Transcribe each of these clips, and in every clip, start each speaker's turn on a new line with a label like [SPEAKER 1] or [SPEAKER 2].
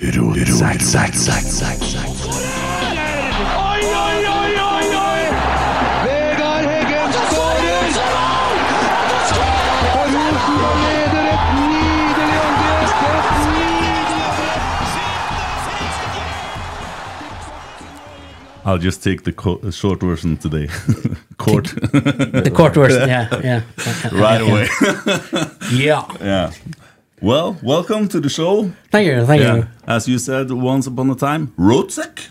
[SPEAKER 1] Zack, zack, zack, zack, zack.
[SPEAKER 2] Oi, oi, oi, oi, oi!
[SPEAKER 3] Vegard Heggen skårer! Og Rosenborg leder et nydelig angrep! Et nydelig
[SPEAKER 4] I'll just take the co- short version today. Court
[SPEAKER 5] The court version, yeah, yeah.
[SPEAKER 4] right away.
[SPEAKER 5] Yeah.
[SPEAKER 4] yeah. Well, welcome to the show.
[SPEAKER 5] Thank you, thank
[SPEAKER 4] Yeah.
[SPEAKER 5] you.
[SPEAKER 4] As you said once upon a time, Rotsek.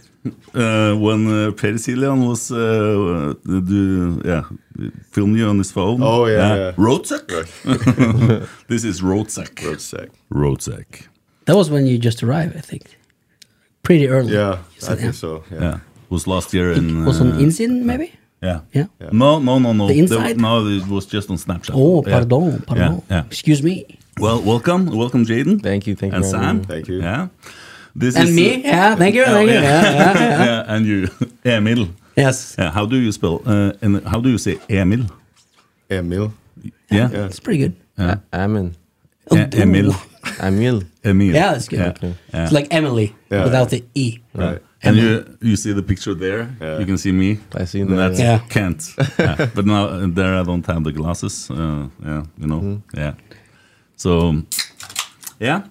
[SPEAKER 4] Uh, when uh, Peter Cilian was uh, uh, do, yeah, filming you on his phone.
[SPEAKER 6] Oh, yeah, yeah.
[SPEAKER 4] Rotsek. this is Rotsek.
[SPEAKER 6] Road sick.
[SPEAKER 4] Rotsek.
[SPEAKER 5] That was when you just arrived, I think. Pretty early.
[SPEAKER 6] Yeah, I
[SPEAKER 5] yeah.
[SPEAKER 6] think so. Yeah.
[SPEAKER 4] Yeah, was last year in.
[SPEAKER 5] was on
[SPEAKER 4] uh,
[SPEAKER 5] Insin, maybe?
[SPEAKER 4] yeah.
[SPEAKER 5] Yeah.
[SPEAKER 4] No, no, no, no.
[SPEAKER 5] The
[SPEAKER 4] There-
[SPEAKER 5] inside?
[SPEAKER 4] no, it was just on Snapchat.
[SPEAKER 5] Oh,
[SPEAKER 4] Yeah.
[SPEAKER 5] pardon, pardon.
[SPEAKER 4] yeah.
[SPEAKER 5] Excuse me.
[SPEAKER 4] Well, welcome, welcome, Jaden.
[SPEAKER 7] Thank you, thank you.
[SPEAKER 4] and
[SPEAKER 7] very
[SPEAKER 4] Sam.
[SPEAKER 7] much.
[SPEAKER 6] Thank you.
[SPEAKER 4] Yeah. This
[SPEAKER 5] And
[SPEAKER 4] is, Oh,
[SPEAKER 5] me? Yeah, thank you, thank you.
[SPEAKER 4] yeah.
[SPEAKER 5] Yeah, yeah.
[SPEAKER 4] yeah, and you, Emil.
[SPEAKER 5] Yes.
[SPEAKER 4] Yeah, how do you spell? Uh, and how do you say Emil?
[SPEAKER 6] Emil.
[SPEAKER 4] Yeah,
[SPEAKER 6] Yeah.
[SPEAKER 5] It's pretty good.
[SPEAKER 7] Amen.
[SPEAKER 4] E- Emil.
[SPEAKER 7] Emil.
[SPEAKER 4] Emil.
[SPEAKER 5] Oh, Yeah, that's good.
[SPEAKER 4] Yeah.
[SPEAKER 7] Okay.
[SPEAKER 4] yeah.
[SPEAKER 5] It's like Emily
[SPEAKER 6] Yeah.
[SPEAKER 5] without the E.
[SPEAKER 6] Right.
[SPEAKER 4] and you you see the picture there.
[SPEAKER 6] Yeah.
[SPEAKER 4] You can see me.
[SPEAKER 7] I see
[SPEAKER 4] And
[SPEAKER 7] that.
[SPEAKER 4] That's
[SPEAKER 5] Yeah.
[SPEAKER 4] Kent. Yeah. But now uh, there I don't have the glasses. Uh, yeah, you know. Yeah. So, yeah.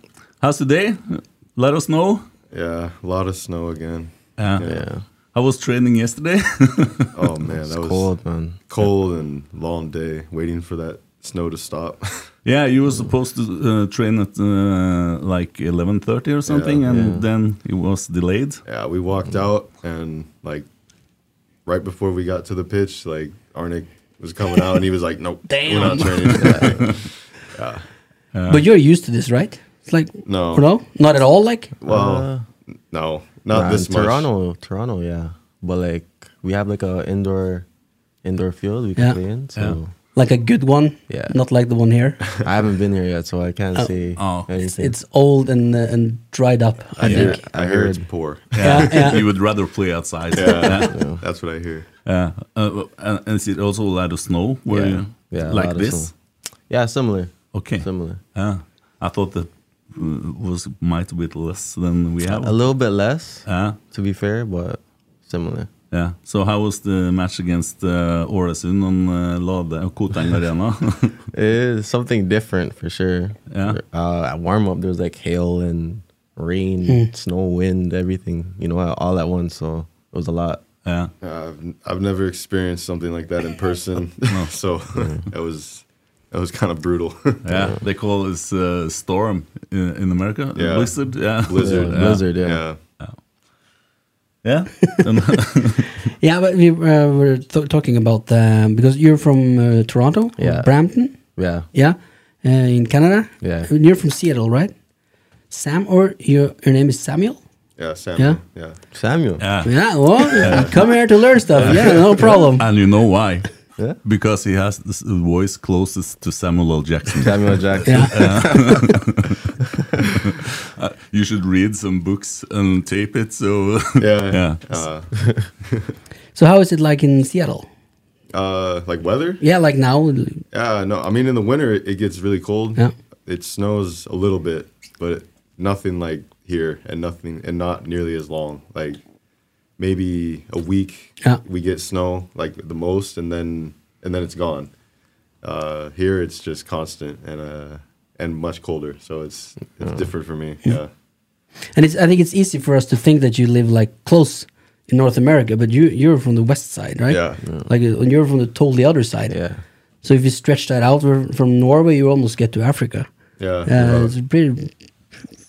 [SPEAKER 4] How's today? Let us know.
[SPEAKER 6] Yeah. A lot of snow again.
[SPEAKER 4] Yeah.
[SPEAKER 7] Yeah.
[SPEAKER 4] I was training yesterday.
[SPEAKER 6] Oh man, that was cold.
[SPEAKER 7] Cold, man.
[SPEAKER 6] and long day waiting for that snow to stop.
[SPEAKER 4] Yeah, you were supposed to uh, train at uh, like eleven thirty or something, and then it was delayed.
[SPEAKER 6] yeah, we walked out and like right before we got to the pitch, like Arnick was coming out and he was like, "Nope, we're not training."
[SPEAKER 5] But you're used to this, right? It's like
[SPEAKER 6] No.
[SPEAKER 5] no, not at all. Like
[SPEAKER 6] well, no, not
[SPEAKER 7] Nah,
[SPEAKER 6] this much.
[SPEAKER 7] Toronto, Toronto, yeah. But like we have like a indoor indoor field we can
[SPEAKER 5] Yeah.
[SPEAKER 7] play in. So
[SPEAKER 5] like a good one.
[SPEAKER 7] Yeah.
[SPEAKER 5] Not like the one here.
[SPEAKER 7] I haven't been here yet, so I can't say
[SPEAKER 4] Oh.
[SPEAKER 7] anything.
[SPEAKER 5] It's old and uh, and dried up. I
[SPEAKER 6] I hear,
[SPEAKER 5] think.
[SPEAKER 6] I hear it's poor.
[SPEAKER 5] Yeah, yeah.
[SPEAKER 4] you would rather play outside.
[SPEAKER 6] That's what I hear.
[SPEAKER 4] Yeah. Uh, uh, and is it also a lot of snow? Where
[SPEAKER 7] Yeah.
[SPEAKER 4] you-
[SPEAKER 7] Yeah, a
[SPEAKER 4] like
[SPEAKER 7] lot of
[SPEAKER 4] this?
[SPEAKER 7] snow. yeah, similar.
[SPEAKER 4] Okay. Oh.
[SPEAKER 7] Similar.
[SPEAKER 4] Yeah. I thought that uh, was might a bit less than we have.
[SPEAKER 7] A little bit less,
[SPEAKER 4] Yeah.
[SPEAKER 7] to be fair, but similar.
[SPEAKER 4] Yeah. So how was the match against uh, Åresund on uh, Lade uh, Koteng Arena?
[SPEAKER 7] It is something different for sure.
[SPEAKER 4] Yeah.
[SPEAKER 7] Uh, at warm up, there's like hail and rain,
[SPEAKER 5] Hmm.
[SPEAKER 7] snow, wind, everything. You know, all at once. So it was a lot.
[SPEAKER 4] yeah.
[SPEAKER 6] I've I've never experienced something like that in person, so that was that was kind of brutal.
[SPEAKER 4] Yeah. They call it uh, storm uh, in, in America.
[SPEAKER 6] Yeah.
[SPEAKER 4] Blizzard. Yeah.
[SPEAKER 6] Blizzard,
[SPEAKER 4] Yeah.
[SPEAKER 6] yeah.
[SPEAKER 7] Blizzard, yeah.
[SPEAKER 6] yeah,
[SPEAKER 4] Yeah.
[SPEAKER 5] Yeah, but we uh, were th- talking about um, because you're from uh, Toronto, or
[SPEAKER 7] Yeah.
[SPEAKER 5] Brampton,
[SPEAKER 7] Yeah.
[SPEAKER 5] yeah, uh, in Canada.
[SPEAKER 7] Yeah.
[SPEAKER 5] And you're from Seattle, right? Sam, or your your name is Samuel?
[SPEAKER 6] yeah, Sam,
[SPEAKER 5] Yeah?
[SPEAKER 6] yeah, yeah.
[SPEAKER 7] Samuel.
[SPEAKER 4] yeah.
[SPEAKER 5] Yeah. Well, come here to learn stuff. Yeah, no problem.
[SPEAKER 4] And you know why?
[SPEAKER 7] Yeah.
[SPEAKER 4] Because he has this voice closest to Samuel L. Jackson.
[SPEAKER 7] Samuel Jackson.
[SPEAKER 5] Yeah.
[SPEAKER 4] you should read some books and tape it. So yeah,
[SPEAKER 6] Uh,
[SPEAKER 5] So how is it like in Seattle?
[SPEAKER 6] uh, like weather?
[SPEAKER 5] Yeah, like now.
[SPEAKER 6] Yeah, no. I mean, in the winter it, it gets really cold.
[SPEAKER 5] Yeah.
[SPEAKER 6] It snows a little bit, but nothing like here, and nothing, and not nearly as long. Like maybe a week
[SPEAKER 5] Yeah.
[SPEAKER 6] we get snow, like the most, and then and then it's gone. Uh, here it's just constant and uh and much colder, so it's it's different for me. Yeah,
[SPEAKER 5] And it's, I think it's easy for us to think that you live like close in North America, but you you're from the west side, right?
[SPEAKER 6] Yeah.
[SPEAKER 5] Like uh, and you're from the totally other side.
[SPEAKER 7] Yeah.
[SPEAKER 5] So if you stretch that out we're from Norway, you almost get to Africa.
[SPEAKER 6] yeah.
[SPEAKER 5] Uh,
[SPEAKER 6] Uh,
[SPEAKER 5] it's pretty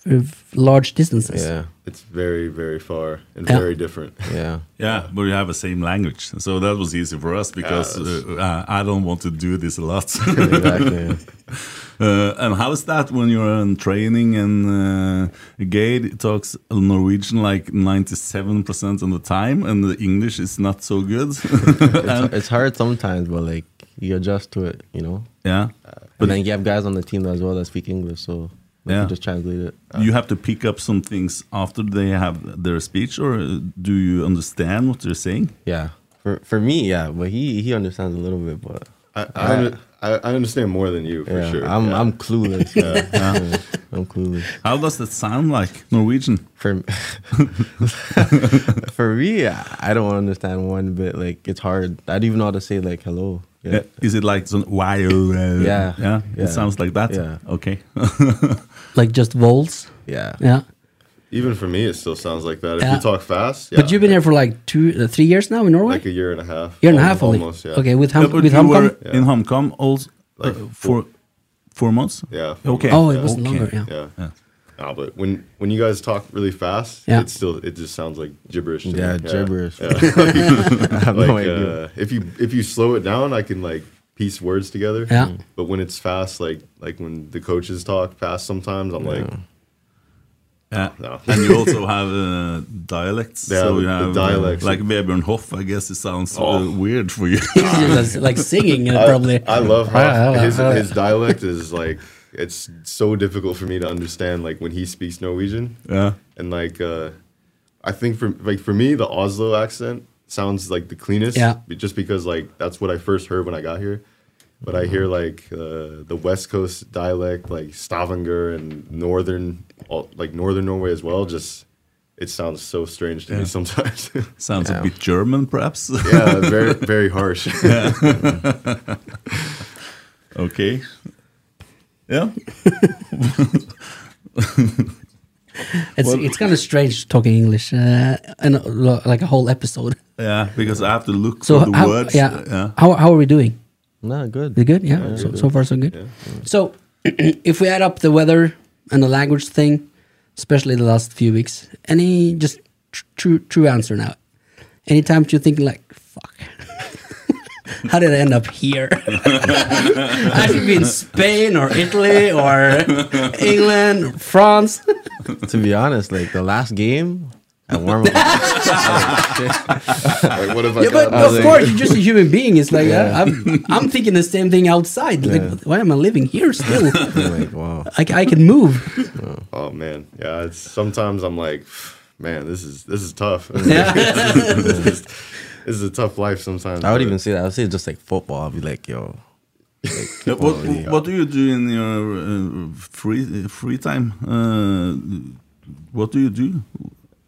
[SPEAKER 5] uh, large distances.
[SPEAKER 7] Yeah.
[SPEAKER 6] it's very very far and
[SPEAKER 5] Yeah.
[SPEAKER 6] very different.
[SPEAKER 7] Yeah.
[SPEAKER 4] yeah. But we have the same language, so that was easy for us because
[SPEAKER 6] that's-
[SPEAKER 4] uh, uh, I don't want to do this a lot.
[SPEAKER 7] Exactly. yeah.
[SPEAKER 4] uh, and how is that when you're in training and uh, Gade talks Norwegian like ninety seven percent of the time, and the English is not so good.
[SPEAKER 7] It's, it's hard sometimes, but like you adjust to it, you know?
[SPEAKER 4] yeah.
[SPEAKER 7] But then you have guys on the team as well that speak English, so like,
[SPEAKER 4] Yeah.
[SPEAKER 7] you just translate it.
[SPEAKER 4] you have to pick up some things after they have their speech, or uh, do you understand what they're saying?
[SPEAKER 7] Yeah. For for me, yeah, but he he understands a little bit, but
[SPEAKER 6] I, I, under- I, I understand more than you for
[SPEAKER 7] yeah,
[SPEAKER 6] sure.
[SPEAKER 7] I'm
[SPEAKER 6] yeah. Uh-huh.
[SPEAKER 7] I'm clueless. Yeah, I'm clueless.
[SPEAKER 4] How does that sound like Norwegian?
[SPEAKER 7] For for me, I I don't understand one bit. Like it's hard. I don't even know how to say like hello.
[SPEAKER 4] Yeah. Is it like some why? Yeah.
[SPEAKER 7] Yeah,
[SPEAKER 4] yeah.
[SPEAKER 7] yeah.
[SPEAKER 4] It sounds like that.
[SPEAKER 7] Yeah.
[SPEAKER 4] Okay.
[SPEAKER 5] like just volts.
[SPEAKER 7] yeah.
[SPEAKER 5] Yeah.
[SPEAKER 6] Even for me, it still sounds like that. If
[SPEAKER 5] Yeah.
[SPEAKER 6] you talk fast, yeah,
[SPEAKER 5] But you've been here for like two, uh, three years now in Norway.
[SPEAKER 6] like a year and a half.
[SPEAKER 5] year and a
[SPEAKER 6] al-
[SPEAKER 5] half only.
[SPEAKER 6] Almost, yeah.
[SPEAKER 5] Okay, with
[SPEAKER 4] Yeah,
[SPEAKER 5] Ham
[SPEAKER 4] but
[SPEAKER 5] with
[SPEAKER 4] you
[SPEAKER 5] Hamcom.
[SPEAKER 4] were in Hong Kong also
[SPEAKER 6] Like
[SPEAKER 4] uh,
[SPEAKER 6] four-
[SPEAKER 4] for four months.
[SPEAKER 6] Yeah. four
[SPEAKER 4] Okay.
[SPEAKER 5] Oh,
[SPEAKER 6] Yeah.
[SPEAKER 5] it wasn't
[SPEAKER 4] Okay.
[SPEAKER 5] longer. Yeah.
[SPEAKER 6] Yeah.
[SPEAKER 4] Yeah.
[SPEAKER 6] No, but when when you guys talk really fast,
[SPEAKER 5] Yeah.
[SPEAKER 6] it still it just sounds like gibberish. To
[SPEAKER 7] Yeah,
[SPEAKER 6] me.
[SPEAKER 7] gibberish.
[SPEAKER 6] Yeah.
[SPEAKER 7] I have
[SPEAKER 6] like
[SPEAKER 7] no idea.
[SPEAKER 6] uh, if you if you slow it down, I can like piece words together.
[SPEAKER 5] Yeah.
[SPEAKER 6] But when it's fast, like like when the coaches talk fast, sometimes I'm like,
[SPEAKER 4] Yeah.
[SPEAKER 6] no.
[SPEAKER 4] and you also have uh, dialects.
[SPEAKER 6] Yeah,
[SPEAKER 4] so you
[SPEAKER 6] the
[SPEAKER 4] have uh,
[SPEAKER 6] dialects.
[SPEAKER 4] like Webernhof. I guess it sounds uh,
[SPEAKER 6] Oh.
[SPEAKER 4] weird for you.
[SPEAKER 5] It's just like singing uh,
[SPEAKER 6] I,
[SPEAKER 5] probably.
[SPEAKER 6] I love how
[SPEAKER 5] Yeah, yeah,
[SPEAKER 6] his
[SPEAKER 5] yeah.
[SPEAKER 6] his dialect is like it's so difficult for me to understand. Like when he speaks Norwegian,
[SPEAKER 4] yeah.
[SPEAKER 6] and like uh, I think for like for me, the Oslo accent sounds like the cleanest.
[SPEAKER 5] Yeah.
[SPEAKER 6] be- Just because like that's what I first heard when I got here. But I hear like uh, the West Coast dialect, like Stavanger and northern, all, like northern Norway as well. Just it sounds so strange to me sometimes.
[SPEAKER 4] Sounds a bit German, perhaps.
[SPEAKER 6] yeah, very very harsh.
[SPEAKER 4] okay. Yeah.
[SPEAKER 5] it's it's kind of strange talking English uh, and uh, lo- like a whole episode.
[SPEAKER 4] Yeah. Because I have to look
[SPEAKER 5] So
[SPEAKER 4] for the
[SPEAKER 5] how,
[SPEAKER 4] words. uh,
[SPEAKER 5] yeah,
[SPEAKER 4] yeah.
[SPEAKER 5] How how are we doing?
[SPEAKER 7] No,
[SPEAKER 5] We
[SPEAKER 7] good.
[SPEAKER 5] good? Yeah. so, so far so good. So if we add up the weather and the language thing, especially the last few weeks, any just tr- true true answer now. Any times you're thinking like fuck. How did I end up here? I should be in Spain or Italy or England, or France.
[SPEAKER 7] to be honest, like the last game, I warm up.
[SPEAKER 6] like what if I
[SPEAKER 5] Yeah,
[SPEAKER 6] got
[SPEAKER 5] but
[SPEAKER 6] out
[SPEAKER 5] of
[SPEAKER 6] of
[SPEAKER 5] course, you're just a human being. It's like uh, I'm, I'm thinking the same thing outside. Like,
[SPEAKER 7] Yeah.
[SPEAKER 5] why am I living here still?
[SPEAKER 7] I'm like wow.
[SPEAKER 5] I, I can move.
[SPEAKER 6] Oh man, yeah. It's, sometimes I'm like, man, this is this is tough.
[SPEAKER 5] Yeah.
[SPEAKER 6] this, is, this is a tough life sometimes.
[SPEAKER 7] I would
[SPEAKER 6] but-
[SPEAKER 7] even say that. I would say just like football. I'd be like, yo,
[SPEAKER 4] Yeah,
[SPEAKER 6] Oh,
[SPEAKER 4] what What do you do in your uh, free uh, free time? Uh, what do you do?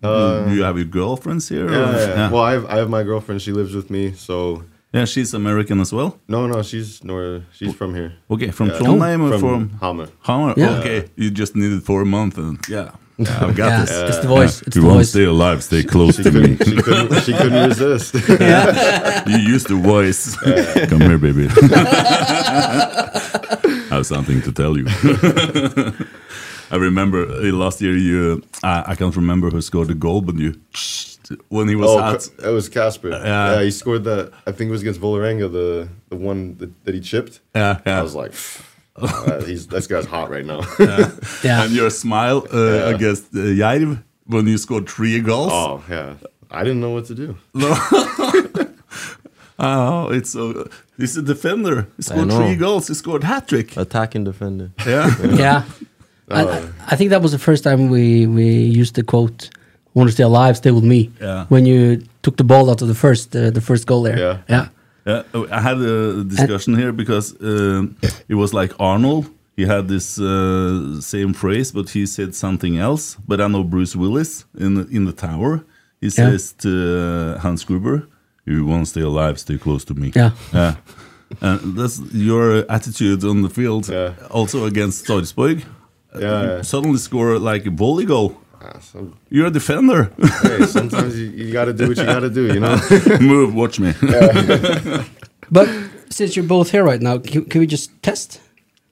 [SPEAKER 4] Do- do you have your girlfriends here?
[SPEAKER 6] Uh, Yeah,
[SPEAKER 4] or-
[SPEAKER 6] yeah, yeah. Well, I have, I have my girlfriend. She lives with me. So
[SPEAKER 4] Yeah, she's American as well.
[SPEAKER 6] no, no, she's nor she's from here.
[SPEAKER 4] Okay, from
[SPEAKER 6] Yeah.
[SPEAKER 4] Trondheim or from,
[SPEAKER 6] Hammer.
[SPEAKER 4] Hammer?
[SPEAKER 5] Yeah.
[SPEAKER 4] Okay, you just needed for a month, and yeah, I've got
[SPEAKER 5] Yeah,
[SPEAKER 4] this.
[SPEAKER 5] it's the voice. It's
[SPEAKER 4] you
[SPEAKER 5] the
[SPEAKER 4] want to
[SPEAKER 5] voice.
[SPEAKER 4] stay alive, stay close
[SPEAKER 6] She
[SPEAKER 4] to me.
[SPEAKER 6] couldn't, she couldn't, she couldn't resist.
[SPEAKER 4] You use the voice. Come here, baby. I have something to tell you. I remember uh, last year you. uh, I, I can't remember who scored the goal, but you. When he was
[SPEAKER 6] oh,
[SPEAKER 4] out,
[SPEAKER 6] Ca- that was Casper.
[SPEAKER 4] yeah.
[SPEAKER 6] yeah, he scored that. I think it was against Voloranga, the the one that, that he chipped.
[SPEAKER 4] Yeah, yeah.
[SPEAKER 6] I was like, uh, he's this guy's hot right now.
[SPEAKER 5] Yeah.
[SPEAKER 4] and your smile uh, against uh, Yair when you scored three goals.
[SPEAKER 6] oh yeah, I didn't know what to do.
[SPEAKER 4] Oh, it's so. He's a defender. He scored
[SPEAKER 7] know.
[SPEAKER 4] three goals. He scored hat trick.
[SPEAKER 7] attacking defender.
[SPEAKER 4] Yeah.
[SPEAKER 5] Yeah. I, I- I think that was the first time we, we used the quote, "Want to stay alive? Stay with me."
[SPEAKER 4] Yeah.
[SPEAKER 5] When you took the ball out of the first uh, the first goal there.
[SPEAKER 6] Yeah.
[SPEAKER 5] Yeah.
[SPEAKER 4] Yeah, oh, I had a discussion here because um, it was like Arnold. He had this uh, same phrase, but he said something else. But I know Bruce Willis in the, in the tower. He says to uh, Hans Gruber, "If you want to stay alive, stay close to me."
[SPEAKER 5] Yeah.
[SPEAKER 4] yeah. And that's your attitude on the field,
[SPEAKER 6] Yeah.
[SPEAKER 4] also against Sarpsborg.
[SPEAKER 6] Yeah, yeah.
[SPEAKER 4] Suddenly score like a volley goal.
[SPEAKER 6] Ah, some-
[SPEAKER 4] You're a defender.
[SPEAKER 6] hey, sometimes you, you got to do what you got to do. You know.
[SPEAKER 4] Move, watch me.
[SPEAKER 5] But since you're both here right now, can, can we just test?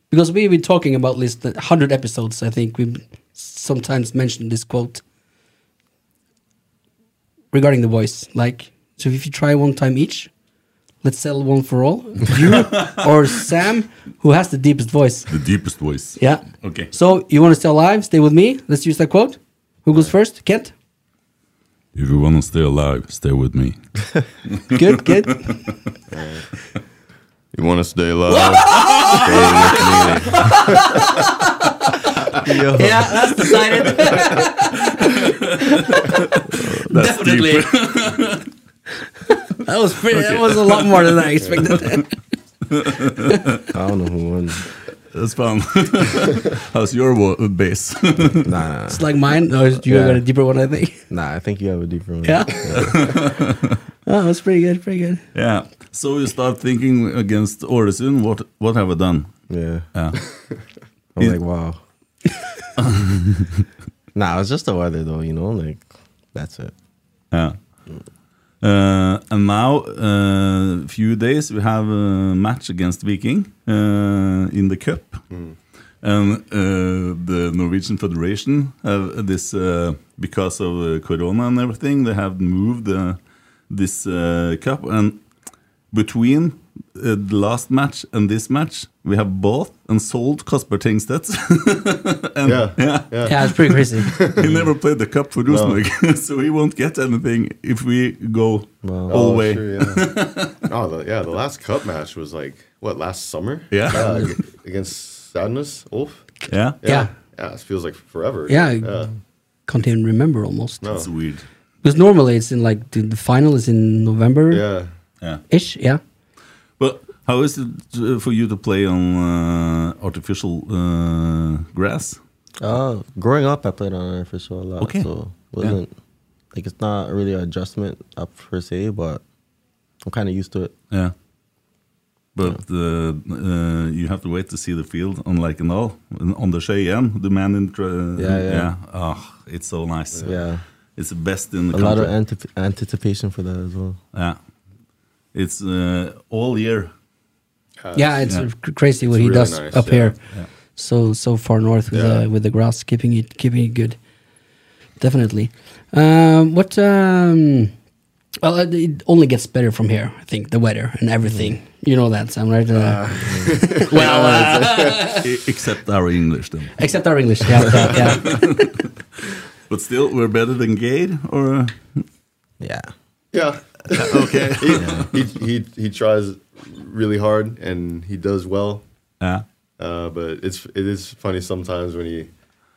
[SPEAKER 5] Because we've been talking about at least 100 episodes, I think. We've sometimes mentioned this quote regarding the voice. Like, so if you try one time each, let's settle one for all. You or Sam, who has the deepest voice.
[SPEAKER 4] the deepest voice.
[SPEAKER 5] Yeah.
[SPEAKER 4] Okay.
[SPEAKER 5] So you want to stay alive? Stay with me. Let's use that quote. Who goes first? Kent?
[SPEAKER 4] If you want to stay alive, stay with me.
[SPEAKER 5] Good, good.
[SPEAKER 6] You want to stay alive?
[SPEAKER 7] Yo,
[SPEAKER 5] yeah, that's decided. Definitely. that was pretty. That was a lot more than I expected.
[SPEAKER 7] I don't know who won.
[SPEAKER 4] That's fun. How's your wo- bass?
[SPEAKER 7] Nah, nah,
[SPEAKER 5] It's like mine. Or you
[SPEAKER 7] Yeah.
[SPEAKER 5] got a deeper one, I think.
[SPEAKER 7] nah. I think you have a deeper one.
[SPEAKER 5] Yeah. oh, that's pretty good. Pretty good.
[SPEAKER 4] yeah. So you start thinking against Oresund. What what have I done?
[SPEAKER 7] Yeah.
[SPEAKER 4] Yeah.
[SPEAKER 7] I'm like, wow. nah, it was just the weather though, you know, like that's it.
[SPEAKER 4] Yeah. Uh, and now, a few days, we have a match against Viking uh, in the cup, and uh, the Norwegian Federation have this uh, because of uh, Corona and everything. They have moved uh, this uh, cup, and between uh, the last match and this match, we have bought and sold Kasper Tengstedt.
[SPEAKER 6] Yeah. yeah.
[SPEAKER 5] Yeah, it's pretty crazy.
[SPEAKER 4] he never played the cup for Rosenborg, so he won't get anything if we go
[SPEAKER 7] Wow.
[SPEAKER 4] all the way.
[SPEAKER 6] Sure, yeah. oh, the, yeah. The last cup match was like what last summer?
[SPEAKER 4] Yeah.
[SPEAKER 6] ag- against Sadness Ulf.
[SPEAKER 4] Yeah.
[SPEAKER 5] Yeah.
[SPEAKER 6] Yeah. It feels like forever.
[SPEAKER 5] Yeah. Can't even remember almost.
[SPEAKER 6] No.
[SPEAKER 4] That's weird.
[SPEAKER 5] Because normally it's in like the, the final is in November
[SPEAKER 6] Yeah.
[SPEAKER 4] Yeah.
[SPEAKER 5] ish. Yeah.
[SPEAKER 4] But how is it uh, for you to play on uh, artificial uh, grass?
[SPEAKER 7] Uh, growing up, I played on artificial a lot,
[SPEAKER 4] Okay.
[SPEAKER 7] so wasn't like it's not really an adjustment up per se, but I'm kind of used to it.
[SPEAKER 4] Yeah. But uh, uh, you have to wait to see the field, unlike in all on the Cheyenne, the man in. Tra-
[SPEAKER 7] Yeah, yeah.
[SPEAKER 4] Oh, it's so nice.
[SPEAKER 7] Yeah,
[SPEAKER 4] It's the best in the
[SPEAKER 7] a lot
[SPEAKER 4] country.
[SPEAKER 7] of antip anticipation for that as well.
[SPEAKER 4] yeah. It's uh, all year.
[SPEAKER 5] Yeah, it's
[SPEAKER 4] Yeah.
[SPEAKER 5] cr- crazy what
[SPEAKER 6] It's
[SPEAKER 5] he
[SPEAKER 6] really
[SPEAKER 5] does
[SPEAKER 6] nice,
[SPEAKER 5] up
[SPEAKER 6] yeah.
[SPEAKER 5] here. So so far north with
[SPEAKER 6] Yeah.
[SPEAKER 5] the with the grass, keeping it keeping it good. Definitely. Um, what? Um, well, it- it only gets better from here. I think the weather and everything.
[SPEAKER 6] Mm.
[SPEAKER 5] You know that, Sam, right? Uh, well, uh,
[SPEAKER 4] E- Except our English, then.
[SPEAKER 5] except our English. Yeah, yeah, yeah.
[SPEAKER 4] But still, we're better than Gade, or uh,
[SPEAKER 7] Yeah,
[SPEAKER 6] Yeah.
[SPEAKER 4] okay,
[SPEAKER 6] He, he he he tries really hard and he does well.
[SPEAKER 4] yeah,
[SPEAKER 6] Uh, but it's it is funny sometimes when he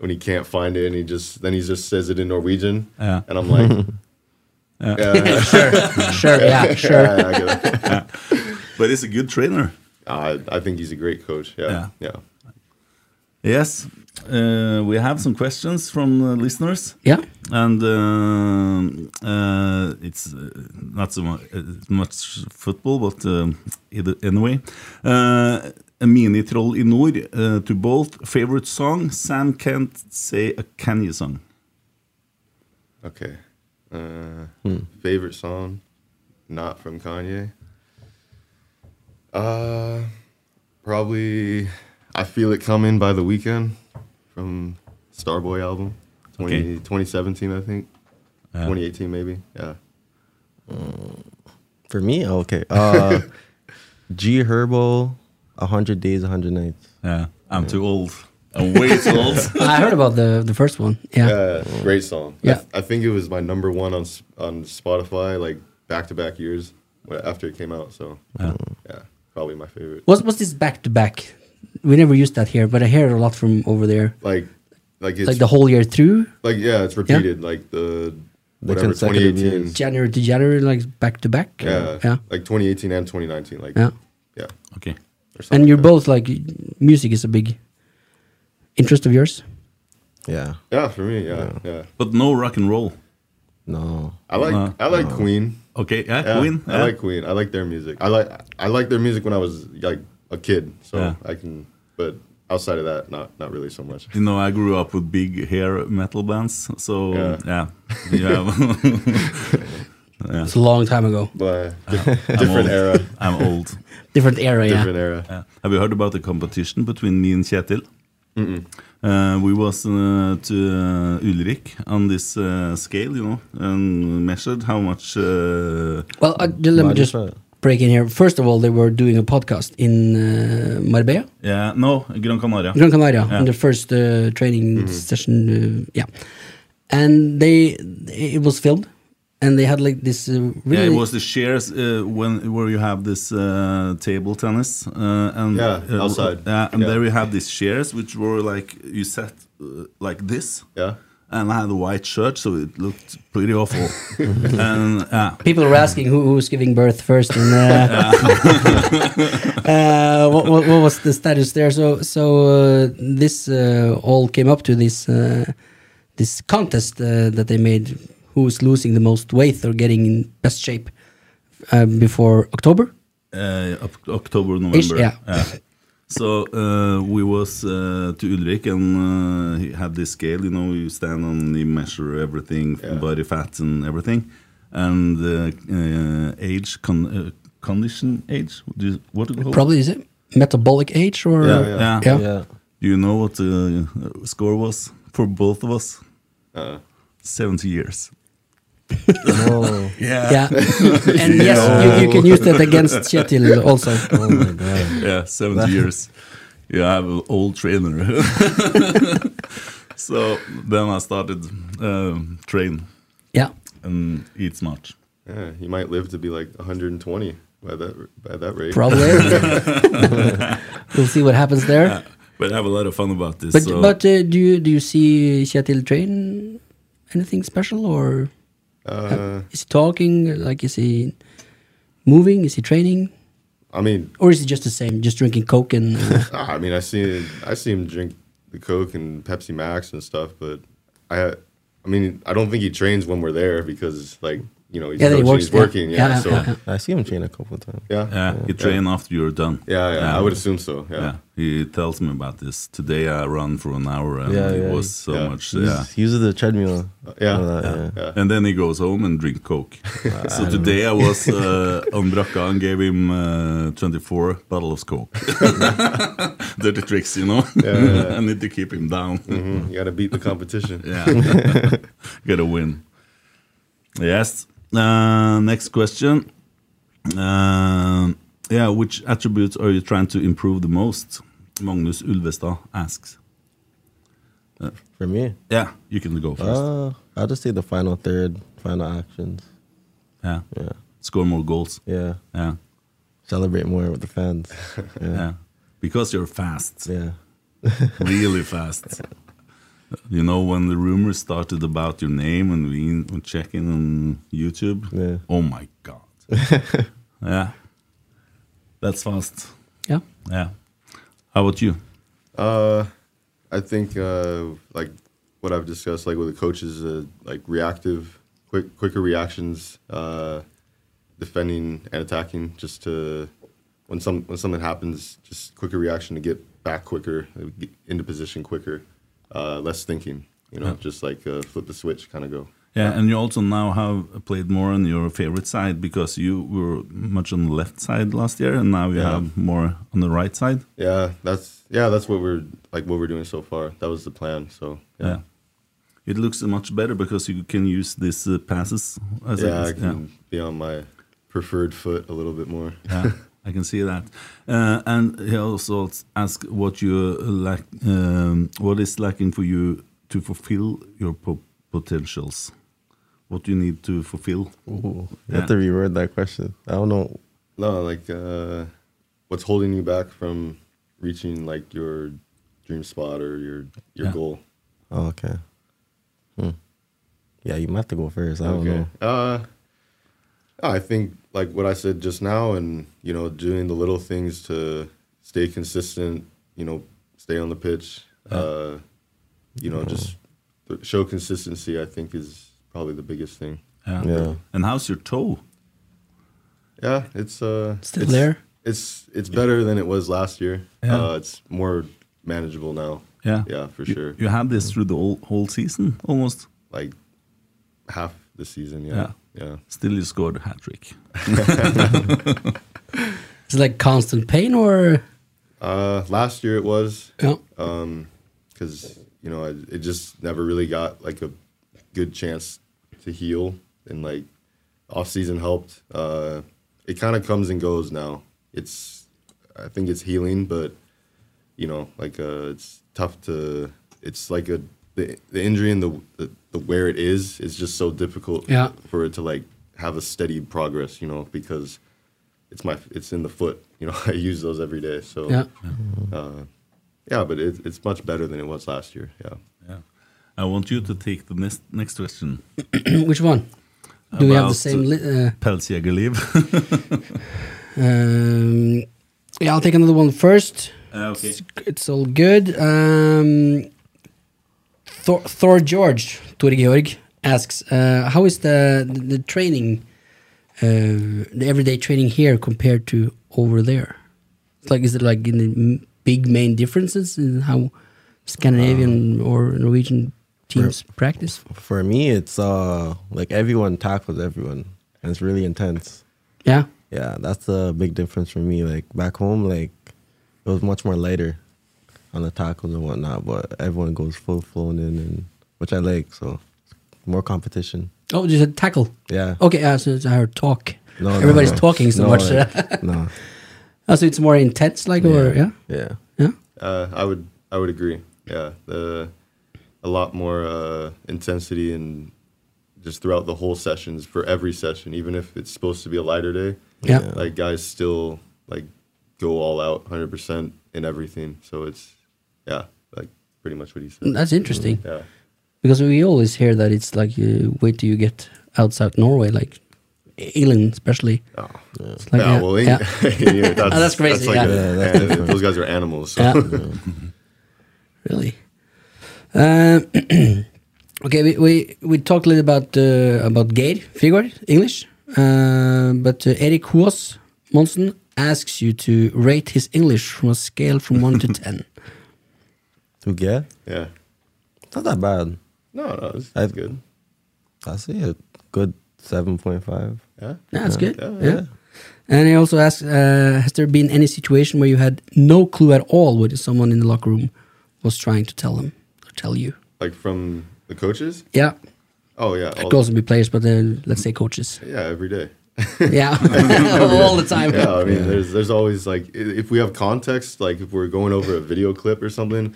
[SPEAKER 6] when he can't find it and he just then he just says it in Norwegian.
[SPEAKER 4] Yeah.
[SPEAKER 6] And I'm like, yeah,
[SPEAKER 5] sure, yeah, sure.
[SPEAKER 6] yeah, I, get it.
[SPEAKER 4] but he's a good trainer.
[SPEAKER 6] I, I think he's a great coach.
[SPEAKER 4] Yeah.
[SPEAKER 6] Yeah. Yeah.
[SPEAKER 4] Yes, uh, we have some questions from uh, listeners,
[SPEAKER 5] Yeah,
[SPEAKER 4] and um uh, it's uh, not so much, uh, much football, but um, either, anyway. Uh, a mini troll in Nord uh, to both favorite song. Sam can't say a Kanye song.
[SPEAKER 6] Okay. Uh, Favorite song, not from Kanye. Uh, probably I Feel It Coming by The Weekend from Starboy album 20,
[SPEAKER 4] Okay.
[SPEAKER 6] 2017, I think. 2018, maybe. Yeah.
[SPEAKER 7] for me, okay. Uh, G Herbo, hundred days, hundred nights.
[SPEAKER 4] Yeah, I'm too old. I'm way too old.
[SPEAKER 5] I heard about the the first one. Yeah,
[SPEAKER 6] Yeah, Uh, great song. I,
[SPEAKER 5] Yeah.
[SPEAKER 6] I think it was my number one on S- on Spotify like back to back years wh- after it came out. So yeah, probably my favorite.
[SPEAKER 5] what's what's this back to back? We never used that here, but I hear it a lot from over there.
[SPEAKER 6] Like, like it's
[SPEAKER 5] Like the whole year through,
[SPEAKER 6] like yeah, it's repeated. Like the whatever
[SPEAKER 7] consecutive
[SPEAKER 6] 2018.
[SPEAKER 7] years.
[SPEAKER 5] January to January, like back to back.
[SPEAKER 6] Yeah,
[SPEAKER 5] yeah,
[SPEAKER 6] like 2018 and 2019. Like
[SPEAKER 5] yeah.
[SPEAKER 6] yeah,
[SPEAKER 4] okay.
[SPEAKER 6] or something
[SPEAKER 5] And you're
[SPEAKER 6] like
[SPEAKER 5] both like music is a big interest of yours.
[SPEAKER 7] Yeah,
[SPEAKER 6] that. yeah for me. Yeah, yeah.
[SPEAKER 4] But no rock and roll.
[SPEAKER 7] no,
[SPEAKER 6] I like I like Queen.
[SPEAKER 4] Okay, yeah,
[SPEAKER 6] Yeah,
[SPEAKER 4] Uh-huh. Queen.
[SPEAKER 6] I
[SPEAKER 4] yeah.
[SPEAKER 6] like Queen. I like their music. I like I like their music when I was like a kid. So
[SPEAKER 4] Yeah.
[SPEAKER 6] I can, but outside of that, not not really so much.
[SPEAKER 4] You know, I grew up with big hair metal bands, so
[SPEAKER 6] Yeah.
[SPEAKER 4] yeah, yeah.
[SPEAKER 5] It's a long time ago,
[SPEAKER 6] But
[SPEAKER 4] I'm old.
[SPEAKER 6] different era.
[SPEAKER 4] I'm old.
[SPEAKER 5] different era.
[SPEAKER 6] Different
[SPEAKER 5] yeah,
[SPEAKER 6] era.
[SPEAKER 4] Yeah. Have you heard about the competition between me and Kjetil? Uh, we was uh, to uh, Ulrik on this uh, scale, you know, and measured how much. Uh,
[SPEAKER 5] Well, uh, d- let me
[SPEAKER 7] Why
[SPEAKER 5] just
[SPEAKER 7] different?
[SPEAKER 5] break in here. First of all, they were doing a podcast in uh, Marbella,
[SPEAKER 4] yeah, no, Gran Canaria.
[SPEAKER 5] Gran Canaria,
[SPEAKER 4] Yeah.
[SPEAKER 5] in the first uh, training session. Uh, yeah, and they it was filmed, and they had like this uh, really
[SPEAKER 4] Yeah, it was the shares uh, when where you have this uh, table tennis uh, and
[SPEAKER 6] Yeah,
[SPEAKER 4] uh,
[SPEAKER 6] outside.
[SPEAKER 4] Yeah, and
[SPEAKER 6] Yeah.
[SPEAKER 4] there we had these shares which were like you sat uh, like this.
[SPEAKER 6] Yeah.
[SPEAKER 4] and I had a white shirt, so it looked pretty awful. and uh,
[SPEAKER 5] People were asking who, who was giving birth first, and uh, uh, what, what, what was the status there? So, so uh, this uh, all came up to this uh, this contest uh, that they made: who's losing the most weight or getting in best shape uh, before October?
[SPEAKER 4] uh, Oc- October, November.
[SPEAKER 5] yeah.
[SPEAKER 4] So uh, we was uh, to Ulrik and uh, he had this scale, you know, you stand on, you measure everything, body fat and everything, and uh, uh, age, con- uh, condition age. Do you, what do you call it?
[SPEAKER 5] Probably is it metabolic age or
[SPEAKER 4] Yeah,
[SPEAKER 6] yeah.
[SPEAKER 4] yeah.
[SPEAKER 5] Yeah.
[SPEAKER 7] Yeah.
[SPEAKER 4] Do you know what the uh, score was for both of us?
[SPEAKER 6] Uh,
[SPEAKER 4] 70 years.
[SPEAKER 7] Oh,
[SPEAKER 5] Yeah. and yes, you, you can use that against Chetil also.
[SPEAKER 7] oh my god.
[SPEAKER 4] Yeah, 70 years. Yeah, I'm an old trainer. so then I started um, train
[SPEAKER 5] Yeah.
[SPEAKER 4] and eat smart.
[SPEAKER 6] yeah, you might live to be like 120 by that by that rate.
[SPEAKER 5] Probably. we'll see what happens there.
[SPEAKER 4] But I have a lot of fun about this.
[SPEAKER 5] But
[SPEAKER 4] so
[SPEAKER 5] but uh, do you do you see Chetil train anything special or
[SPEAKER 6] Uh,
[SPEAKER 5] is he talking? Like is he moving? Is he training?
[SPEAKER 6] I mean,
[SPEAKER 5] Or is he just the same, just drinking Coke and uh,
[SPEAKER 6] Ah, I mean, I see, I see him drink the Coke and Pepsi Max and stuff, but I, I mean, I don't think he trains when we're there because, like, you know, he's,
[SPEAKER 5] Yeah, that he
[SPEAKER 6] coaching,
[SPEAKER 5] works,
[SPEAKER 6] he's
[SPEAKER 5] yeah.
[SPEAKER 6] working, yeah,
[SPEAKER 5] Yeah,
[SPEAKER 6] so,
[SPEAKER 5] yeah,
[SPEAKER 6] yeah,
[SPEAKER 7] I see him train a couple times.
[SPEAKER 6] yeah, yeah,
[SPEAKER 4] yeah, you train after you're done.
[SPEAKER 6] yeah, I would assume so, yeah.
[SPEAKER 4] Yeah, he tells me about this. Today I ran for an hour and
[SPEAKER 7] Yeah,
[SPEAKER 4] it
[SPEAKER 7] yeah,
[SPEAKER 4] was
[SPEAKER 7] he-
[SPEAKER 4] so
[SPEAKER 6] yeah.
[SPEAKER 4] much.
[SPEAKER 7] He
[SPEAKER 4] Yeah.
[SPEAKER 7] uses- he uses the treadmill.
[SPEAKER 6] yeah,
[SPEAKER 7] and all that, yeah.
[SPEAKER 4] And then he goes home and drink Coke. so today I was uh, on Brakka and gave him uh, 24 bottles of Coke. Dirty tricks, you know?
[SPEAKER 6] yeah, yeah.
[SPEAKER 4] I need to keep him down.
[SPEAKER 6] Mhm, You got to beat the competition.
[SPEAKER 4] Yeah. Gotta win. Yes. Uh, next question. Um yeah, which attributes are you trying to improve the most? Magnus Ulvestad asks.
[SPEAKER 7] For me,
[SPEAKER 4] Yeah, you can go first.
[SPEAKER 7] uh, I'll just say the final third, final actions.
[SPEAKER 4] yeah.
[SPEAKER 7] Yeah,
[SPEAKER 4] Score more goals.
[SPEAKER 7] yeah.
[SPEAKER 4] Yeah.
[SPEAKER 7] Celebrate more with the fans.
[SPEAKER 4] Yeah.
[SPEAKER 7] Yeah,
[SPEAKER 4] Because you're fast.
[SPEAKER 7] yeah.
[SPEAKER 4] really fast. You know, when the rumors started about your name and we in- were checking on YouTube,
[SPEAKER 7] Yeah.
[SPEAKER 4] oh my God. yeah. That's fast.
[SPEAKER 5] yeah.
[SPEAKER 4] Yeah. How about you?
[SPEAKER 6] Uh, I think uh, like what I've discussed, like with the coaches, uh, like reactive, quick, quicker reactions, uh, defending and attacking, just to when some when something happens, just quicker reaction to get back quicker, uh, get into position quicker, uh, less thinking. You know,
[SPEAKER 4] Yeah.
[SPEAKER 6] just like uh, flip the switch, kind of go.
[SPEAKER 4] Yeah, and you also now have played more on your favorite side because you were much on the left side last year, and now you
[SPEAKER 6] Yeah.
[SPEAKER 4] have more on the right side.
[SPEAKER 6] Yeah, that's yeah, that's what we're like what we're doing so far. That was the plan. So
[SPEAKER 4] Yeah. It looks much better because you can use these uh, passes. As a-
[SPEAKER 6] yeah, I can be on my preferred foot a little bit more.
[SPEAKER 4] yeah, I can see that. Uh, and he also asked what you uh, lack, um, what is lacking for you to fulfill your po- potentials. What do you need to fulfill?
[SPEAKER 7] Ooh, you
[SPEAKER 4] Yeah.
[SPEAKER 7] have to reword that question. I don't know.
[SPEAKER 6] No, like uh, what's holding you back from reaching like your dream spot or your your
[SPEAKER 4] Yeah.
[SPEAKER 6] goal?
[SPEAKER 7] Oh, okay. Hmm. Yeah, you might have to go first. I don't know.
[SPEAKER 6] Uh, I think like what I said just now, and you know, doing the little things to stay consistent. You know, stay on the pitch. Uh, you know, just th- show consistency. I think is probably the biggest thing.
[SPEAKER 7] Yeah.
[SPEAKER 4] And how's your toe?
[SPEAKER 6] Yeah, it's uh,
[SPEAKER 5] Still
[SPEAKER 6] it's,
[SPEAKER 5] there?
[SPEAKER 6] It's it's better than it was last year.
[SPEAKER 4] Yeah.
[SPEAKER 6] Uh, it's more manageable now.
[SPEAKER 4] Yeah.
[SPEAKER 6] yeah, for
[SPEAKER 4] You-
[SPEAKER 6] sure.
[SPEAKER 4] You had this through the whole, whole season almost.
[SPEAKER 6] like half the season. Yeah, yeah,
[SPEAKER 4] Still, you scored a hat trick.
[SPEAKER 5] It's like constant pain or
[SPEAKER 6] Uh, last year it was
[SPEAKER 5] yeah.
[SPEAKER 6] because you know I, it just never really got like a good chance to heal, and like off season helped. Uh, it kind of comes and goes now. It's I think it's healing, but you know, like uh, it's tough to. It's like a the, the injury and the, the the where it is is just so difficult
[SPEAKER 5] Yeah.
[SPEAKER 6] for it to like have a steady progress, you know, because it's my it's in the foot, you know. I use those every day, so
[SPEAKER 5] Yeah.
[SPEAKER 6] uh, yeah. But it, it's much better than it was last year. Yeah,
[SPEAKER 4] Yeah. I want you to take the next next question.
[SPEAKER 5] Which one? Do we have
[SPEAKER 4] About-
[SPEAKER 5] the same? Li- uh,
[SPEAKER 4] Pelsjegerliv.
[SPEAKER 5] um, yeah, I'll take another one first.
[SPEAKER 7] Uh,
[SPEAKER 4] Ah, okay.
[SPEAKER 5] It's, it's all good. Um, Thor, Thor George Tor Georg asks, uh, "How is the the, the training, uh, the everyday training here compared to over there? It's like, is it like in the m- big main differences in how
[SPEAKER 7] Uh,
[SPEAKER 5] Scandinavian or Norwegian teams practice?
[SPEAKER 7] For me, it's uh like everyone tackles everyone, and it's really intense.
[SPEAKER 5] Yeah,
[SPEAKER 7] Yeah, that's the big difference for me. Like back home, like it was much more lighter on the tackles and whatnot, but everyone goes full flown in, and which I like. So more competition.
[SPEAKER 5] Oh, you said tackle.
[SPEAKER 7] Yeah.
[SPEAKER 5] Okay, uh, so it's I heard talk.
[SPEAKER 7] No, no,
[SPEAKER 5] Everybody's
[SPEAKER 7] no.
[SPEAKER 5] talking so
[SPEAKER 7] No,
[SPEAKER 5] much.
[SPEAKER 7] like, no.
[SPEAKER 5] oh, so it's more intense, like, or yeah,
[SPEAKER 7] Yeah.
[SPEAKER 5] yeah.
[SPEAKER 6] Uh, I would I would agree. Yeah, the a lot more uh, intensity and just throughout the whole sessions for every session, even if it's supposed to be a lighter day.
[SPEAKER 5] Yeah.
[SPEAKER 6] like guys still like go all out, hundred percent in everything. So it's yeah, like pretty much what he said.
[SPEAKER 5] That's interesting
[SPEAKER 6] Mm, yeah,
[SPEAKER 5] because we always hear that it's like you wait till you get outside Norway, like England, especially.
[SPEAKER 6] oh,
[SPEAKER 5] It's like,
[SPEAKER 6] yeah,
[SPEAKER 5] yeah,
[SPEAKER 6] well, he-
[SPEAKER 5] yeah. Oh,
[SPEAKER 6] yeah, that's,
[SPEAKER 5] That's crazy,
[SPEAKER 6] like
[SPEAKER 5] yeah.
[SPEAKER 6] a-
[SPEAKER 7] Yeah, that's
[SPEAKER 6] and those guys are animals. So.
[SPEAKER 5] Yeah. really. Um, okay, we, we we talked a little about uh, about Geir Figure English, uh, but uh, Eric Huos Monson asks you to rate his English from a scale from one to ten.
[SPEAKER 7] To get
[SPEAKER 6] yeah.
[SPEAKER 7] it's not that bad.
[SPEAKER 6] No, no, it's,
[SPEAKER 7] I-
[SPEAKER 6] it's good.
[SPEAKER 7] I see a good seven point five.
[SPEAKER 6] Yeah,
[SPEAKER 5] Yeah, that's good.
[SPEAKER 6] Yeah,
[SPEAKER 5] Yeah. And he also asks, uh, has there been any situation where you had no clue at all what someone in the locker room was trying to tell him or tell you?
[SPEAKER 6] like from the coaches.
[SPEAKER 5] Yeah.
[SPEAKER 6] Oh yeah,
[SPEAKER 5] It
[SPEAKER 6] all-
[SPEAKER 5] could also be players, but then let's say coaches.
[SPEAKER 6] yeah, every day.
[SPEAKER 5] Yeah. all the time.
[SPEAKER 6] yeah, I mean, there's there's always like i- if we have context, like if we're going over a video clip or something,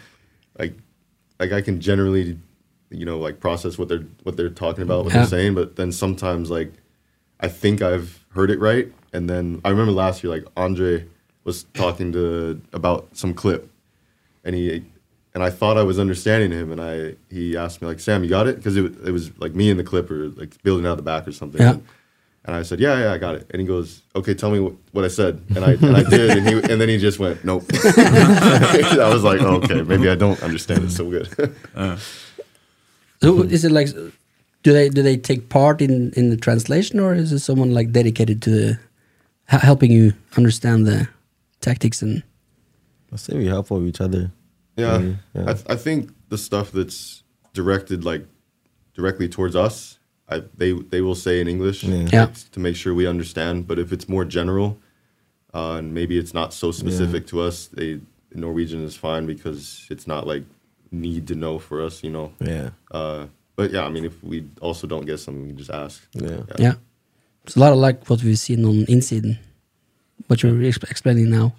[SPEAKER 6] like like I can generally, you know, like process what they're what they're talking about, what
[SPEAKER 5] Yeah.
[SPEAKER 6] they're saying. But then sometimes like I think I've heard it right, and then I remember last year like Andre was talking to about some clip, and he and I thought I was understanding him, and I he asked me like Sam, you got it? Because it, wa- it was like me and the clip were like building out the back or something.
[SPEAKER 5] Yeah.
[SPEAKER 6] And I said, yeah, yeah, I got it. And he goes, okay, tell me wh- what I said. And I, and I did. And, he, and then he just went, nope. I was like, oh, okay, maybe I don't understand it so good.
[SPEAKER 5] So is it like, do they do they take part in, in the translation or is it someone like dedicated to the, h- helping you understand the tactics and
[SPEAKER 7] I say we help out each other.
[SPEAKER 6] yeah.
[SPEAKER 7] Mm, yeah.
[SPEAKER 6] I, th- I think the stuff that's directed like directly towards us, I, they, they will say in English
[SPEAKER 7] Yeah.
[SPEAKER 5] Yeah.
[SPEAKER 6] to make sure we understand. But if it's more general uh, and maybe it's not so specific to us, they, Norwegian is fine because it's not like need to know for us, you know?
[SPEAKER 7] Yeah.
[SPEAKER 6] Uh, but yeah, I mean, if we also don't get something, we can just ask.
[SPEAKER 7] Yeah.
[SPEAKER 5] yeah. It's a lot of like what we've seen on Incident, what you're exp- explaining now.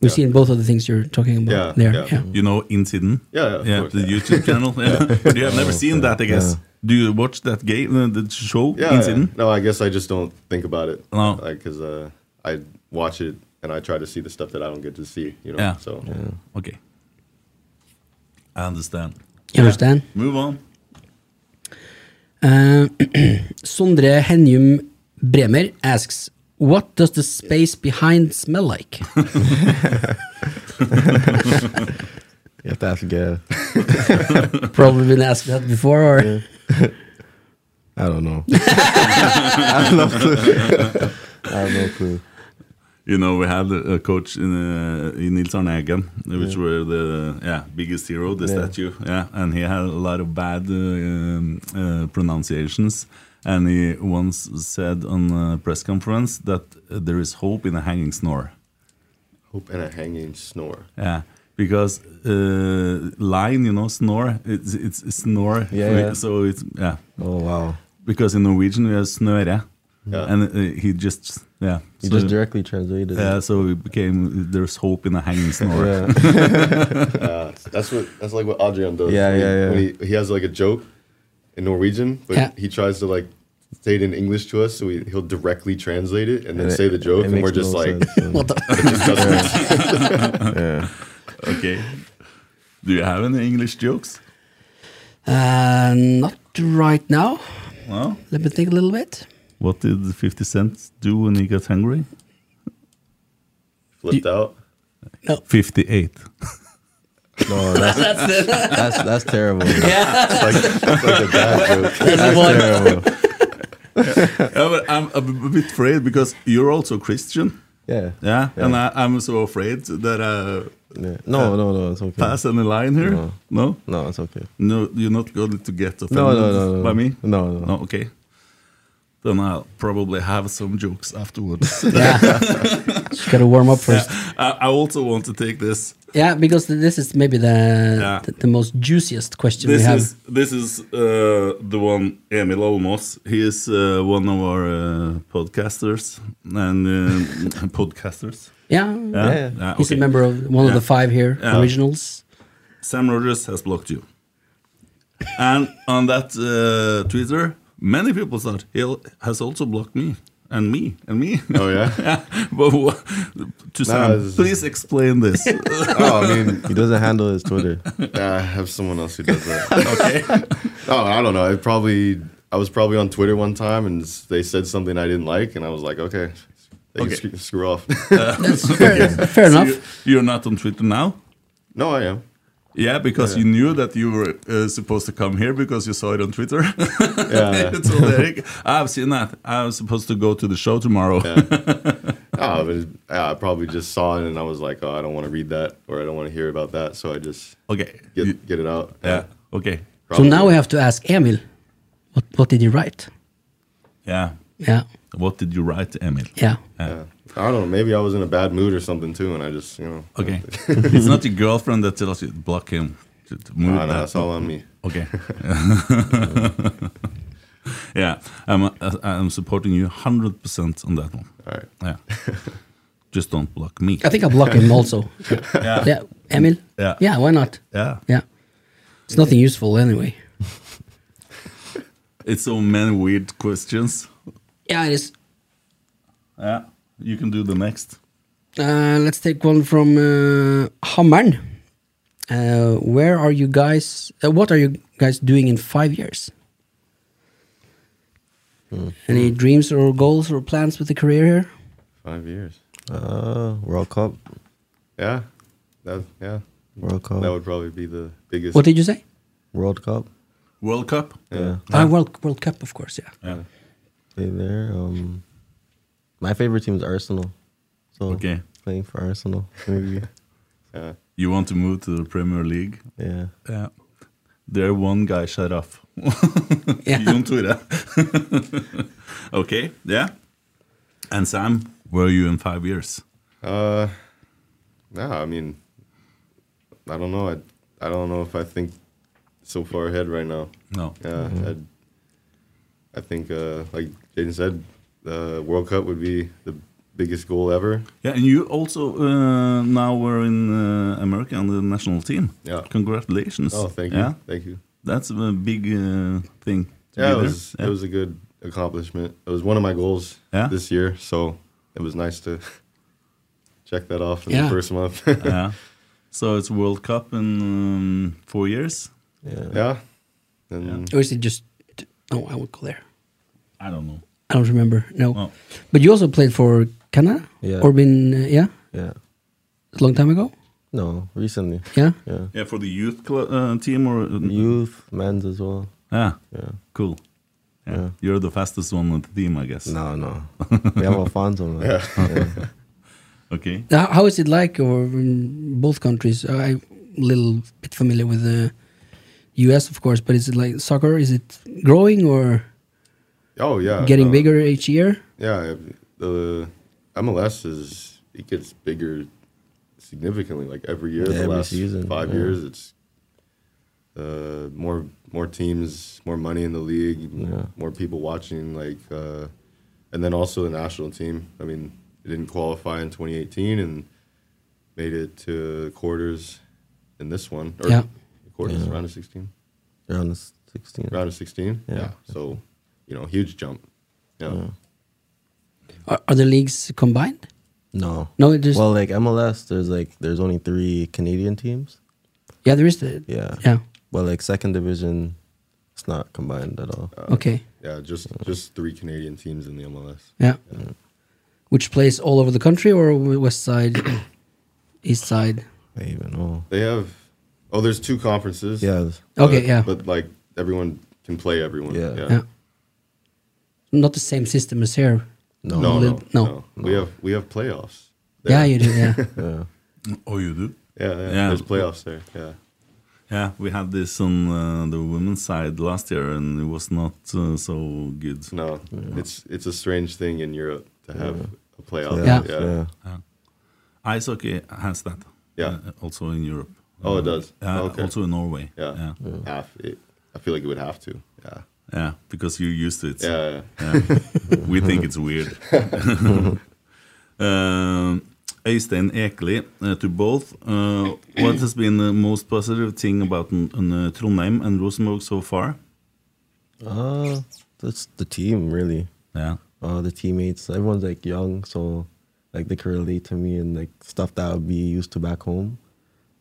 [SPEAKER 5] We've
[SPEAKER 6] Yeah.
[SPEAKER 5] seen both of the things you're talking
[SPEAKER 6] Yeah,
[SPEAKER 5] about there.
[SPEAKER 6] yeah.
[SPEAKER 5] yeah.
[SPEAKER 4] You know Incident?
[SPEAKER 6] Yeah, yeah, of course,
[SPEAKER 4] the
[SPEAKER 6] yeah.
[SPEAKER 4] YouTube channel. Yeah. But you have never seen that, I guess. Do you watch that game, uh, the show,
[SPEAKER 6] Yeah,
[SPEAKER 4] Incident?
[SPEAKER 6] No, I guess I just don't think about it.
[SPEAKER 4] No.
[SPEAKER 6] because uh, I watch it and I try to see the stuff that I don't get to see. You know.
[SPEAKER 4] Yeah.
[SPEAKER 6] So
[SPEAKER 4] Okay. I understand.
[SPEAKER 5] You understand?
[SPEAKER 4] Move on.
[SPEAKER 5] Uh, Sondre Henjum Bremer asks, "What does the space behind smell like?"
[SPEAKER 7] You have to ask Gav.
[SPEAKER 5] Probably been asked that before, or
[SPEAKER 7] I don't know. I have no clue. I have no clue.
[SPEAKER 4] You know, we had a a coach in, uh, in Nils Arne Eggen, which were the yeah biggest hero, the
[SPEAKER 7] Yeah.
[SPEAKER 4] statue. Yeah, and he had a lot of bad uh, um, uh, pronunciations. And he once said on a press conference that uh, there is hope in a hanging snore.
[SPEAKER 6] hope and a hanging snore.
[SPEAKER 4] Yeah, because uh, line, you know, snore, it's it's snore.
[SPEAKER 7] Yeah, yeah.
[SPEAKER 4] So it's yeah,
[SPEAKER 7] Oh wow.
[SPEAKER 4] because in Norwegian we have snøre,
[SPEAKER 6] Yeah.
[SPEAKER 4] and uh, he just yeah.
[SPEAKER 7] You
[SPEAKER 4] so,
[SPEAKER 7] just directly translated. it.
[SPEAKER 4] yeah, so it became there's hope in a hanging snore.
[SPEAKER 7] Yeah.
[SPEAKER 6] Uh, that's what that's like what Adrian does.
[SPEAKER 7] Yeah,
[SPEAKER 6] when he,
[SPEAKER 7] yeah, yeah.
[SPEAKER 6] When he, he has like a joke in Norwegian, but
[SPEAKER 5] Yeah.
[SPEAKER 6] he tries to like say it in English to us, so we, he'll directly translate it and then
[SPEAKER 7] it-
[SPEAKER 6] say the joke,
[SPEAKER 7] it
[SPEAKER 6] and
[SPEAKER 7] makes
[SPEAKER 6] we're just
[SPEAKER 7] no
[SPEAKER 6] like,
[SPEAKER 7] sense, so-
[SPEAKER 5] what the?
[SPEAKER 6] it just doesn't make sense.
[SPEAKER 7] yeah.
[SPEAKER 4] Okay. Do you have any English jokes?
[SPEAKER 5] Uh, not right now.
[SPEAKER 4] Well,
[SPEAKER 5] Let me think a little bit.
[SPEAKER 4] what did 50 Cent do when he got hungry?
[SPEAKER 6] Flipped out.
[SPEAKER 4] 58.
[SPEAKER 7] No, that's
[SPEAKER 5] That's the,
[SPEAKER 7] that's that's terrible.
[SPEAKER 5] yeah.
[SPEAKER 6] It's like, it's like a bad joke.
[SPEAKER 5] That's the one.
[SPEAKER 7] Terrible.
[SPEAKER 4] Yeah, but I'm a b- bit afraid because you're also Christian.
[SPEAKER 7] Yeah.
[SPEAKER 4] Yeah, and uh, I, I'm so afraid that I
[SPEAKER 7] Yeah. No, no, no, it's okay.
[SPEAKER 4] pass any line here.
[SPEAKER 7] No.
[SPEAKER 4] No,
[SPEAKER 7] No, it's okay.
[SPEAKER 4] no, you're not going to get offended
[SPEAKER 7] No, no, no, no.
[SPEAKER 4] by me.
[SPEAKER 7] No, no.
[SPEAKER 4] No, okay. Then I'll probably have some jokes afterwards.
[SPEAKER 5] Just gotta warm up first.
[SPEAKER 4] I, I also want to take this.
[SPEAKER 5] Yeah, because th- this is maybe the
[SPEAKER 4] Yeah.
[SPEAKER 5] the, the most juiciest question we
[SPEAKER 4] This
[SPEAKER 5] have.
[SPEAKER 4] is this is uh, the one Emil Olmos. He is uh, one of our uh, podcasters and uh, podcasters.
[SPEAKER 5] yeah,
[SPEAKER 4] Yeah?
[SPEAKER 7] Yeah.
[SPEAKER 4] Yeah,
[SPEAKER 5] he's
[SPEAKER 4] Uh, okay.
[SPEAKER 5] a member of one of the five here
[SPEAKER 4] Yeah.
[SPEAKER 5] originals.
[SPEAKER 4] Sam Rogers has blocked you. And on that uh, Twitter, many people thought he al- has also blocked me and me and me.
[SPEAKER 6] Oh yeah.
[SPEAKER 4] but wha- to Sam,
[SPEAKER 6] it's-
[SPEAKER 4] please explain this.
[SPEAKER 6] Oh, I mean,
[SPEAKER 7] He doesn't handle his Twitter.
[SPEAKER 6] Nah, I have someone else who does that. okay. Oh, I don't know. I probably I was probably on Twitter one time and s- they said something I didn't like, and I was like, okay, they
[SPEAKER 4] Okay.
[SPEAKER 6] can screw, screw off.
[SPEAKER 5] That's fair, fair enough.
[SPEAKER 4] you, you're not on Twitter now.
[SPEAKER 6] no, I am.
[SPEAKER 4] Yeah, because you knew that you were uh, supposed to come here because you saw it on Twitter.
[SPEAKER 6] Yeah.
[SPEAKER 4] It's all Eric. I've seen that. I was supposed to go to the show tomorrow.
[SPEAKER 6] Oh, but it- yeah, I probably just saw it and I was like, oh, I don't want to read that or I don't want to hear about that, so I just
[SPEAKER 4] Okay.
[SPEAKER 6] get
[SPEAKER 4] You-
[SPEAKER 6] get it out.
[SPEAKER 4] yeah. Okay.
[SPEAKER 5] so
[SPEAKER 6] probably.
[SPEAKER 5] now we have to ask Emil, what what did you write?
[SPEAKER 4] Yeah.
[SPEAKER 5] Yeah,
[SPEAKER 4] What did you write, Emil?
[SPEAKER 5] yeah.
[SPEAKER 6] Yeah. I don't know. Maybe I was in a bad mood or something too, and I just you know.
[SPEAKER 4] Okay. it's not your girlfriend that tells you to block him. To, to move
[SPEAKER 6] I don't know,
[SPEAKER 4] that.
[SPEAKER 6] Ah, that's all on me.
[SPEAKER 4] Okay. yeah, I'm uh, I'm supporting you 100% on that one.
[SPEAKER 6] All right.
[SPEAKER 4] Yeah. Just don't block me.
[SPEAKER 5] I think I blocked him also.
[SPEAKER 4] Yeah.
[SPEAKER 5] yeah, Emil.
[SPEAKER 4] Yeah.
[SPEAKER 5] yeah. Why not?
[SPEAKER 4] Yeah.
[SPEAKER 5] Yeah, it's nothing useful anyway.
[SPEAKER 4] It's so many weird questions.
[SPEAKER 5] Yeah, it is.
[SPEAKER 4] Yeah. You can do the next.
[SPEAKER 5] Uh, let's take one from uh, Hammern. Uh, where are you guys? Uh, what are you guys doing in five years? Any dreams or goals or plans with the career here?
[SPEAKER 6] Five years.
[SPEAKER 7] Uh, World Cup.
[SPEAKER 6] Yeah. That yeah.
[SPEAKER 7] World Cup.
[SPEAKER 6] That would probably be the biggest.
[SPEAKER 5] What did you say?
[SPEAKER 7] World Cup.
[SPEAKER 4] World Cup?
[SPEAKER 7] Yeah.
[SPEAKER 5] Ah, World World Cup, of course. Yeah.
[SPEAKER 4] Yeah.
[SPEAKER 7] Play there. Um, my favorite team is Arsenal. So
[SPEAKER 4] Okay.
[SPEAKER 7] playing for Arsenal. Maybe.
[SPEAKER 6] yeah.
[SPEAKER 4] You want to move to the Premier League?
[SPEAKER 7] yeah.
[SPEAKER 4] Yeah. There one guy shut off.
[SPEAKER 5] yeah.
[SPEAKER 4] on Twitter. okay. Yeah. And Sam, where are you in 5 years?
[SPEAKER 6] Uh, nah, I mean, I don't know. I I don't know if I think so far ahead right now.
[SPEAKER 4] No.
[SPEAKER 6] Yeah,
[SPEAKER 4] Mm-hmm.
[SPEAKER 6] I, I think uh, like Jaden said, the World Cup would be the biggest goal ever.
[SPEAKER 4] Yeah, and you also uh, now were in uh, America on the national team.
[SPEAKER 6] Yeah.
[SPEAKER 4] Congratulations.
[SPEAKER 6] Oh, thank
[SPEAKER 4] Yeah,
[SPEAKER 6] you, thank you.
[SPEAKER 4] that's a big uh, thing. to
[SPEAKER 6] Yeah,
[SPEAKER 4] be there.
[SPEAKER 6] it was
[SPEAKER 4] yeah.
[SPEAKER 6] it was a good accomplishment. It was one of my goals
[SPEAKER 4] Yeah.
[SPEAKER 6] this year, so it was nice to check that off in
[SPEAKER 5] Yeah.
[SPEAKER 6] the first month.
[SPEAKER 4] Yeah. So it's World Cup in um, four years.
[SPEAKER 7] Yeah.
[SPEAKER 6] yeah, and
[SPEAKER 5] Or is it just? No, I won't go there.
[SPEAKER 4] I don't know.
[SPEAKER 5] I don't remember. No.
[SPEAKER 4] Oh.
[SPEAKER 5] But you also played for Canada.
[SPEAKER 7] Yeah.
[SPEAKER 5] Or been uh, yeah,
[SPEAKER 7] Yeah.
[SPEAKER 5] a long time ago.
[SPEAKER 7] No, recently.
[SPEAKER 5] Yeah.
[SPEAKER 7] Yeah.
[SPEAKER 4] Yeah, for the youth cl- uh, team or
[SPEAKER 7] Youth, men's as well.
[SPEAKER 4] Yeah.
[SPEAKER 7] Yeah.
[SPEAKER 4] Cool. Yeah.
[SPEAKER 7] Yeah.
[SPEAKER 4] You're the fastest one on the team, I guess.
[SPEAKER 7] No, no. we have Alfonso. Man. Yeah.
[SPEAKER 4] Okay.
[SPEAKER 5] Now, How is it like over in both countries? Uh, I'm a little bit familiar with the U.S., of course, but is it like soccer? Is it growing or
[SPEAKER 6] oh yeah,
[SPEAKER 5] getting
[SPEAKER 6] no.
[SPEAKER 5] bigger each year?
[SPEAKER 6] Yeah, the MLS is it gets bigger significantly, like every year.
[SPEAKER 7] Yeah,
[SPEAKER 6] the
[SPEAKER 7] every
[SPEAKER 6] last
[SPEAKER 7] season,
[SPEAKER 6] five
[SPEAKER 7] yeah.
[SPEAKER 6] years, it's uh, more more teams, more money in the league, m-
[SPEAKER 7] Yeah.
[SPEAKER 6] more people watching. Like, uh, and then also the national team. I mean, it didn't qualify in 2018 and made it to quarters in this one. Or
[SPEAKER 5] Yeah.
[SPEAKER 6] quarters
[SPEAKER 7] Yeah.
[SPEAKER 6] round of 16,
[SPEAKER 7] They're on the 16.
[SPEAKER 6] round of 16. Yeah.
[SPEAKER 7] Yeah.
[SPEAKER 6] So, you know, huge jump. yeah.
[SPEAKER 5] Are, are the leagues combined?
[SPEAKER 7] No.
[SPEAKER 5] No, it just
[SPEAKER 7] Well, like MLS, there's like there's only three Canadian teams.
[SPEAKER 5] yeah, there is the
[SPEAKER 7] Yeah.
[SPEAKER 5] yeah.
[SPEAKER 7] But like second division It's not combined at all.
[SPEAKER 5] Okay.
[SPEAKER 6] Yeah, just just three Canadian teams in the MLS.
[SPEAKER 5] Yeah. Which plays all over the country or w- west side, east side?
[SPEAKER 7] I even know.
[SPEAKER 6] They have oh, there's two conferences.
[SPEAKER 7] Yeah, it's-
[SPEAKER 5] Okay,
[SPEAKER 6] but-
[SPEAKER 5] yeah.
[SPEAKER 6] But like everyone can play everyone.
[SPEAKER 7] Yeah.
[SPEAKER 5] Yeah. Not the same system as here.
[SPEAKER 7] no,
[SPEAKER 6] No, no,
[SPEAKER 5] No.
[SPEAKER 6] no, We have we have playoffs.
[SPEAKER 5] Yeah,
[SPEAKER 6] there.
[SPEAKER 5] you do. Yeah.
[SPEAKER 7] Yeah.
[SPEAKER 4] Oh, you do?
[SPEAKER 6] Yeah, yeah,
[SPEAKER 4] Yeah.
[SPEAKER 6] There's playoffs there. Yeah.
[SPEAKER 4] Yeah, we had this on uh, the women's side last year, and it was not uh, so good.
[SPEAKER 6] No, it's it's a strange thing in Europe to have a playoff.
[SPEAKER 5] Yeah.
[SPEAKER 6] Yeah.
[SPEAKER 7] yeah.
[SPEAKER 4] Ice hockey has that.
[SPEAKER 6] Yeah.
[SPEAKER 4] uh, also in Europe.
[SPEAKER 6] Oh, it does?
[SPEAKER 4] Uh,
[SPEAKER 6] Okay.
[SPEAKER 4] Also in Norway.
[SPEAKER 6] Yeah.
[SPEAKER 4] yeah,
[SPEAKER 6] Half- it- I feel like it would have to. Yeah.
[SPEAKER 4] Yeah, because you're used to it.
[SPEAKER 6] Yeah.
[SPEAKER 4] we think it's weird. um, Øystein Ekeli, uh, to both. Uh, what has been the most positive thing about n- n- uh, Trondheim and Rosenborg so far?
[SPEAKER 7] Uh, that's the team really.
[SPEAKER 4] Yeah,
[SPEAKER 7] Uh, the teammates. Everyone's like young, so like they can relate to me and like stuff that I would be used to back home.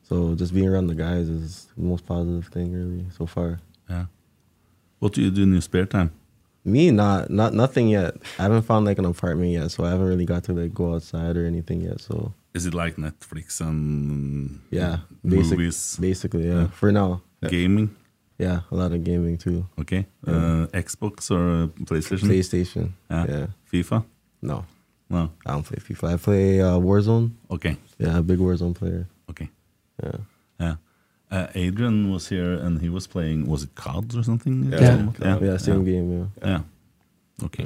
[SPEAKER 7] So just being around the guys is the most positive thing really so far.
[SPEAKER 4] yeah. What do you do in your spare time?
[SPEAKER 7] Me not not nothing yet. I haven't found like an apartment yet, so I haven't really got to like go outside or anything yet. So
[SPEAKER 4] Is it like Netflix and
[SPEAKER 7] yeah, basic,
[SPEAKER 4] movies,
[SPEAKER 7] basically yeah. For now,
[SPEAKER 4] gaming?
[SPEAKER 7] yeah, a lot of gaming too.
[SPEAKER 4] Okay, uh, Xbox or uh, PlayStation?
[SPEAKER 7] PlayStation,
[SPEAKER 4] Yeah.
[SPEAKER 7] yeah,
[SPEAKER 4] FIFA?
[SPEAKER 7] no,
[SPEAKER 4] No.
[SPEAKER 7] I don't play FIFA. I play uh, Warzone.
[SPEAKER 4] Okay.
[SPEAKER 7] Yeah, big Warzone player.
[SPEAKER 4] Okay.
[SPEAKER 7] Yeah.
[SPEAKER 4] Yeah. Uh, Adrian was here and he was playing, was it cards or something?
[SPEAKER 6] Yeah.
[SPEAKER 4] Yeah.
[SPEAKER 7] Yeah, same game, yeah.
[SPEAKER 4] Yeah. Okay.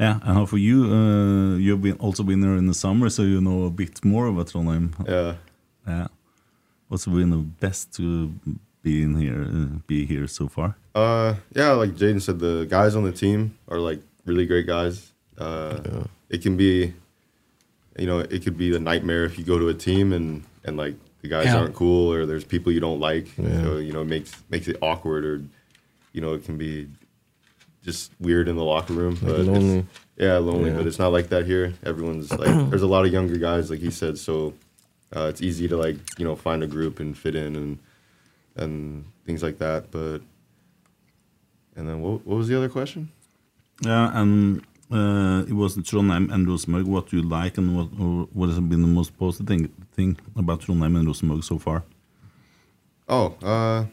[SPEAKER 4] Yeah. and how for you? Uh, you've been also been there in the summer, so you know a bit more about Trondheim.
[SPEAKER 6] Yeah. yeah.
[SPEAKER 4] Yeah. What's been the best to be in here, uh, be here so far?
[SPEAKER 6] Uh, yeah, like Jaden said, the guys on the team are like really great guys. Uh, It can be, you know, it could be a nightmare if you go to a team and and like the guys
[SPEAKER 5] Yeah.
[SPEAKER 6] aren't cool or there's people you don't like.
[SPEAKER 7] Yeah.
[SPEAKER 6] So you know, it makes makes it awkward or, you know, it can be just weird in the locker room. But it's-
[SPEAKER 7] lonely.
[SPEAKER 6] yeah, lonely.
[SPEAKER 7] Yeah.
[SPEAKER 6] But it's not like that here. Everyone's like, there's a lot of younger guys, like he said. So uh, it's easy to like you know find a group and fit in and and things like that. But and then what, what was the other question?
[SPEAKER 4] Yeah, and uh, it was Trondheim and Rosenborg. What do you like, and what or what has been the most positive thing, thing about Trondheim and Rosenborg so far?
[SPEAKER 6] Oh, uh,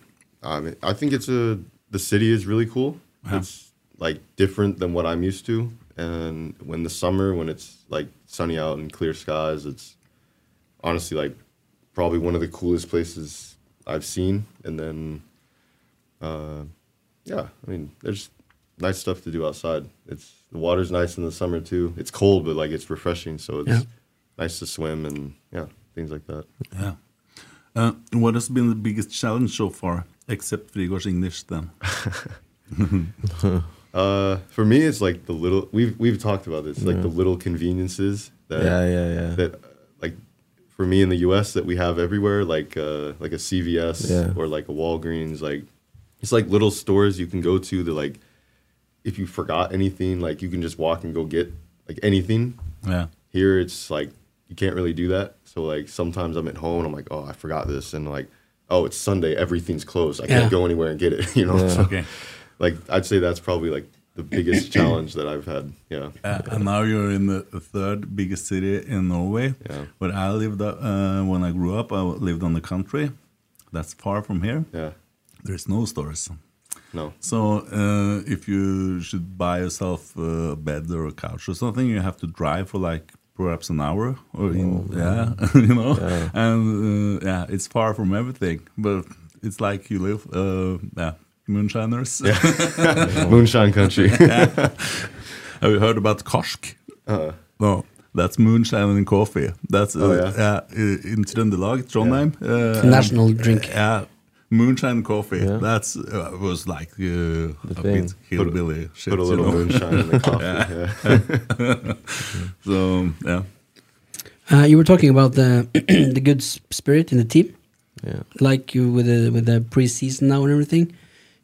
[SPEAKER 6] I mean, I think it's a the city is really cool.
[SPEAKER 4] Yeah.
[SPEAKER 6] It's like different than what I'm used to. And when the summer, when it's like sunny out and clear skies, it's honestly like probably one of the coolest places I've seen. And then, uh, yeah, I mean, there's nice stuff to do outside. It's the water's nice in the summer too. It's cold, but like it's refreshing. So it's
[SPEAKER 5] Yeah.
[SPEAKER 6] nice to swim and yeah, things like that.
[SPEAKER 4] Yeah. Uh, what has been the biggest challenge so far, except Frigård's English? Then.
[SPEAKER 6] Uh, for me, it's like the little we've we've talked about this, like the little conveniences that
[SPEAKER 7] Yeah, yeah, yeah.
[SPEAKER 6] that uh, like for me in the U.S. that we have everywhere, like uh, like a CVS
[SPEAKER 7] Yeah.
[SPEAKER 6] or like a Walgreens, like it's like little stores you can go to that like if you forgot anything, like you can just walk and go get like anything.
[SPEAKER 4] Yeah.
[SPEAKER 6] Here, it's like you can't really do that. So like sometimes I'm at home and I'm like, oh, I forgot this, and like oh, it's Sunday, everything's closed, I
[SPEAKER 5] Yeah.
[SPEAKER 6] can't go anywhere and get it, you know. So-
[SPEAKER 4] Okay.
[SPEAKER 6] like I'd say that's probably like the biggest challenge that I've had. Yeah.
[SPEAKER 4] Uh, and now you're in the third biggest city in Norway.
[SPEAKER 6] Yeah.
[SPEAKER 4] Where I lived uh, when I grew up, I lived on the country. That's far from here.
[SPEAKER 6] Yeah.
[SPEAKER 4] There's no stores.
[SPEAKER 6] No.
[SPEAKER 4] So uh, if you should buy yourself a bed or a couch or something, you have to drive for like perhaps an hour or in, yeah, you know, and uh, yeah, it's far from everything, but it's like you live, uh, yeah, moonshiners.
[SPEAKER 6] Moonshine country.
[SPEAKER 4] Have you heard about Karsk? no, that's moonshine and coffee. That's uh,
[SPEAKER 6] Uh-huh. Oh, yeah?
[SPEAKER 4] yeah, uh, in Trøndelag, Trondheim. Uh,
[SPEAKER 5] a national drink.
[SPEAKER 4] Yeah, moonshine and coffee.
[SPEAKER 7] Yeah.
[SPEAKER 4] That's uh, was like uh, a
[SPEAKER 7] thing.
[SPEAKER 4] bit hillbilly shit.
[SPEAKER 6] Put a
[SPEAKER 4] you
[SPEAKER 6] little
[SPEAKER 4] know?
[SPEAKER 6] moonshine in the coffee. Yeah.
[SPEAKER 4] So yeah,
[SPEAKER 5] Uh, you were talking about the the good s- spirit in the team,
[SPEAKER 7] Yeah.
[SPEAKER 5] like you with the with the preseason now and everything.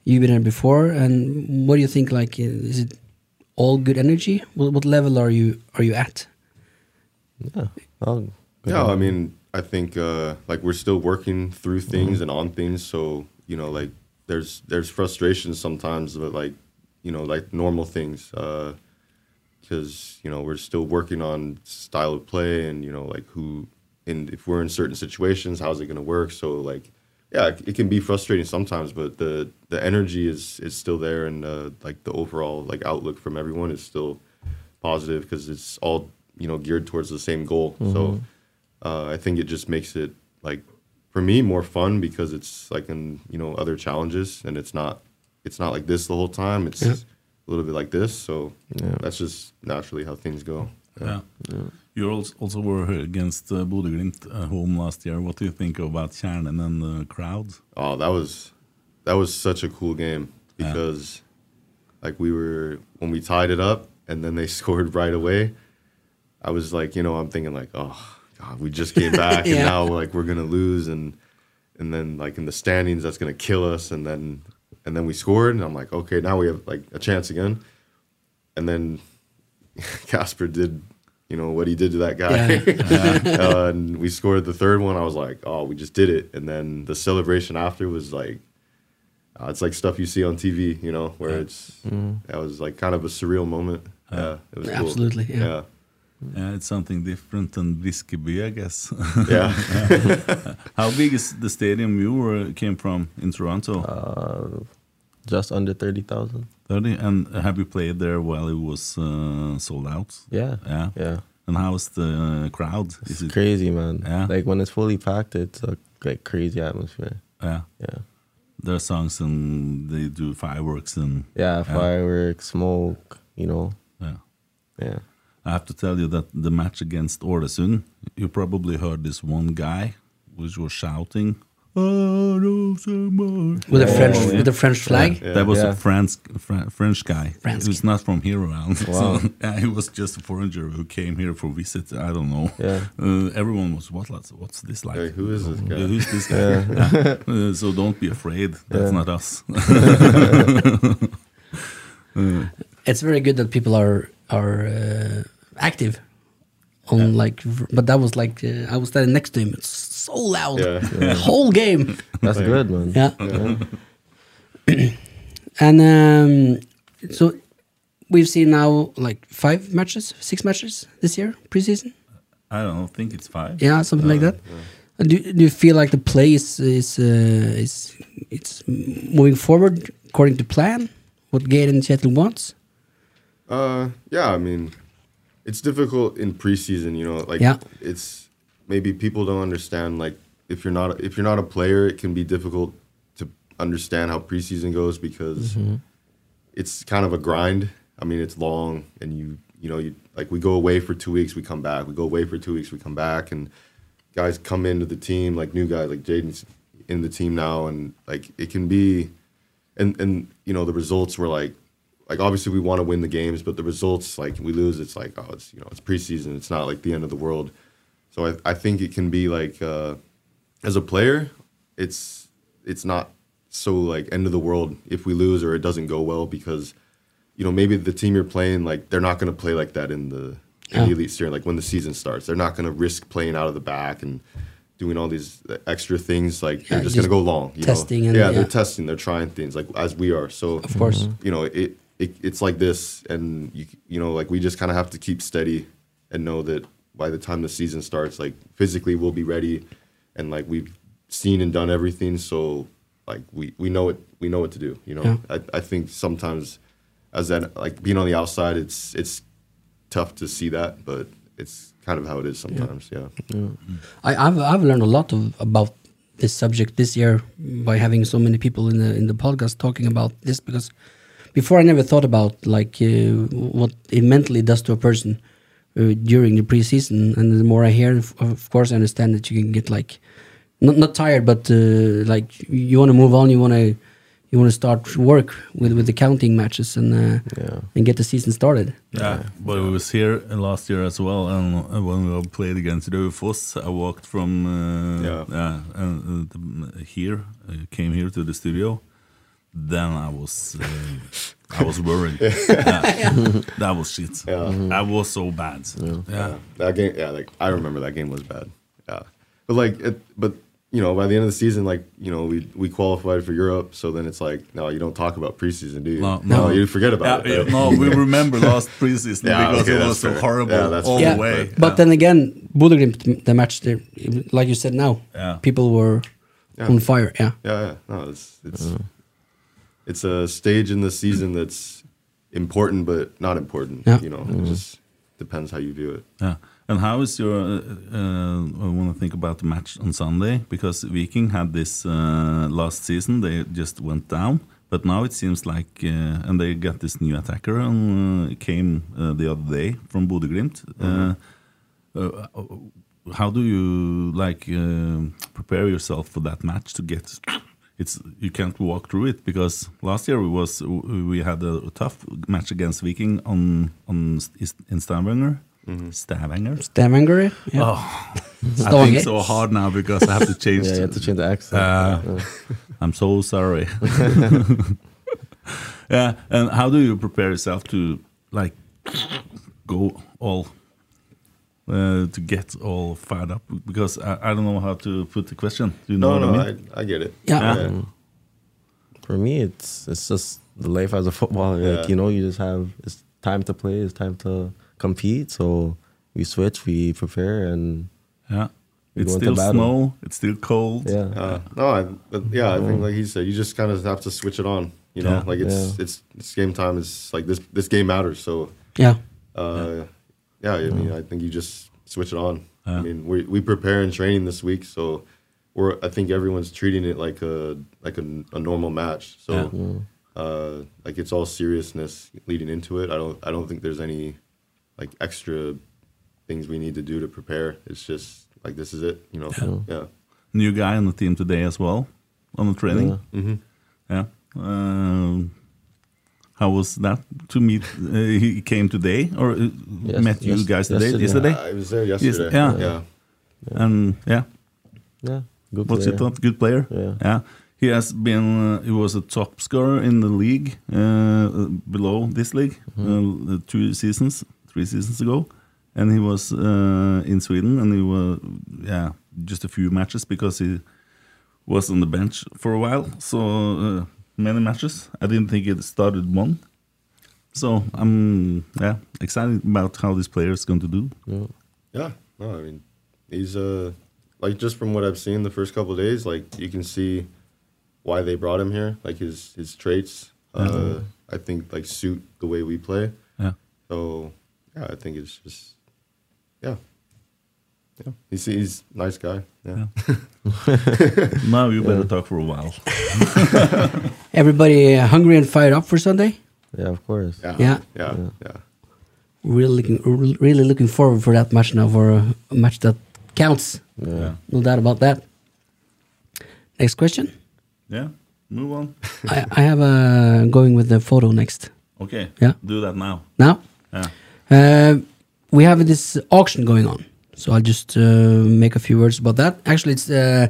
[SPEAKER 5] You've been there before, and what do you think? Like, uh, is it all good energy? What, what level are you are you at?
[SPEAKER 7] Yeah. I'll go
[SPEAKER 6] Yeah,
[SPEAKER 7] down.
[SPEAKER 6] I mean, I think uh, like we're still working through things and on things. So you know, like there's there's frustrations sometimes with like you know like normal things because you know we're still working on style of play and you know like who and if we're in certain situations how's it going to work so like yeah it, it can be frustrating sometimes but the the energy is is still there and uh, like the overall like outlook from everyone is still positive because it's all you know geared towards the same goal so uh, I think it just makes it like for me more fun because it's like in you know other challenges and it's not it's not like this the whole time. It's
[SPEAKER 5] Yeah.
[SPEAKER 6] a little bit like this. So
[SPEAKER 7] Yeah.
[SPEAKER 6] that's just naturally how things go.
[SPEAKER 4] Yeah. You also, also were against uh, Bodø Glimt at home last year. What do you think about Kjernen and the crowd?
[SPEAKER 6] Oh, that was that was such a cool game because like we were when we tied it up and then they scored right away. I was like, you know, I'm thinking like, oh God, we just came back
[SPEAKER 5] Yeah.
[SPEAKER 6] and now like we're gonna lose and and then like in the standings that's gonna kill us and then and then we scored and I'm like, okay, now we have like a chance again. And then Casper did, you know, what he did to that guy. Uh, and we scored the third one. I was like, oh, we just did it. And then the celebration after was like, uh, it's like stuff you see on TV, you know, where it's that was like kind of a surreal moment. Mm-hmm. Yeah, it was cool.
[SPEAKER 5] Absolutely, yeah.
[SPEAKER 6] yeah. Mm.
[SPEAKER 4] Yeah, it's something different than Briskeby, I guess.
[SPEAKER 6] Yeah.
[SPEAKER 4] How big is the stadium you were, came from in Toronto?
[SPEAKER 6] Uh,
[SPEAKER 7] uh, Just under thirty thousand.
[SPEAKER 4] 30? And have you played there while it was uh, sold out?
[SPEAKER 7] Yeah.
[SPEAKER 4] Yeah.
[SPEAKER 7] Yeah.
[SPEAKER 4] And how's the uh, crowd? Is it
[SPEAKER 7] Crazy man.
[SPEAKER 4] Yeah.
[SPEAKER 7] Like when it's fully packed, it's a like crazy atmosphere.
[SPEAKER 4] Yeah.
[SPEAKER 7] Yeah.
[SPEAKER 4] There are songs and they do fireworks and
[SPEAKER 7] Yeah. Fireworks, smoke. You know.
[SPEAKER 4] yeah.
[SPEAKER 7] Yeah.
[SPEAKER 4] I have to tell you that the match against Oresund, you probably heard this one guy which was shouting. "Oresund!"
[SPEAKER 5] with a French
[SPEAKER 4] yeah.
[SPEAKER 5] with a French flag.
[SPEAKER 4] That was a
[SPEAKER 7] Yeah.
[SPEAKER 4] French Fran- French guy.
[SPEAKER 5] Fransk.
[SPEAKER 4] He was not from here around.
[SPEAKER 7] Wow.
[SPEAKER 4] So, yeah, he was just a foreigner who came here for visit. I don't know.
[SPEAKER 7] Yeah.
[SPEAKER 4] Uh, everyone was what? What's what's this like?
[SPEAKER 6] Hey, who is this guy?
[SPEAKER 4] Yeah, Who's this guy? Yeah. Uh, so don't be afraid. That's not us.
[SPEAKER 5] It's very good that people are are uh, active on like. v- But that was like uh, I was standing next to him. It's so loud,
[SPEAKER 6] Yeah.
[SPEAKER 5] the whole game.
[SPEAKER 7] That's good, man.
[SPEAKER 5] Yeah. and um, so we've seen now like five matches, six matches this year preseason.
[SPEAKER 4] I don't know. Think it's five.
[SPEAKER 5] Yeah, something like that. And Do, do you feel like the play is is uh, is it's moving forward according to plan? What Galen Seattle wants?
[SPEAKER 6] Uh, yeah, I mean, it's difficult in preseason, you know, like
[SPEAKER 5] Yeah.
[SPEAKER 6] it's maybe people don't understand like if you're not if you're not a player, it can be difficult to understand how preseason goes because it's kind of a grind. I mean, it's long and you you know, you like we go away for 2 weeks, we come back. We go away for 2 weeks, we come back and guys come into the team like new guys like Jaden's in the team now and like it can be and and you know the results were like like obviously we want to win the games but the results like we lose it's like oh it's you know it's preseason it's not like the end of the world so i, I think it can be like uh as a player it's it's not so like end of the world if we lose or it doesn't go well because you know maybe the team you're playing like they're not going to play like that in the, in the
[SPEAKER 5] Yeah.
[SPEAKER 6] elite series like when the season starts they're not going to risk playing out of the back and doing all these extra things like they're
[SPEAKER 5] Yeah, just
[SPEAKER 6] just, going to go long you know?
[SPEAKER 5] testing and-
[SPEAKER 6] yeah they're
[SPEAKER 5] yeah.
[SPEAKER 6] testing they're trying things like as we are so
[SPEAKER 5] Of course.
[SPEAKER 6] you know it, it it's like this and you you know like we just kind of have to keep steady and know that by the time the season starts like physically we'll be ready and like we've seen and done everything so like we we know it we know what to do you know
[SPEAKER 5] Yeah.
[SPEAKER 6] I, I think sometimes as that like being on the outside it's it's tough to see that but it's kind of how it is sometimes yeah
[SPEAKER 5] I, I've I've learned a lot of, about this subject this year by having so many people in the in the podcast talking about this because before I never thought about like uh, what it mentally does to a person uh, during the preseason and the more I hear of, of course I understand that you can get like not not tired but uh, like you want to move on you want to you want to start work with with the counting matches and uh,
[SPEAKER 7] Yeah.
[SPEAKER 5] and get the season started
[SPEAKER 4] Yeah, but it was here uh, last year as well, and uh, when we played against Raufoss, I walked from uh,
[SPEAKER 6] Yeah.
[SPEAKER 4] uh, uh, the- here, uh, came here to the studio. Then I was, uh, I was worried. Yeah. That was shit. That was so bad. Yeah,
[SPEAKER 6] Uh, That game, yeah, like I remember that game was bad. Yeah, but like, it, but you know, by the end of the season, like you know, we we qualified for Europe. So then it's like, no, you don't talk about preseason, do you?
[SPEAKER 4] No, no.
[SPEAKER 6] you forget about
[SPEAKER 4] Yeah,
[SPEAKER 6] it.
[SPEAKER 4] yeah, no, we remember last preseason
[SPEAKER 6] Yeah,
[SPEAKER 4] because
[SPEAKER 6] okay,
[SPEAKER 4] it
[SPEAKER 6] that's
[SPEAKER 4] was so
[SPEAKER 6] fair.
[SPEAKER 4] horrible
[SPEAKER 6] Yeah, that's
[SPEAKER 4] all
[SPEAKER 6] fair.
[SPEAKER 5] yeah,
[SPEAKER 4] the way.
[SPEAKER 5] but
[SPEAKER 4] Yeah.
[SPEAKER 5] then again, Bodø the match there, like you said now,
[SPEAKER 4] Yeah.
[SPEAKER 5] people were
[SPEAKER 6] Yeah.
[SPEAKER 5] on fire. Yeah,
[SPEAKER 6] Yeah, yeah. No, it's it's it's a stage in the season that's important but not important.
[SPEAKER 5] Yeah.
[SPEAKER 6] You know,
[SPEAKER 4] Mm-hmm.
[SPEAKER 6] it just depends how you view it.
[SPEAKER 4] Yeah. And how is your? Uh, uh, I want to think about the match on Sunday because Viking had this uh, last season. They just went down, but now it seems like, uh, and they got this new attacker and uh, came uh, the other day from Bodeglimt. Uh, uh, how do you like um prepare yourself for that match to get? It's you can't walk through it because last year we was we had a tough match against Viking on on in Stavanger. Stavanger.
[SPEAKER 5] Stavanger.
[SPEAKER 4] Oh.
[SPEAKER 5] Yeah.
[SPEAKER 4] I think
[SPEAKER 5] Stavanger.
[SPEAKER 4] so hard now because I have to change.
[SPEAKER 7] Yeah, you have to change the accent.
[SPEAKER 4] Uh, I'm so sorry. yeah, and how do you prepare yourself to like go all uh, to get all fired up? Because I, I don't know how to put the question. Do you know
[SPEAKER 6] No,
[SPEAKER 4] what
[SPEAKER 6] no,
[SPEAKER 4] I mean?
[SPEAKER 6] I, I get it.
[SPEAKER 5] Yeah.
[SPEAKER 7] For me, it's it's just the life as a footballer.
[SPEAKER 6] Yeah.
[SPEAKER 7] Like you know, you just have it's time to play, it's time to compete. So we switch, we prepare, and
[SPEAKER 4] Yeah.
[SPEAKER 7] You
[SPEAKER 4] It's
[SPEAKER 7] want
[SPEAKER 4] still
[SPEAKER 7] the battle.
[SPEAKER 4] snow. It's still cold.
[SPEAKER 7] yeah,
[SPEAKER 6] Uh, no, I, but yeah, I think like he said, you just kind of have to switch it on. You know,
[SPEAKER 4] Yeah.
[SPEAKER 6] like it's,
[SPEAKER 7] Yeah.
[SPEAKER 6] it's it's game time. It's like this this game matters. So
[SPEAKER 5] yeah.
[SPEAKER 6] uh, yeah, I mean, I think you just switch it on. I mean, we we prepare and training this week, so we're I think everyone's treating it like a like a, a normal match. So
[SPEAKER 4] Yeah.
[SPEAKER 6] uh, like it's all seriousness leading into it. I don't I don't think there's any like extra things we need to do to prepare. It's just like this is it. You know, yeah.
[SPEAKER 4] New guy on the team today as well on the training. Yeah. Mm-hmm. Um, how was that to meet? Uh, he came today or uh,
[SPEAKER 7] Yes-
[SPEAKER 4] met you
[SPEAKER 7] yes-
[SPEAKER 4] guys today? yesterday?
[SPEAKER 7] yesterday.
[SPEAKER 6] I Uh, was there yesterday.
[SPEAKER 4] yeah.
[SPEAKER 6] yeah.
[SPEAKER 4] and yeah,
[SPEAKER 7] yeah. Good
[SPEAKER 4] what's
[SPEAKER 7] player.
[SPEAKER 4] your thought? Good player.
[SPEAKER 7] Yeah.
[SPEAKER 4] He has been. Uh, he was a top scorer in the league uh, below this league uh, two seasons, three seasons ago, and he was uh, in Sweden and he was yeah just a few matches because he was on the bench for a while. So uh, many matches. I didn't think it started one. So I'm yeah excited about how this player is going to do.
[SPEAKER 6] Yeah, no, I mean, he's uh, like just from what I've seen the first couple of days, like you can see why they brought him here, like his his traits. Uh, I think like suit the way we play.
[SPEAKER 4] Yeah.
[SPEAKER 6] So yeah, I think it's just yeah, yeah. He's he's a nice guy. Yeah,
[SPEAKER 4] Now you better talk for a while.
[SPEAKER 5] Everybody uh, hungry and fired up for Sunday.
[SPEAKER 7] Yeah, of course.
[SPEAKER 6] yeah,
[SPEAKER 5] Yeah.
[SPEAKER 6] yeah, yeah.
[SPEAKER 5] Really looking, really looking forward for that match now. For a a match that counts,
[SPEAKER 4] Yeah.
[SPEAKER 5] no doubt about that. Next question.
[SPEAKER 4] Yeah. Move on.
[SPEAKER 5] I, I have a going with the photo next.
[SPEAKER 4] Okay.
[SPEAKER 5] Yeah.
[SPEAKER 4] Do that now.
[SPEAKER 5] Now,
[SPEAKER 4] Yeah.
[SPEAKER 5] uh, we have this auction going on, so I'll just uh, make a few words about that. Actually, it's uh,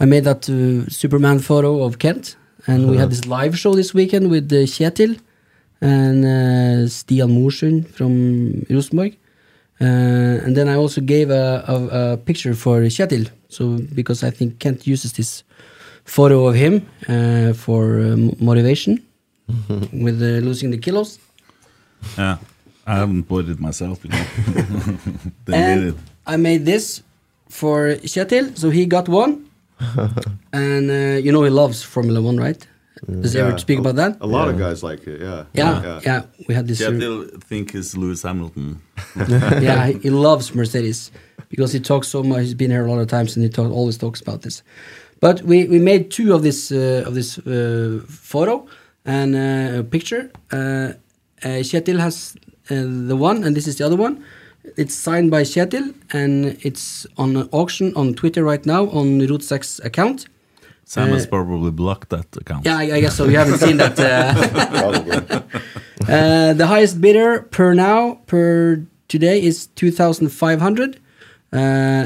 [SPEAKER 5] I made that uh, Superman photo of Kent, and we had this live show this weekend with uh, Kjetil and uh, Stian Morsund from Rosenborg. Uh, and then I also gave a, a, a picture for Kjetil, so because I think Kent uses this photo of him uh, for uh, m- motivation with uh, losing the kilos.
[SPEAKER 4] Yeah. I haven't bought it myself. You know. they
[SPEAKER 5] and
[SPEAKER 4] did it.
[SPEAKER 5] I made this for Kjetil, so he got one. and uh, you know he loves Formula One, right?
[SPEAKER 4] Mm.
[SPEAKER 5] Does he
[SPEAKER 6] Yeah,
[SPEAKER 5] ever speak
[SPEAKER 6] a-
[SPEAKER 5] about that?
[SPEAKER 6] A lot of guys like it. Yeah,
[SPEAKER 5] Yeah, yeah, We had this.
[SPEAKER 4] Yeah, they'll think it's Lewis Hamilton.
[SPEAKER 5] yeah, he, he loves Mercedes because he talks so much. He's been here a lot of times, and he talk, always talks about this. But we, we made two of this uh, of this uh, photo and uh, picture. Uh, uh, Kjetil has uh, the one, and this is the other one. It's signed by Kjetil, and it's on an auction on Twitter right now on Rootsak's account.
[SPEAKER 4] Sam has
[SPEAKER 5] Uh,
[SPEAKER 4] probably blocked that account.
[SPEAKER 5] Yeah, I, I guess so. You haven't seen that. Uh,
[SPEAKER 6] Probably.
[SPEAKER 5] Uh, the highest bidder per now per today is 2500 uh,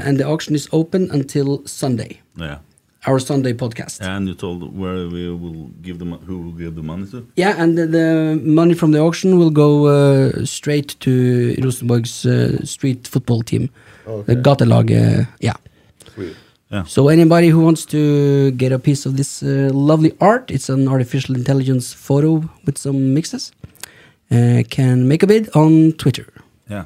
[SPEAKER 5] and the auction is open until sunday
[SPEAKER 4] Yeah.
[SPEAKER 5] our sunday podcast yeah,
[SPEAKER 4] And you told where we will give the mo- who will give the money to.
[SPEAKER 5] and the, the money from the auction will go uh, straight to rosenborg's uh, street football team the
[SPEAKER 6] Okay.
[SPEAKER 5] gatelag uh, yeah
[SPEAKER 6] Sweet.
[SPEAKER 5] So anybody who wants to get a piece of this uh, lovely art, it's an artificial intelligence photo with some mixes, uh, can make a bid on Twitter.
[SPEAKER 4] Yeah.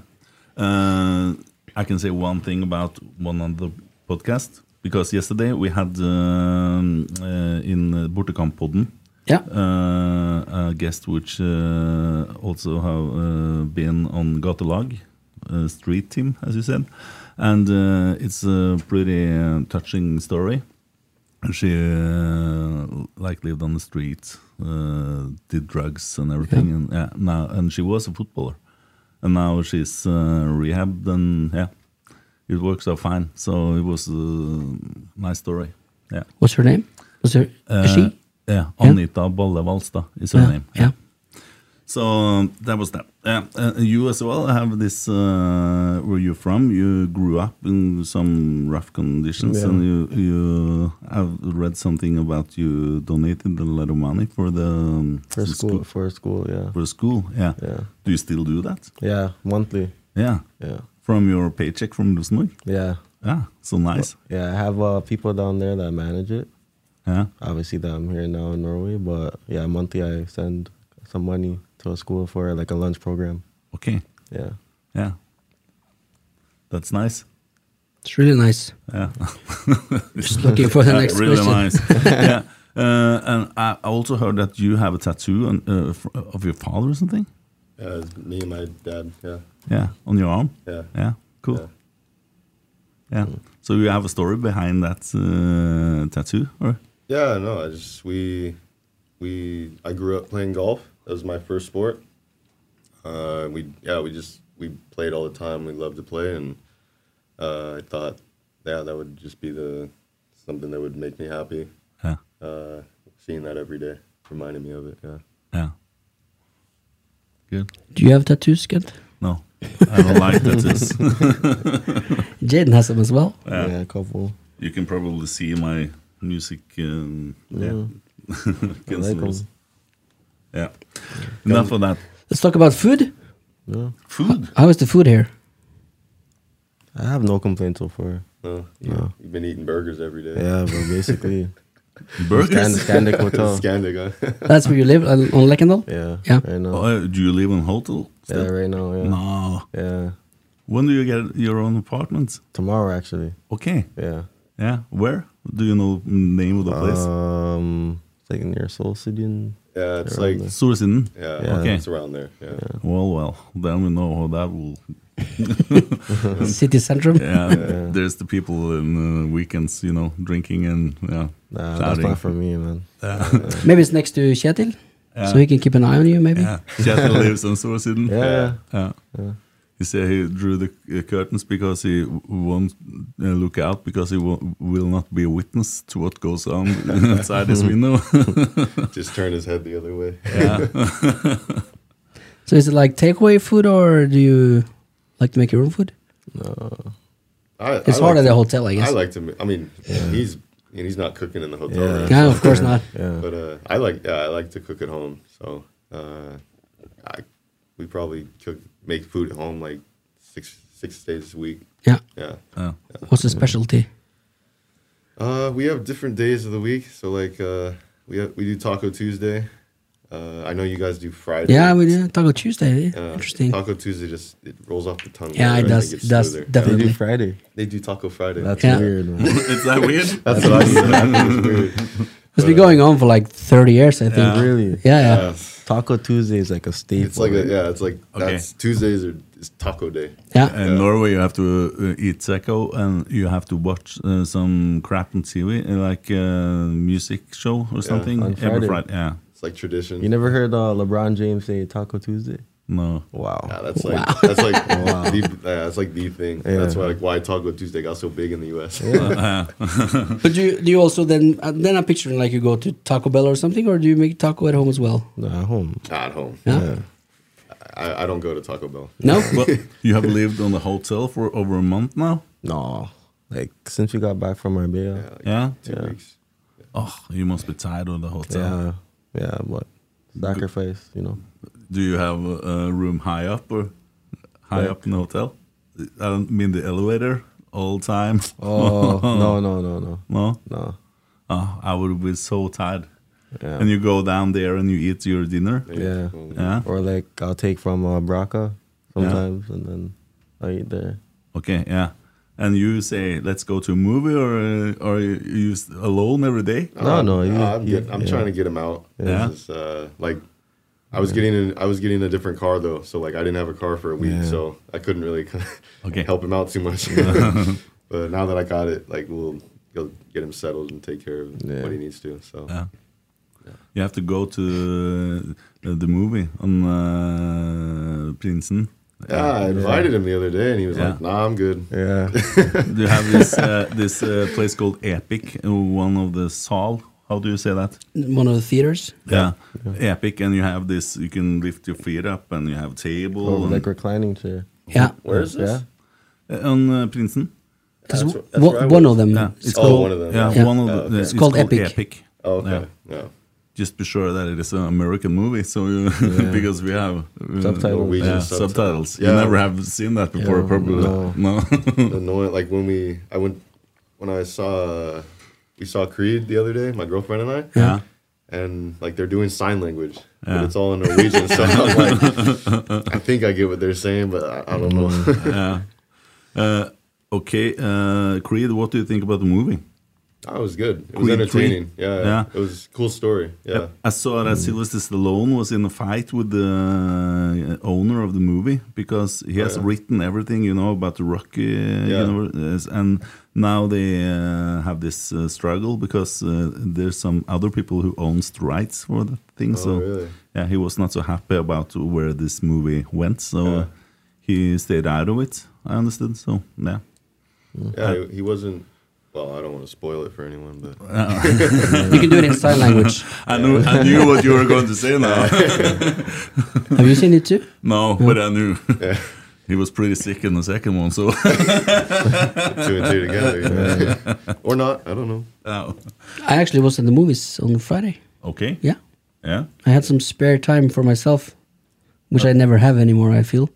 [SPEAKER 4] Uh, I can say one thing about one of the podcast because yesterday we had um, uh, in uh, Bortekamp-podden
[SPEAKER 5] Yeah.
[SPEAKER 4] uh, a guest which uh, also have uh, been on Gatelag uh, street team, as you said. And uh, it's a pretty uh, touching story. She uh, like lived on the street, uh, did drugs and everything, and yeah, now and she was a footballer, and now she's uh, rehabbed and yeah, it works out fine. So it was a nice story. Yeah,
[SPEAKER 5] What's her name? Was her is she?
[SPEAKER 4] yeah, Eh, Anita Bolle Valstad is her
[SPEAKER 5] yeah.
[SPEAKER 4] Uh, name.
[SPEAKER 5] yeah.
[SPEAKER 4] So um, that was that. Yeah, uh, you as well have this. Uh, where you're from? You grew up in some rough conditions,
[SPEAKER 7] Yeah.
[SPEAKER 4] and you you. I've read something about you donated a lot of money for the um,
[SPEAKER 7] For school, for school, yeah,
[SPEAKER 4] For school, yeah.
[SPEAKER 7] Yeah.
[SPEAKER 4] Do you still do that?
[SPEAKER 7] yeah, monthly,
[SPEAKER 4] Yeah.
[SPEAKER 7] yeah,
[SPEAKER 4] From your paycheck from Rosenborg.
[SPEAKER 7] yeah,
[SPEAKER 4] Yeah. So nice.
[SPEAKER 7] yeah. I have uh, people down there that manage it.
[SPEAKER 4] Yeah.
[SPEAKER 7] Obviously, that I'm here now in Norway, but yeah, monthly I send some money to a school for like a lunch program.
[SPEAKER 4] Okay.
[SPEAKER 7] Yeah,
[SPEAKER 4] Yeah. That's nice.
[SPEAKER 5] It's really nice.
[SPEAKER 4] Yeah.
[SPEAKER 5] Just looking for the
[SPEAKER 4] Yeah,
[SPEAKER 5] next
[SPEAKER 4] really
[SPEAKER 5] question.
[SPEAKER 4] nice. yeah. Uh, and I also heard that you have a tattoo on, uh, fr- of your father or something.
[SPEAKER 6] Yeah, it's me and my dad. Yeah,
[SPEAKER 4] Yeah, on your arm.
[SPEAKER 6] yeah.
[SPEAKER 4] Yeah, cool.
[SPEAKER 6] Yeah.
[SPEAKER 4] Yeah. So you have a story behind that uh, tattoo, or
[SPEAKER 6] Yeah, no, I just we we I grew up playing golf. That was my first sport. Uh, we yeah, we just we played all the time. We loved to play, and uh, I thought yeah, that would just be the something that would make me happy.
[SPEAKER 4] yeah,
[SPEAKER 6] Uh, seeing that every day reminded me of it. Yeah,
[SPEAKER 4] yeah. Good.
[SPEAKER 5] Do you have tattoos, Kent?
[SPEAKER 4] No, I don't like tattoos.
[SPEAKER 5] Jaden has them as well.
[SPEAKER 7] yeah, a couple.
[SPEAKER 4] you can probably see my music. Um, yeah.
[SPEAKER 7] I
[SPEAKER 4] Against
[SPEAKER 7] like
[SPEAKER 4] the
[SPEAKER 7] 'em.
[SPEAKER 4] rules. Yeah. Enough of that.
[SPEAKER 5] Let's talk about food.
[SPEAKER 7] Yeah,
[SPEAKER 4] Food.
[SPEAKER 5] How is the food here?
[SPEAKER 7] I have no complaints so far.
[SPEAKER 6] no, you,
[SPEAKER 7] Yeah.
[SPEAKER 6] you've been eating burgers every day.
[SPEAKER 7] Yeah, but basically, Scan-
[SPEAKER 4] Burgers.
[SPEAKER 7] Scandic Hotel.
[SPEAKER 6] Scandic, huh?
[SPEAKER 5] That's where you live on on Lekendal.
[SPEAKER 7] Yeah,
[SPEAKER 5] Yeah.
[SPEAKER 7] right now.
[SPEAKER 4] Oh, do you live in hotel?
[SPEAKER 7] Yeah,
[SPEAKER 4] still?
[SPEAKER 7] right now. Yeah.
[SPEAKER 4] No.
[SPEAKER 7] Yeah.
[SPEAKER 4] When do you get your own apartment?
[SPEAKER 7] Tomorrow, actually.
[SPEAKER 4] Okay.
[SPEAKER 7] Yeah.
[SPEAKER 4] Yeah. Where? Do you know name of the place?
[SPEAKER 7] Um, it's like near Seoul City. And,
[SPEAKER 6] yeah, it's
[SPEAKER 7] They're on
[SPEAKER 6] like
[SPEAKER 7] the-
[SPEAKER 4] Sursiden.
[SPEAKER 6] yeah,
[SPEAKER 7] Yeah.
[SPEAKER 4] Okay.
[SPEAKER 6] it's around there. Yeah,
[SPEAKER 4] Well, well, then we know how that will.
[SPEAKER 5] City Centrum.
[SPEAKER 4] Yeah, there's the people in uh, weekends, you know, drinking and yeah,
[SPEAKER 7] nah, that's not for me, man.
[SPEAKER 5] Maybe it's next to Kjetil, so he can keep an eye on you. Maybe.
[SPEAKER 4] Yeah, Kjetil lives in Sursiden.
[SPEAKER 7] Yeah.
[SPEAKER 4] yeah. He said he drew the uh, curtains because he w- won't uh, look out because he w- will not be a witness to what goes on outside his window.
[SPEAKER 6] just turn his head the other way.
[SPEAKER 5] So is it like takeaway food, or do you like to make your own food?
[SPEAKER 6] I,
[SPEAKER 5] It's hard
[SPEAKER 6] I like
[SPEAKER 5] at the
[SPEAKER 6] to-
[SPEAKER 5] hotel, I guess.
[SPEAKER 6] I like to. ma- I mean, he's and he's not cooking in the hotel.
[SPEAKER 7] Yeah.
[SPEAKER 6] Right?
[SPEAKER 5] no, of course not.
[SPEAKER 7] Yeah.
[SPEAKER 6] But uh, I like yeah, I like to cook at home. So uh, I, we probably cook make food at home like six six days a week.
[SPEAKER 5] Yeah.
[SPEAKER 6] Yeah.
[SPEAKER 4] Yeah.
[SPEAKER 5] What's the specialty?
[SPEAKER 6] Uh, we have different days of the week. So like uh, we have, we do Taco Tuesday. Uh, I know you guys do Friday.
[SPEAKER 5] Yeah, we did Taco Tuesday. eh?
[SPEAKER 6] Uh,
[SPEAKER 5] Interesting.
[SPEAKER 6] Taco Tuesday just it rolls off the tongue.
[SPEAKER 5] Yeah,
[SPEAKER 6] better.
[SPEAKER 5] it
[SPEAKER 6] I
[SPEAKER 5] does. It
[SPEAKER 6] think it's
[SPEAKER 5] does
[SPEAKER 6] smoother.
[SPEAKER 7] They
[SPEAKER 5] definitely.
[SPEAKER 7] do Friday.
[SPEAKER 6] They do Taco Friday.
[SPEAKER 7] That's
[SPEAKER 5] Yeah.
[SPEAKER 7] weird, man.
[SPEAKER 4] Is that weird?
[SPEAKER 6] That's what I said. That's weird.
[SPEAKER 5] It's been going on for like 30 years, I think.
[SPEAKER 4] Yeah.
[SPEAKER 7] really.
[SPEAKER 5] Yeah, yeah.
[SPEAKER 6] Yeah.
[SPEAKER 7] Taco Tuesday is like a staple.
[SPEAKER 6] It's like a,
[SPEAKER 7] right?
[SPEAKER 6] yeah, it's like that's Tuesdays are it's Taco Day.
[SPEAKER 5] Yeah.
[SPEAKER 4] In Norway, you have to uh, eat taco and you have to watch uh, some crap on TV, uh, like uh, music show or something.
[SPEAKER 7] on
[SPEAKER 4] Every
[SPEAKER 7] Friday.
[SPEAKER 4] Friday, yeah.
[SPEAKER 6] It's like tradition.
[SPEAKER 7] You never heard uh, LeBron James say Taco Tuesday?
[SPEAKER 4] No.
[SPEAKER 7] Wow.
[SPEAKER 6] Yeah, that's like that's like the, yeah, that's like the thing.
[SPEAKER 7] Yeah.
[SPEAKER 6] That's why like why Taco Tuesday got so big in the U.S.
[SPEAKER 5] But do you, do you also then, uh, then I'm picturing like you go to Taco Bell or something, or do you make taco at home as well?
[SPEAKER 7] Nah, at home.
[SPEAKER 6] Not at home.
[SPEAKER 5] Yeah.
[SPEAKER 6] I, I don't go to Taco Bell.
[SPEAKER 5] No?
[SPEAKER 4] Well, you have lived on the hotel for over a month now.
[SPEAKER 7] No. Like since we got back from Marbella.
[SPEAKER 6] Yeah,
[SPEAKER 7] Yeah.
[SPEAKER 6] like
[SPEAKER 4] Yeah.
[SPEAKER 6] two weeks.
[SPEAKER 4] Oh, you must be tired of the hotel.
[SPEAKER 7] Yeah, but sacrifice, you know.
[SPEAKER 4] Do you have a, a room high up or high
[SPEAKER 7] Like-
[SPEAKER 4] up in the hotel? I don't mean the elevator all time.
[SPEAKER 7] Oh no no no no
[SPEAKER 4] No,
[SPEAKER 7] no.
[SPEAKER 4] oh, I would be so tired.
[SPEAKER 7] Yeah.
[SPEAKER 4] And you go down there and you eat your dinner.
[SPEAKER 7] yeah.
[SPEAKER 4] Yeah.
[SPEAKER 7] Or like I'll take from uh, Braca sometimes, and then I eat there.
[SPEAKER 4] Okay. Yeah. And you say, let's go to a movie, or uh, or you you s- alone every day?
[SPEAKER 7] No,
[SPEAKER 6] Um,
[SPEAKER 7] no, you-
[SPEAKER 6] I'm,
[SPEAKER 7] you-
[SPEAKER 6] get- I'm
[SPEAKER 7] yeah.
[SPEAKER 6] trying to get him out.
[SPEAKER 4] Yeah.
[SPEAKER 6] This is, uh, like, I was getting in, I was getting a different car though, so like I didn't have a car for a week,
[SPEAKER 7] Yeah.
[SPEAKER 6] so I couldn't really
[SPEAKER 4] Okay.
[SPEAKER 6] help him out too much. but now that I got it, like we'll, we'll get him settled and take care of
[SPEAKER 7] Yeah.
[SPEAKER 6] what he needs to. So
[SPEAKER 4] Yeah. You have to go to uh, the movie on uh, Prinsen.
[SPEAKER 6] yeah, I invited him the other day, and he was
[SPEAKER 4] Yeah.
[SPEAKER 6] like, "Nah, I'm good."
[SPEAKER 7] Yeah.
[SPEAKER 4] They have this uh, this uh, place called Epic, uh, one of the Saal. How do you say that?
[SPEAKER 5] One of the theaters.
[SPEAKER 4] Yeah. Epic, and you have this. You can lift your feet up, and you have table.
[SPEAKER 6] Oh,
[SPEAKER 7] Or
[SPEAKER 4] and,
[SPEAKER 7] Oh, like reclining chair.
[SPEAKER 5] Yeah,
[SPEAKER 6] Where is this?
[SPEAKER 7] Yeah.
[SPEAKER 4] Uh, on uh, Prinsen.
[SPEAKER 5] because
[SPEAKER 6] That's wh- that's where I
[SPEAKER 5] one
[SPEAKER 6] was.
[SPEAKER 5] of them.
[SPEAKER 4] Yeah,
[SPEAKER 5] is
[SPEAKER 6] Oh,
[SPEAKER 5] called-
[SPEAKER 6] one of them,
[SPEAKER 4] Yeah,
[SPEAKER 6] yeah.
[SPEAKER 4] one of
[SPEAKER 6] Yeah,
[SPEAKER 4] the.
[SPEAKER 6] okay.
[SPEAKER 4] uh,
[SPEAKER 5] It's called Epic.
[SPEAKER 6] Oh, okay.
[SPEAKER 4] Yeah.
[SPEAKER 6] Yeah.
[SPEAKER 4] Just be sure that it is an American movie, so you, because we have uh,
[SPEAKER 7] Subtitles.
[SPEAKER 4] yeah,
[SPEAKER 6] Norwegian subtitles.
[SPEAKER 4] subtitles. You
[SPEAKER 6] Yeah.
[SPEAKER 4] never have seen that before,
[SPEAKER 7] Yeah,
[SPEAKER 4] probably.
[SPEAKER 7] no.
[SPEAKER 4] No.
[SPEAKER 6] annoying. Like when we, I went when I saw we saw Creed the other day, my girlfriend and I.
[SPEAKER 4] Yeah.
[SPEAKER 6] And like they're doing sign language,
[SPEAKER 4] Yeah.
[SPEAKER 6] but it's all in Norwegian. so I'm like, I think I get what they're saying, but I, I don't know.
[SPEAKER 4] Mm. Uh, okay, uh, Creed. What do you think about the movie?
[SPEAKER 6] I was good. It was
[SPEAKER 4] Creed,
[SPEAKER 6] entertaining.
[SPEAKER 4] Creed.
[SPEAKER 6] Yeah,
[SPEAKER 4] Yeah.
[SPEAKER 6] It was a cool story. Yeah.
[SPEAKER 4] I saw that Sylvester Stallone was in a fight with the uh, owner of the movie because he has
[SPEAKER 6] yeah.
[SPEAKER 4] written everything, you know, about the Rocky, uh,
[SPEAKER 6] Yeah.
[SPEAKER 4] universe, and now they uh, have this uh, struggle because uh, there's some other people who owns the rights for the thing. so
[SPEAKER 6] really?
[SPEAKER 4] yeah, he was not so happy about where this movie went, so uh,
[SPEAKER 6] Yeah.
[SPEAKER 4] he stayed out of it. I understood. So yeah,
[SPEAKER 6] Yeah. he- he wasn't. Well, I don't want to spoil it for anyone, but
[SPEAKER 5] You can do it in sign language.
[SPEAKER 4] I knew I knew what you were going to say now.
[SPEAKER 5] Have you seen it too?
[SPEAKER 4] No, but I knew. He was pretty sick in the second one, so
[SPEAKER 6] two and two together, you know? or not? I don't know.
[SPEAKER 4] Oh.
[SPEAKER 5] I actually was at the movies on Friday.
[SPEAKER 4] okay,
[SPEAKER 5] Yeah,
[SPEAKER 4] yeah,
[SPEAKER 5] I had some spare time for myself, which I never have anymore. I feel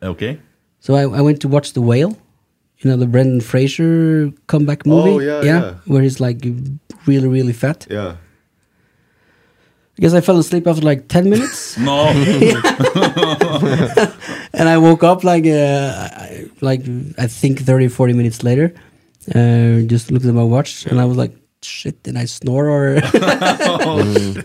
[SPEAKER 4] okay,
[SPEAKER 5] so. I, I went to watch The Whale, you know, the Brendan Fraser comeback movie.
[SPEAKER 6] Oh, yeah, yeah.
[SPEAKER 5] where he's like really, really fat.
[SPEAKER 6] Yeah,
[SPEAKER 5] Because I fell asleep after like ten minutes,
[SPEAKER 4] no,
[SPEAKER 5] and I woke up like uh, I- like I think 30, 40 minutes later. Uh, just looked at my watch, and I was like, "Shit, did I snore?" Or
[SPEAKER 6] Mm.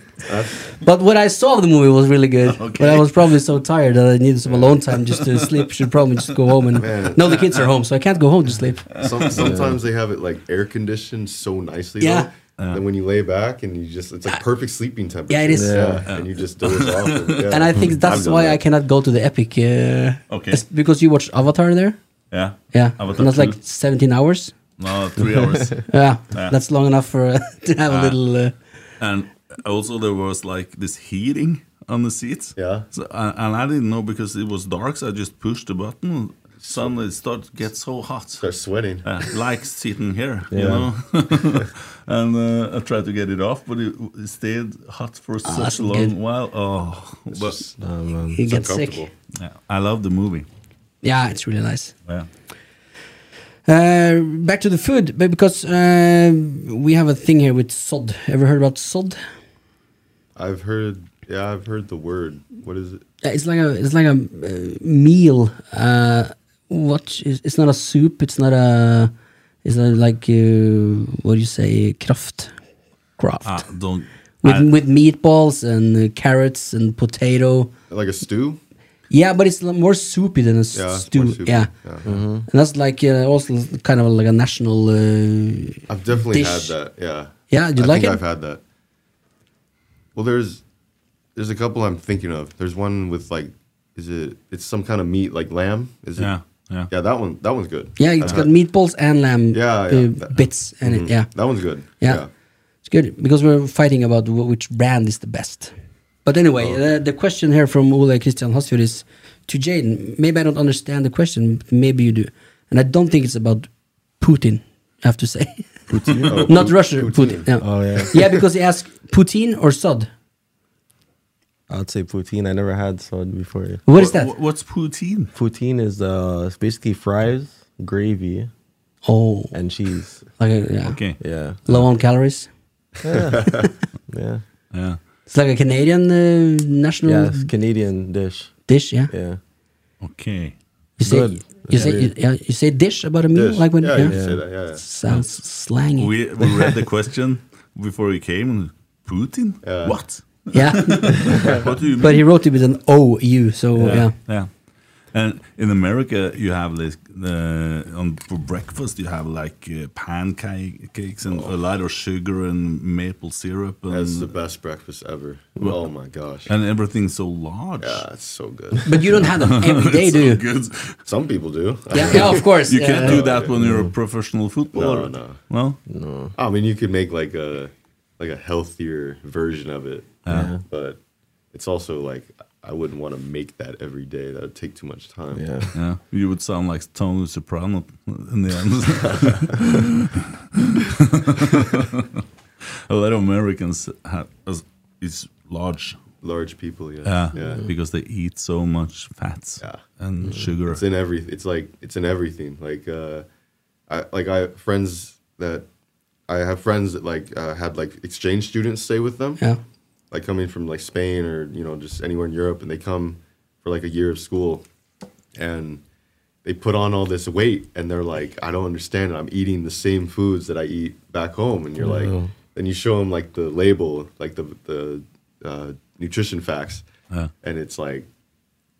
[SPEAKER 5] but what I saw of the movie was really good. But I was probably so tired that I needed some alone time just to sleep. Should probably just go home and no, the kids are home, so I can't go home to sleep.
[SPEAKER 6] Some, sometimes they have it like air conditioned so nicely.
[SPEAKER 5] Yeah.
[SPEAKER 6] Though. then when you lay back and you just, it's like perfect sleeping temperature.
[SPEAKER 5] Yeah, it is.
[SPEAKER 6] Yeah. And you just doze off. And, yeah.
[SPEAKER 5] And I think that's
[SPEAKER 6] I've done
[SPEAKER 5] why
[SPEAKER 6] that.
[SPEAKER 5] I cannot go to the Epic. Uh,
[SPEAKER 4] Okay.
[SPEAKER 5] it's because you watched Avatar there.
[SPEAKER 4] yeah,
[SPEAKER 5] Yeah,
[SPEAKER 4] Avatar
[SPEAKER 5] and that's
[SPEAKER 4] two.
[SPEAKER 5] like seventeen hours.
[SPEAKER 4] no, three hours,
[SPEAKER 5] Yeah,
[SPEAKER 4] Yeah.
[SPEAKER 5] that's long enough for uh, to have a little. Uh,
[SPEAKER 4] and also there was like this heating on the seats,
[SPEAKER 6] Yeah.
[SPEAKER 4] so, and and I didn't know because it was dark, so I just pushed the button. Suddenly, it started to get so hot,
[SPEAKER 6] Start sweating.
[SPEAKER 4] uh, like sitting here, you
[SPEAKER 7] Yeah.
[SPEAKER 4] know. and uh, I tried to get it off, but it, it stayed hot for such
[SPEAKER 5] Ah, that's
[SPEAKER 4] a long
[SPEAKER 5] good.
[SPEAKER 4] while. Oh, but
[SPEAKER 6] Just-
[SPEAKER 7] Nah,
[SPEAKER 4] Um,
[SPEAKER 7] man.
[SPEAKER 5] you get
[SPEAKER 6] uncomfortable.
[SPEAKER 5] sick.
[SPEAKER 4] yeah, I love the movie.
[SPEAKER 5] Yeah, it's really nice.
[SPEAKER 4] Yeah.
[SPEAKER 5] Uh, back to the food, but because uh, we have a thing here with sod. Ever heard about sod?
[SPEAKER 6] I've heard, yeah, I've heard the word. What is it?
[SPEAKER 5] Uh, It's like a it's like a uh, meal. Uh, what is? It's not a soup. It's not a. It's not like uh, what do you say? Kraft, craft
[SPEAKER 4] Ah, don't.
[SPEAKER 5] with
[SPEAKER 4] I-
[SPEAKER 5] with meatballs and uh, carrots and potato.
[SPEAKER 6] Like a stew?
[SPEAKER 5] Yeah, but it's l- more soupy than a s-
[SPEAKER 6] Yeah, it's more
[SPEAKER 5] stew.
[SPEAKER 6] soupy.
[SPEAKER 5] Yeah,
[SPEAKER 6] Yeah.
[SPEAKER 5] and that's like uh, also kind of like a national. Uh,
[SPEAKER 6] I've definitely
[SPEAKER 5] Dish.
[SPEAKER 6] had that. Yeah.
[SPEAKER 5] Yeah, you
[SPEAKER 6] I
[SPEAKER 5] like
[SPEAKER 6] think
[SPEAKER 5] it?
[SPEAKER 6] I've had that. Well, there's, there's a couple I'm thinking of. There's one with like, is it? It's some kind of meat, like lamb. Is it?
[SPEAKER 4] Yeah, yeah.
[SPEAKER 6] Yeah, that one. That one's good.
[SPEAKER 5] yeah,
[SPEAKER 6] I've
[SPEAKER 5] it's
[SPEAKER 6] had-
[SPEAKER 5] got meatballs and lamb
[SPEAKER 6] Yeah,
[SPEAKER 5] uh,
[SPEAKER 6] yeah, that-
[SPEAKER 5] bits in it. Yeah.
[SPEAKER 6] That one's good.
[SPEAKER 5] yeah, it's good because we're fighting about wh- which brand is the best. But anyway,
[SPEAKER 6] Oh.
[SPEAKER 5] uh, the question here from Ole Christian Hosfjord is to Jaden. Maybe I don't understand the question, but maybe you do, and I don't think it's about Putin. I have to say,
[SPEAKER 6] Yeah. Oh,
[SPEAKER 5] not
[SPEAKER 6] Pu-
[SPEAKER 5] Russia. Putin. yeah.
[SPEAKER 7] Oh yeah.
[SPEAKER 5] yeah, because he asked Putin or sod.
[SPEAKER 7] I'd say poutine. I never had sod before.
[SPEAKER 5] What is that?
[SPEAKER 4] Wh- What's poutine?
[SPEAKER 7] Poutine is uh, it's basically fries, gravy,
[SPEAKER 5] Oh,
[SPEAKER 7] and cheese.
[SPEAKER 5] like a, yeah.
[SPEAKER 4] Okay.
[SPEAKER 7] Yeah,
[SPEAKER 5] Low on calories.
[SPEAKER 7] yeah,
[SPEAKER 4] Yeah.
[SPEAKER 5] It's like a Canadian uh, national
[SPEAKER 7] yeah. It's Canadian dish.
[SPEAKER 5] dish. Yeah.
[SPEAKER 7] Yeah,
[SPEAKER 4] Okay.
[SPEAKER 5] You say
[SPEAKER 7] Good.
[SPEAKER 5] you say you,
[SPEAKER 7] Yeah.
[SPEAKER 5] yeah, you say dish about a meal
[SPEAKER 6] Dish.
[SPEAKER 5] like when
[SPEAKER 6] yeah,
[SPEAKER 5] yeah,
[SPEAKER 6] you can say that, yeah, yeah.
[SPEAKER 5] sounds slangy.
[SPEAKER 4] We, we read the question before we came. Putin?
[SPEAKER 6] Yeah.
[SPEAKER 4] What?
[SPEAKER 5] yeah,
[SPEAKER 4] What do you
[SPEAKER 5] but he wrote it with an O U. So yeah.
[SPEAKER 4] yeah. And in America, you have this uh, on for breakfast. You have like uh, pancakes and a lot of sugar and maple syrup and
[SPEAKER 6] That's the best breakfast ever. oh my gosh.
[SPEAKER 4] and everything's so large.
[SPEAKER 6] yeah, it's so good.
[SPEAKER 5] But you don't have them every day, do you?
[SPEAKER 4] Good.
[SPEAKER 6] Some people do.
[SPEAKER 5] Yeah, yeah, of course. Uh,
[SPEAKER 4] You
[SPEAKER 5] yeah,
[SPEAKER 4] can't
[SPEAKER 5] yeah.
[SPEAKER 4] do that when you're a professional footballer.
[SPEAKER 6] No, no.
[SPEAKER 4] Well,
[SPEAKER 6] I mean, you could make like a like a healthier version of it, but it's also like I wouldn't want to make that every day. That would take too much time.
[SPEAKER 7] yeah.
[SPEAKER 4] yeah, you would sound like Tony Soprano in the end. a lot of Americans have is large
[SPEAKER 6] large people. Yeah,
[SPEAKER 4] Yeah,
[SPEAKER 6] yeah.
[SPEAKER 4] because they eat so much fats
[SPEAKER 6] Yeah. Mm.
[SPEAKER 4] and sugar.
[SPEAKER 6] It's in every. It's like it's in everything. Like, uh, I like I friends that I have friends that like uh, had like exchange students stay with them.
[SPEAKER 5] Yeah.
[SPEAKER 6] like coming from like Spain or you know just anywhere in Europe, and they come for like a year of school, and they put on all this weight, and they're like, I don't understand it. I'm eating the same foods that I eat back home, and you're like, then you show them like the label, like the the uh, nutrition facts, and it's like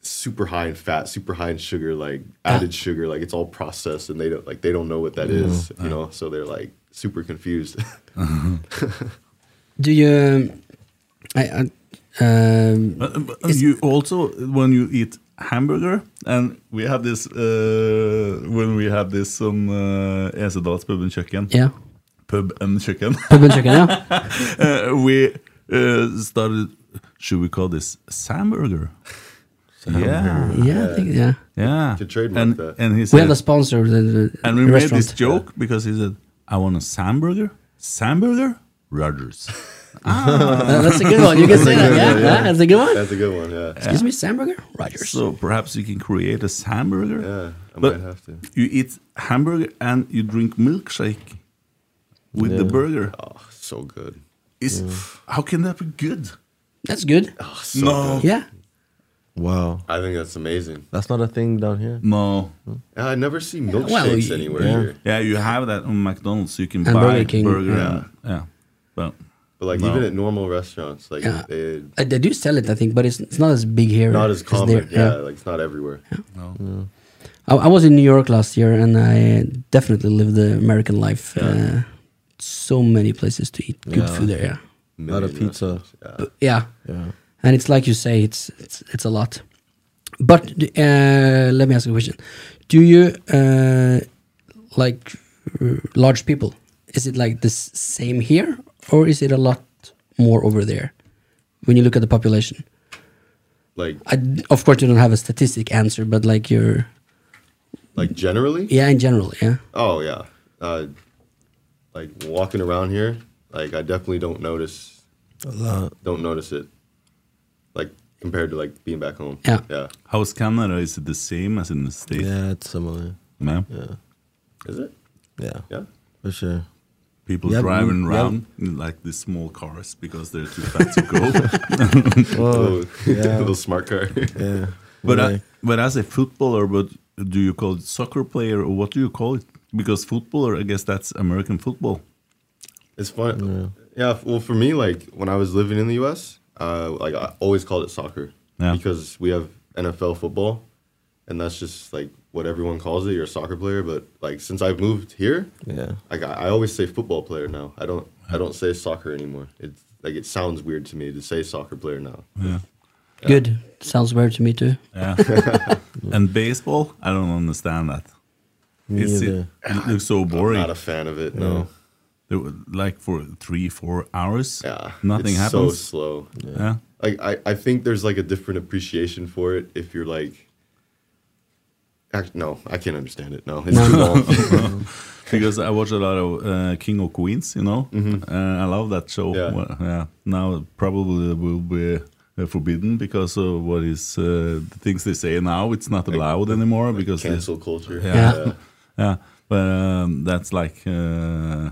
[SPEAKER 6] super high in fat, super high in sugar, like added sugar, like it's all processed, and they don't like they don't know what that is, you know, so they're like super confused.
[SPEAKER 5] Do you? Um, I, I um,
[SPEAKER 4] Uh, but you also when you eat hamburger and we have this uh, when we have this on uh, Esedals pub and chicken
[SPEAKER 5] yeah.
[SPEAKER 4] pub and chicken
[SPEAKER 5] Pub and chicken, yeah.
[SPEAKER 4] uh, we uh, started should we call this hamburger yeah
[SPEAKER 5] Yeah, I think, yeah.
[SPEAKER 4] yeah
[SPEAKER 6] To trademark
[SPEAKER 4] and,
[SPEAKER 6] that.
[SPEAKER 4] and he
[SPEAKER 5] We have a
[SPEAKER 4] said
[SPEAKER 5] sponsor, the, the
[SPEAKER 4] and we
[SPEAKER 5] the
[SPEAKER 4] made
[SPEAKER 5] restaurant.
[SPEAKER 4] this joke because he said I want a hamburger hamburger Rogers
[SPEAKER 5] Uh, that's a good one. You can say that. Yeah, yeah, that's a good one.
[SPEAKER 6] That's a good one, yeah.
[SPEAKER 5] Excuse me, Samburger? Rogers.
[SPEAKER 4] so perhaps you can create a hamburger
[SPEAKER 6] Yeah, I
[SPEAKER 4] But-
[SPEAKER 6] might have to.
[SPEAKER 4] you eat hamburger and you drink milkshake with the burger.
[SPEAKER 6] Oh, so good.
[SPEAKER 4] Is how can that be good?
[SPEAKER 5] That's good.
[SPEAKER 6] Oh, so
[SPEAKER 4] No.
[SPEAKER 6] good.
[SPEAKER 5] Yeah.
[SPEAKER 7] Wow,
[SPEAKER 6] I think that's amazing.
[SPEAKER 7] that's not a thing down here.
[SPEAKER 4] No.
[SPEAKER 6] I never see
[SPEAKER 5] well,
[SPEAKER 6] milkshakes
[SPEAKER 5] y-
[SPEAKER 6] anywhere
[SPEAKER 7] yeah.
[SPEAKER 6] here.
[SPEAKER 4] Yeah, you have that on McDonald's. You can
[SPEAKER 5] And
[SPEAKER 4] buy
[SPEAKER 5] Burger King.
[SPEAKER 4] burger.
[SPEAKER 6] Yeah.
[SPEAKER 4] And, yeah. Well,
[SPEAKER 6] But like
[SPEAKER 4] No.
[SPEAKER 6] even at normal restaurants, like
[SPEAKER 5] Yeah.
[SPEAKER 6] they
[SPEAKER 5] Uh, they do sell it, I think, but it's, it's not as big here.
[SPEAKER 6] not as common.
[SPEAKER 5] there,
[SPEAKER 6] Yeah, like it's not everywhere.
[SPEAKER 4] no.
[SPEAKER 5] I, I was in New York last year, and I definitely lived the American life. Uh, so many places to eat good
[SPEAKER 7] Yeah.
[SPEAKER 5] food there. Yeah.
[SPEAKER 7] A lot of
[SPEAKER 6] Million
[SPEAKER 7] pizza.
[SPEAKER 6] restaurants,
[SPEAKER 5] Yeah.
[SPEAKER 7] Yeah.
[SPEAKER 5] And it's like you say, it's it's, it's a lot. But uh, let me ask you a question: Do you uh, like uh, large people? Is it like the s- same here, or is it a lot more over there? When you look at the population,
[SPEAKER 6] Yeah. Like
[SPEAKER 5] I, of course you don't have a statistic answer, but like you're
[SPEAKER 6] like generally?
[SPEAKER 5] yeah in general, yeah.
[SPEAKER 6] Oh yeah. Uh, like walking around here, like I definitely don't notice
[SPEAKER 7] A lot.
[SPEAKER 6] don't notice it. Like compared to like being back home.
[SPEAKER 5] Yeah.
[SPEAKER 6] Yeah.
[SPEAKER 4] How is Canada? Is it the same as in the States?
[SPEAKER 7] Yeah, it's similar.
[SPEAKER 4] man?
[SPEAKER 6] Is it?
[SPEAKER 7] Yeah,
[SPEAKER 6] Yeah.
[SPEAKER 7] for sure.
[SPEAKER 4] People
[SPEAKER 7] Yeah,
[SPEAKER 4] driving
[SPEAKER 7] yeah.
[SPEAKER 4] around in like these small cars because they're too fat to go.
[SPEAKER 7] Well,
[SPEAKER 6] little,
[SPEAKER 7] Oh, yeah.
[SPEAKER 6] little smart car.
[SPEAKER 7] yeah.
[SPEAKER 4] But
[SPEAKER 7] like,
[SPEAKER 4] I, but as a footballer, but do you call it soccer player or what do you call it? Because footballer, I guess that's American football.
[SPEAKER 6] It's fun. Yeah. f- Well, for me, like when I was living in the U.S., uh, like I always called it soccer
[SPEAKER 4] Yeah.
[SPEAKER 6] because we have NFL football, and that's just like what everyone calls it. You're a soccer player, but like since I've moved here,
[SPEAKER 7] yeah,
[SPEAKER 6] like I, I always say football player now. I don't. I don't say soccer anymore. It's like it sounds weird to me to say soccer player now.
[SPEAKER 4] Yeah.
[SPEAKER 5] Good sounds weird to me too.
[SPEAKER 4] Yeah. and baseball, I don't understand that.
[SPEAKER 7] me
[SPEAKER 4] It's-
[SPEAKER 7] either.
[SPEAKER 4] it looks so boring.
[SPEAKER 6] Not a fan of it. No.
[SPEAKER 4] They were, like for three, four hours,
[SPEAKER 6] Yeah.
[SPEAKER 4] nothing
[SPEAKER 6] it's So
[SPEAKER 4] happens.
[SPEAKER 6] slow.
[SPEAKER 4] yeah.
[SPEAKER 6] like I, I think there's like a different appreciation for it if you're like act, no i can't understand it no it's too long
[SPEAKER 4] because I watch a lot of uh, King of Queens, you know. Uh, I love that show.
[SPEAKER 6] Mm-hmm. Yeah.
[SPEAKER 4] Well, yeah. Now it probably will be uh, forbidden because of what is uh, the things they say now. It's not allowed anymore because they-
[SPEAKER 6] cancel culture
[SPEAKER 4] Yeah.
[SPEAKER 5] Yeah.
[SPEAKER 4] yeah. But um, that's like uh,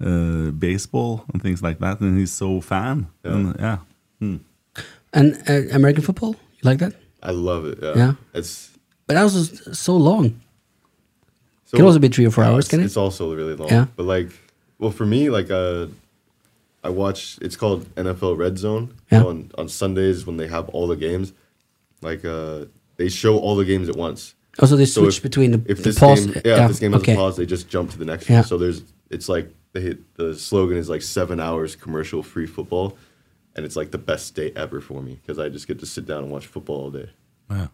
[SPEAKER 4] uh, baseball and things like that. And he's so fan.
[SPEAKER 6] Yeah.
[SPEAKER 4] And, yeah.
[SPEAKER 5] And uh, American football, you like that?
[SPEAKER 6] I love it. Yeah.
[SPEAKER 5] Yeah.
[SPEAKER 6] It's
[SPEAKER 5] But that was s- so long.
[SPEAKER 6] so,
[SPEAKER 5] Can also be three or four
[SPEAKER 6] Yeah,
[SPEAKER 5] hours,
[SPEAKER 6] it's-
[SPEAKER 5] can it?
[SPEAKER 6] It's also really long.
[SPEAKER 5] Yeah.
[SPEAKER 6] But like, well, for me, like, uh, I watch. It's called NFL Red Zone
[SPEAKER 5] Yeah.
[SPEAKER 6] on on Sundays when they have all the games. Like, uh, they show all the games at once.
[SPEAKER 5] Also, they
[SPEAKER 6] So
[SPEAKER 5] switch
[SPEAKER 6] if-
[SPEAKER 5] between the,
[SPEAKER 6] if
[SPEAKER 5] the
[SPEAKER 6] this
[SPEAKER 5] pause.
[SPEAKER 6] Game, yeah, if this game has
[SPEAKER 5] okay.
[SPEAKER 6] a pause, they just jump to the next
[SPEAKER 5] Yeah.
[SPEAKER 6] one. So there's it's like they hit, the slogan is like seven hours commercial free football, and it's like the best day ever for me because I just get to sit down and watch football all day.
[SPEAKER 4] Wow.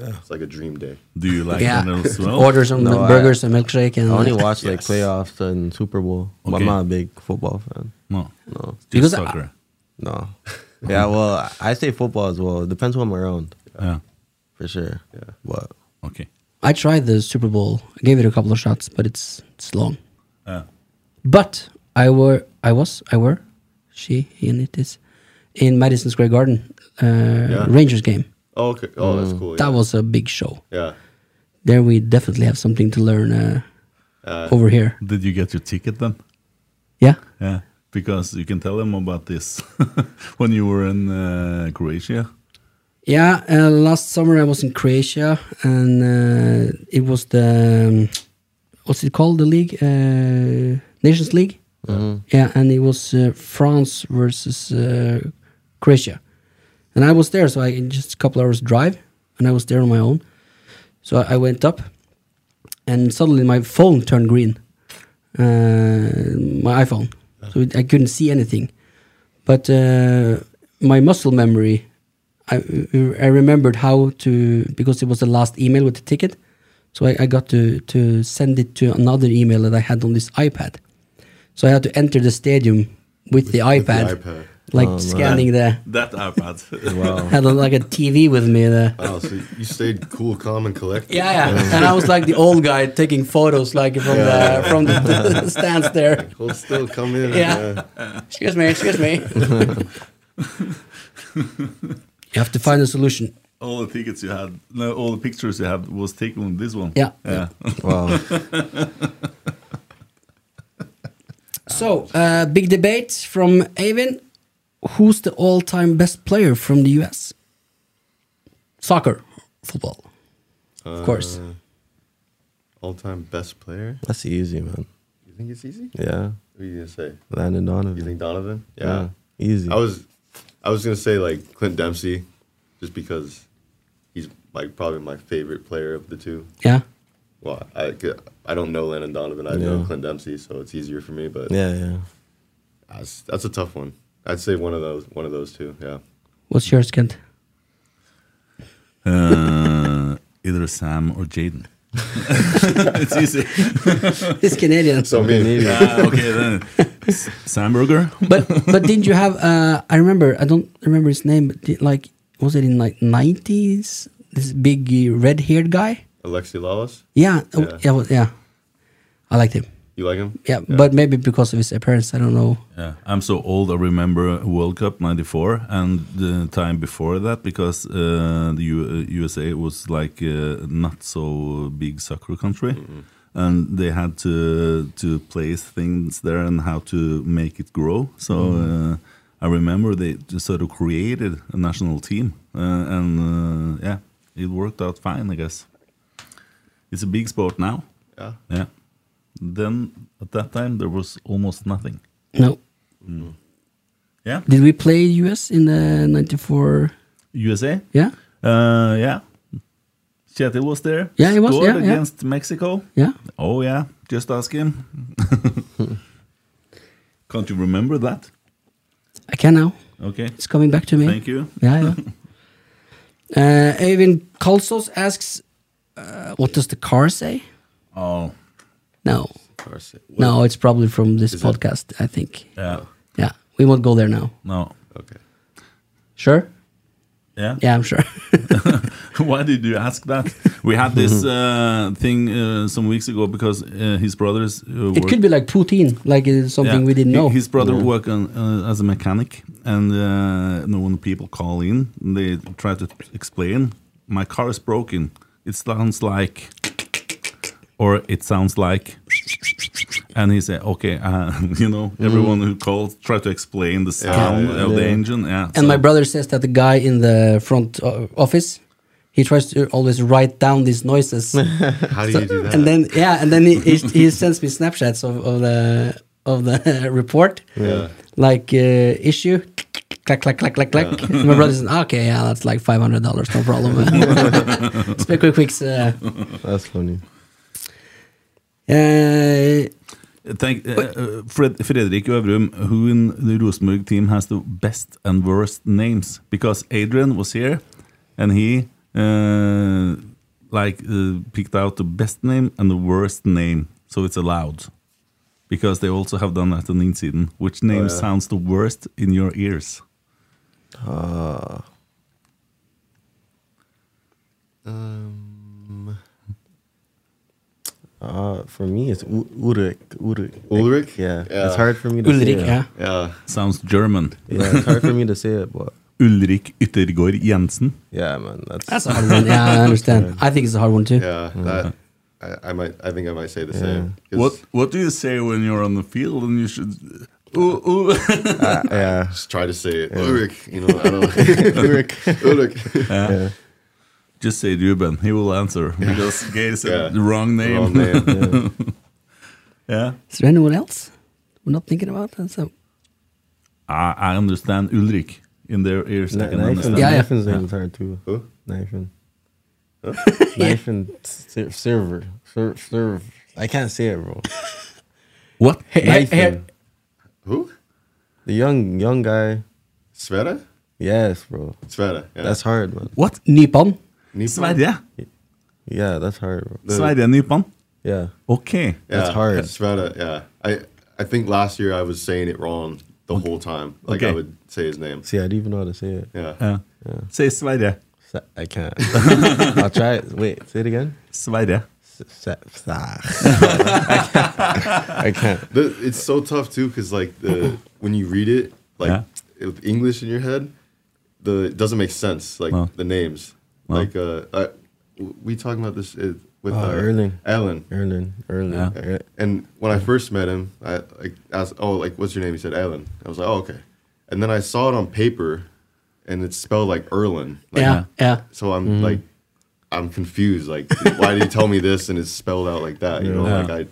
[SPEAKER 6] Yeah, it's like a dream day.
[SPEAKER 4] Do you like
[SPEAKER 5] Yeah.
[SPEAKER 4] that as well?
[SPEAKER 5] Order some
[SPEAKER 7] No, I-
[SPEAKER 5] burgers and milkshake and
[SPEAKER 7] I only
[SPEAKER 5] like-
[SPEAKER 7] watch like
[SPEAKER 4] Yes.
[SPEAKER 7] playoffs and Super Bowl. But
[SPEAKER 4] Okay.
[SPEAKER 7] I'm not a big football fan.
[SPEAKER 4] No.
[SPEAKER 7] No,
[SPEAKER 4] Just
[SPEAKER 5] Because I-
[SPEAKER 4] soccer.
[SPEAKER 7] no. yeah, well, I- I say football as well. It depends who I'm around,
[SPEAKER 4] yeah.
[SPEAKER 7] for sure.
[SPEAKER 6] Yeah.
[SPEAKER 7] But
[SPEAKER 4] Okay.
[SPEAKER 5] I tried the Super Bowl. I gave it a couple of shots, but it's it's long.
[SPEAKER 4] Yeah.
[SPEAKER 5] But I were I was I were she he and it is in Madison Square Garden uh, Rangers game.
[SPEAKER 6] Oh, okay. Oh, that's cool.
[SPEAKER 5] Mm.
[SPEAKER 6] Yeah.
[SPEAKER 5] That was a big show.
[SPEAKER 6] yeah.
[SPEAKER 5] There we definitely have something to learn uh, over here.
[SPEAKER 4] Did you get your ticket then?
[SPEAKER 5] Yeah.
[SPEAKER 4] Yeah. Because you can tell them about this when you were in uh, Croatia.
[SPEAKER 5] Yeah, uh, last summer I was in Croatia, and uh, it was the um, what's it called? The league, uh, Nations League. Yeah, and it was uh, France versus uh, Croatia, and I was there. So I just a couple hours drive, and I was there on my own. So I, I went up, and suddenly my phone turned green, uh, my iPhone. So it, I couldn't see anything but uh, my muscle memory I, I remembered how to because it was the last email with the ticket so I, I got to to send it to another email that i had on this ipad so i had to enter the stadium with the ipad,
[SPEAKER 6] iPad.
[SPEAKER 5] like
[SPEAKER 7] man.
[SPEAKER 5] scanning the
[SPEAKER 4] That iPad.
[SPEAKER 7] wow,
[SPEAKER 5] had like a tv with me the
[SPEAKER 6] Wow. So you stayed cool, calm, and collected.
[SPEAKER 5] yeah, yeah, and I was like the old guy taking photos, like from the from the, stands there.
[SPEAKER 6] Hold still, come in.
[SPEAKER 5] Yeah. Excuse me, excuse me. you have to find a solution.
[SPEAKER 4] all the tickets you had, no, all the pictures you had was taken with this one.
[SPEAKER 5] Yeah.
[SPEAKER 4] Yeah.
[SPEAKER 7] wow.
[SPEAKER 5] So, uh, big debate from Avin. Who's the all-time best player from the US? Soccer, football, of course.
[SPEAKER 6] All time best player.
[SPEAKER 7] That's easy, man.
[SPEAKER 6] You think it's easy?
[SPEAKER 7] Yeah,
[SPEAKER 6] What are you gonna say?
[SPEAKER 7] Landon Donovan.
[SPEAKER 6] You think Donovan?
[SPEAKER 7] yeah. easy.
[SPEAKER 6] I was, I was gonna say like Clint Dempsey, just because he's like probably my favorite player of the two.
[SPEAKER 5] Yeah,
[SPEAKER 6] Well, I, could- I don't know Landon Donovan. I know
[SPEAKER 7] Yeah.
[SPEAKER 6] Clint Dempsey, so it's easier for me. But
[SPEAKER 7] yeah, yeah.
[SPEAKER 6] that's, that's a tough one. I'd say one of those, one of those two. Yeah.
[SPEAKER 5] what's yours, Kent?
[SPEAKER 4] Uh, either Sam or Jaden. it's easy.
[SPEAKER 5] He's Canadian.
[SPEAKER 6] So me,
[SPEAKER 7] Easy.
[SPEAKER 4] Ah, okay then. S- Samburger.
[SPEAKER 5] but but didn't you have? Uh, I remember. I don't remember his name. But di- like, was it in like nineties? This big uh, red-haired guy.
[SPEAKER 6] Alexi Lalas.
[SPEAKER 5] Yeah, uh,
[SPEAKER 6] Yeah.
[SPEAKER 5] yeah, well, yeah. I liked him.
[SPEAKER 6] You like him?
[SPEAKER 5] Yeah, but maybe because of his appearance, I don't know.
[SPEAKER 4] Yeah, I'm so old. I remember World Cup '94 and the time before that because uh, the U- uh, USA was like uh, not so big soccer country, and they had to to place things there and how to make it grow. So uh, I remember they just sort of created a national team, uh, and uh, yeah, it worked out fine, I guess. It's a big sport now.
[SPEAKER 6] Yeah.
[SPEAKER 4] Yeah. Then at that time there was almost nothing.
[SPEAKER 5] No,
[SPEAKER 4] Yeah.
[SPEAKER 5] did we play US in the '94?
[SPEAKER 4] USA.
[SPEAKER 5] Yeah,
[SPEAKER 4] Uh, yeah. Chet, was there.
[SPEAKER 5] Yeah, he was,
[SPEAKER 4] Scored
[SPEAKER 5] yeah, yeah.
[SPEAKER 4] against Mexico.
[SPEAKER 5] yeah.
[SPEAKER 4] Oh yeah, just ask him. Can't you remember that?
[SPEAKER 5] I can now.
[SPEAKER 4] Okay.
[SPEAKER 5] It's coming back to me.
[SPEAKER 4] Thank you.
[SPEAKER 5] Yeah, yeah. uh, Avin Kalsos asks, uh, "What does the car say?"
[SPEAKER 4] Oh,
[SPEAKER 5] No,
[SPEAKER 6] Carson.
[SPEAKER 5] no, it's probably from this
[SPEAKER 6] Is it?
[SPEAKER 5] podcast. I think.
[SPEAKER 4] yeah.
[SPEAKER 5] Yeah, we won't go there now.
[SPEAKER 4] No.
[SPEAKER 6] Okay.
[SPEAKER 5] Sure.
[SPEAKER 4] Yeah.
[SPEAKER 5] Yeah, I'm sure.
[SPEAKER 4] Why did you ask that? We had this uh, thing uh, some weeks ago because uh, his brothers. Uh,
[SPEAKER 5] it could be like poutine, like it's something
[SPEAKER 4] Yeah.
[SPEAKER 5] we didn't
[SPEAKER 4] He-
[SPEAKER 5] know.
[SPEAKER 4] His brother worked on, uh, as a mechanic, and uh, no, when people call in, they try to explain. My car is broken. It sounds like or it sounds like and he said okay uh, you know everyone who called tried to explain the sound of the
[SPEAKER 7] Mm. Yeah.
[SPEAKER 4] engine yeah so-
[SPEAKER 5] And my brother says that the guy in the front uh, office, he tries to always write down these noises,
[SPEAKER 6] How do you do that?
[SPEAKER 5] and then yeah, and then he, he, he sends me snapshots of, of the of the report,
[SPEAKER 6] Yeah.
[SPEAKER 5] like uh, issue, clack clack clack clack clack. And my brother says, okay, yeah, that's like five hundred dollars, no problem. Speculquicks. Uh,
[SPEAKER 7] That's funny.
[SPEAKER 5] uh,
[SPEAKER 4] Thank, uh, uh, Fred, Fredrik Øvrum, who in the Rosenborg team has the best and worst names? Because Adrian was here, and he uh, like uh, picked out the best name and the worst name, so it's allowed. Because they also have done that in Insiden. Which name
[SPEAKER 6] yeah.
[SPEAKER 4] sounds the worst in your ears?
[SPEAKER 7] Uh, for me, it's U- Ulrich. Ulrich.
[SPEAKER 6] Ulrich?
[SPEAKER 7] Yeah.
[SPEAKER 6] Yeah.
[SPEAKER 7] It's hard for me to
[SPEAKER 5] Ulrich,
[SPEAKER 7] say it.
[SPEAKER 5] yeah.
[SPEAKER 6] Yeah.
[SPEAKER 4] Sounds German.
[SPEAKER 7] Yeah, it's hard for me to say it, but
[SPEAKER 4] Ulrik Yttergård Jensen.
[SPEAKER 7] yeah, man. That's,
[SPEAKER 5] That's a hard one. Yeah, I understand. I think it's a hard one too.
[SPEAKER 6] Yeah.
[SPEAKER 7] Mm-hmm.
[SPEAKER 6] That, I, I might. I think I might say the same. 'Cause
[SPEAKER 4] What What do you say when you're on the field and you should? Ooh, ooh.
[SPEAKER 7] uh, yeah.
[SPEAKER 6] Just try to say it. Ulrich. You know. I don't.
[SPEAKER 7] Ulrich.
[SPEAKER 6] Ulrich.
[SPEAKER 7] Yeah.
[SPEAKER 4] Just say Ruben. He will answer because Gail said
[SPEAKER 6] Yeah.
[SPEAKER 4] the wrong name.
[SPEAKER 6] Wrong name.
[SPEAKER 7] yeah.
[SPEAKER 4] yeah,
[SPEAKER 5] Is there anyone else we're not thinking about? That's a-
[SPEAKER 4] I, I understand Ulrich in their ears. I
[SPEAKER 7] Ni-
[SPEAKER 4] can
[SPEAKER 7] Knifen.
[SPEAKER 4] understand.
[SPEAKER 5] Yeah, yeah.
[SPEAKER 7] Knifen's name is hard too.
[SPEAKER 6] Who?
[SPEAKER 7] Knifen. Knifen. ser- Server. Ser- Server. I can't say it, bro.
[SPEAKER 4] What?
[SPEAKER 5] Hey, hey,
[SPEAKER 7] Knifen.
[SPEAKER 6] Who?
[SPEAKER 7] The young young guy.
[SPEAKER 6] Sveta.
[SPEAKER 7] Yes, bro.
[SPEAKER 6] Sveta. Yeah.
[SPEAKER 7] That's hard, man.
[SPEAKER 4] What?
[SPEAKER 5] Nippon.
[SPEAKER 6] Nippon?
[SPEAKER 4] Sverige.
[SPEAKER 7] Yeah, that's hard, bro.
[SPEAKER 4] Sverige Nypan.
[SPEAKER 7] Yeah.
[SPEAKER 4] Okay.
[SPEAKER 7] That's hard.
[SPEAKER 6] Sveta, yeah. I I think last year I was saying it wrong the whole time. Like I
[SPEAKER 4] Okay.
[SPEAKER 6] would say his name.
[SPEAKER 7] See, uh, I don't even know how to say it.
[SPEAKER 6] Yeah.
[SPEAKER 4] Yeah. Say Sverige.
[SPEAKER 7] Sa- I can't. I'll try it. Wait, say it again.
[SPEAKER 4] Sverige.
[SPEAKER 7] S- sa- sa- I can't. I can't.
[SPEAKER 6] The- it's so tough too because like the when you read it like
[SPEAKER 4] Yeah.
[SPEAKER 6] with English in your head, the it doesn't make sense like
[SPEAKER 4] No.
[SPEAKER 6] the names.
[SPEAKER 4] No.
[SPEAKER 6] Like uh, I, we talking about this uh, with
[SPEAKER 7] Oh,
[SPEAKER 6] uh,
[SPEAKER 7] Erling.
[SPEAKER 6] Alan.
[SPEAKER 7] Erlin. Erlin.
[SPEAKER 4] Yeah.
[SPEAKER 7] Er-
[SPEAKER 6] And when I first met him, I like asked, "Oh, like what's your name?" He said, "Alan." I was like, "Oh, okay." And then I saw it on paper, and it's spelled like Erlin. Like,
[SPEAKER 5] Yeah, yeah.
[SPEAKER 6] So I'm like, I'm confused. Like, why did you tell me this and it's spelled out like that? You know,
[SPEAKER 4] Yeah.
[SPEAKER 6] like I,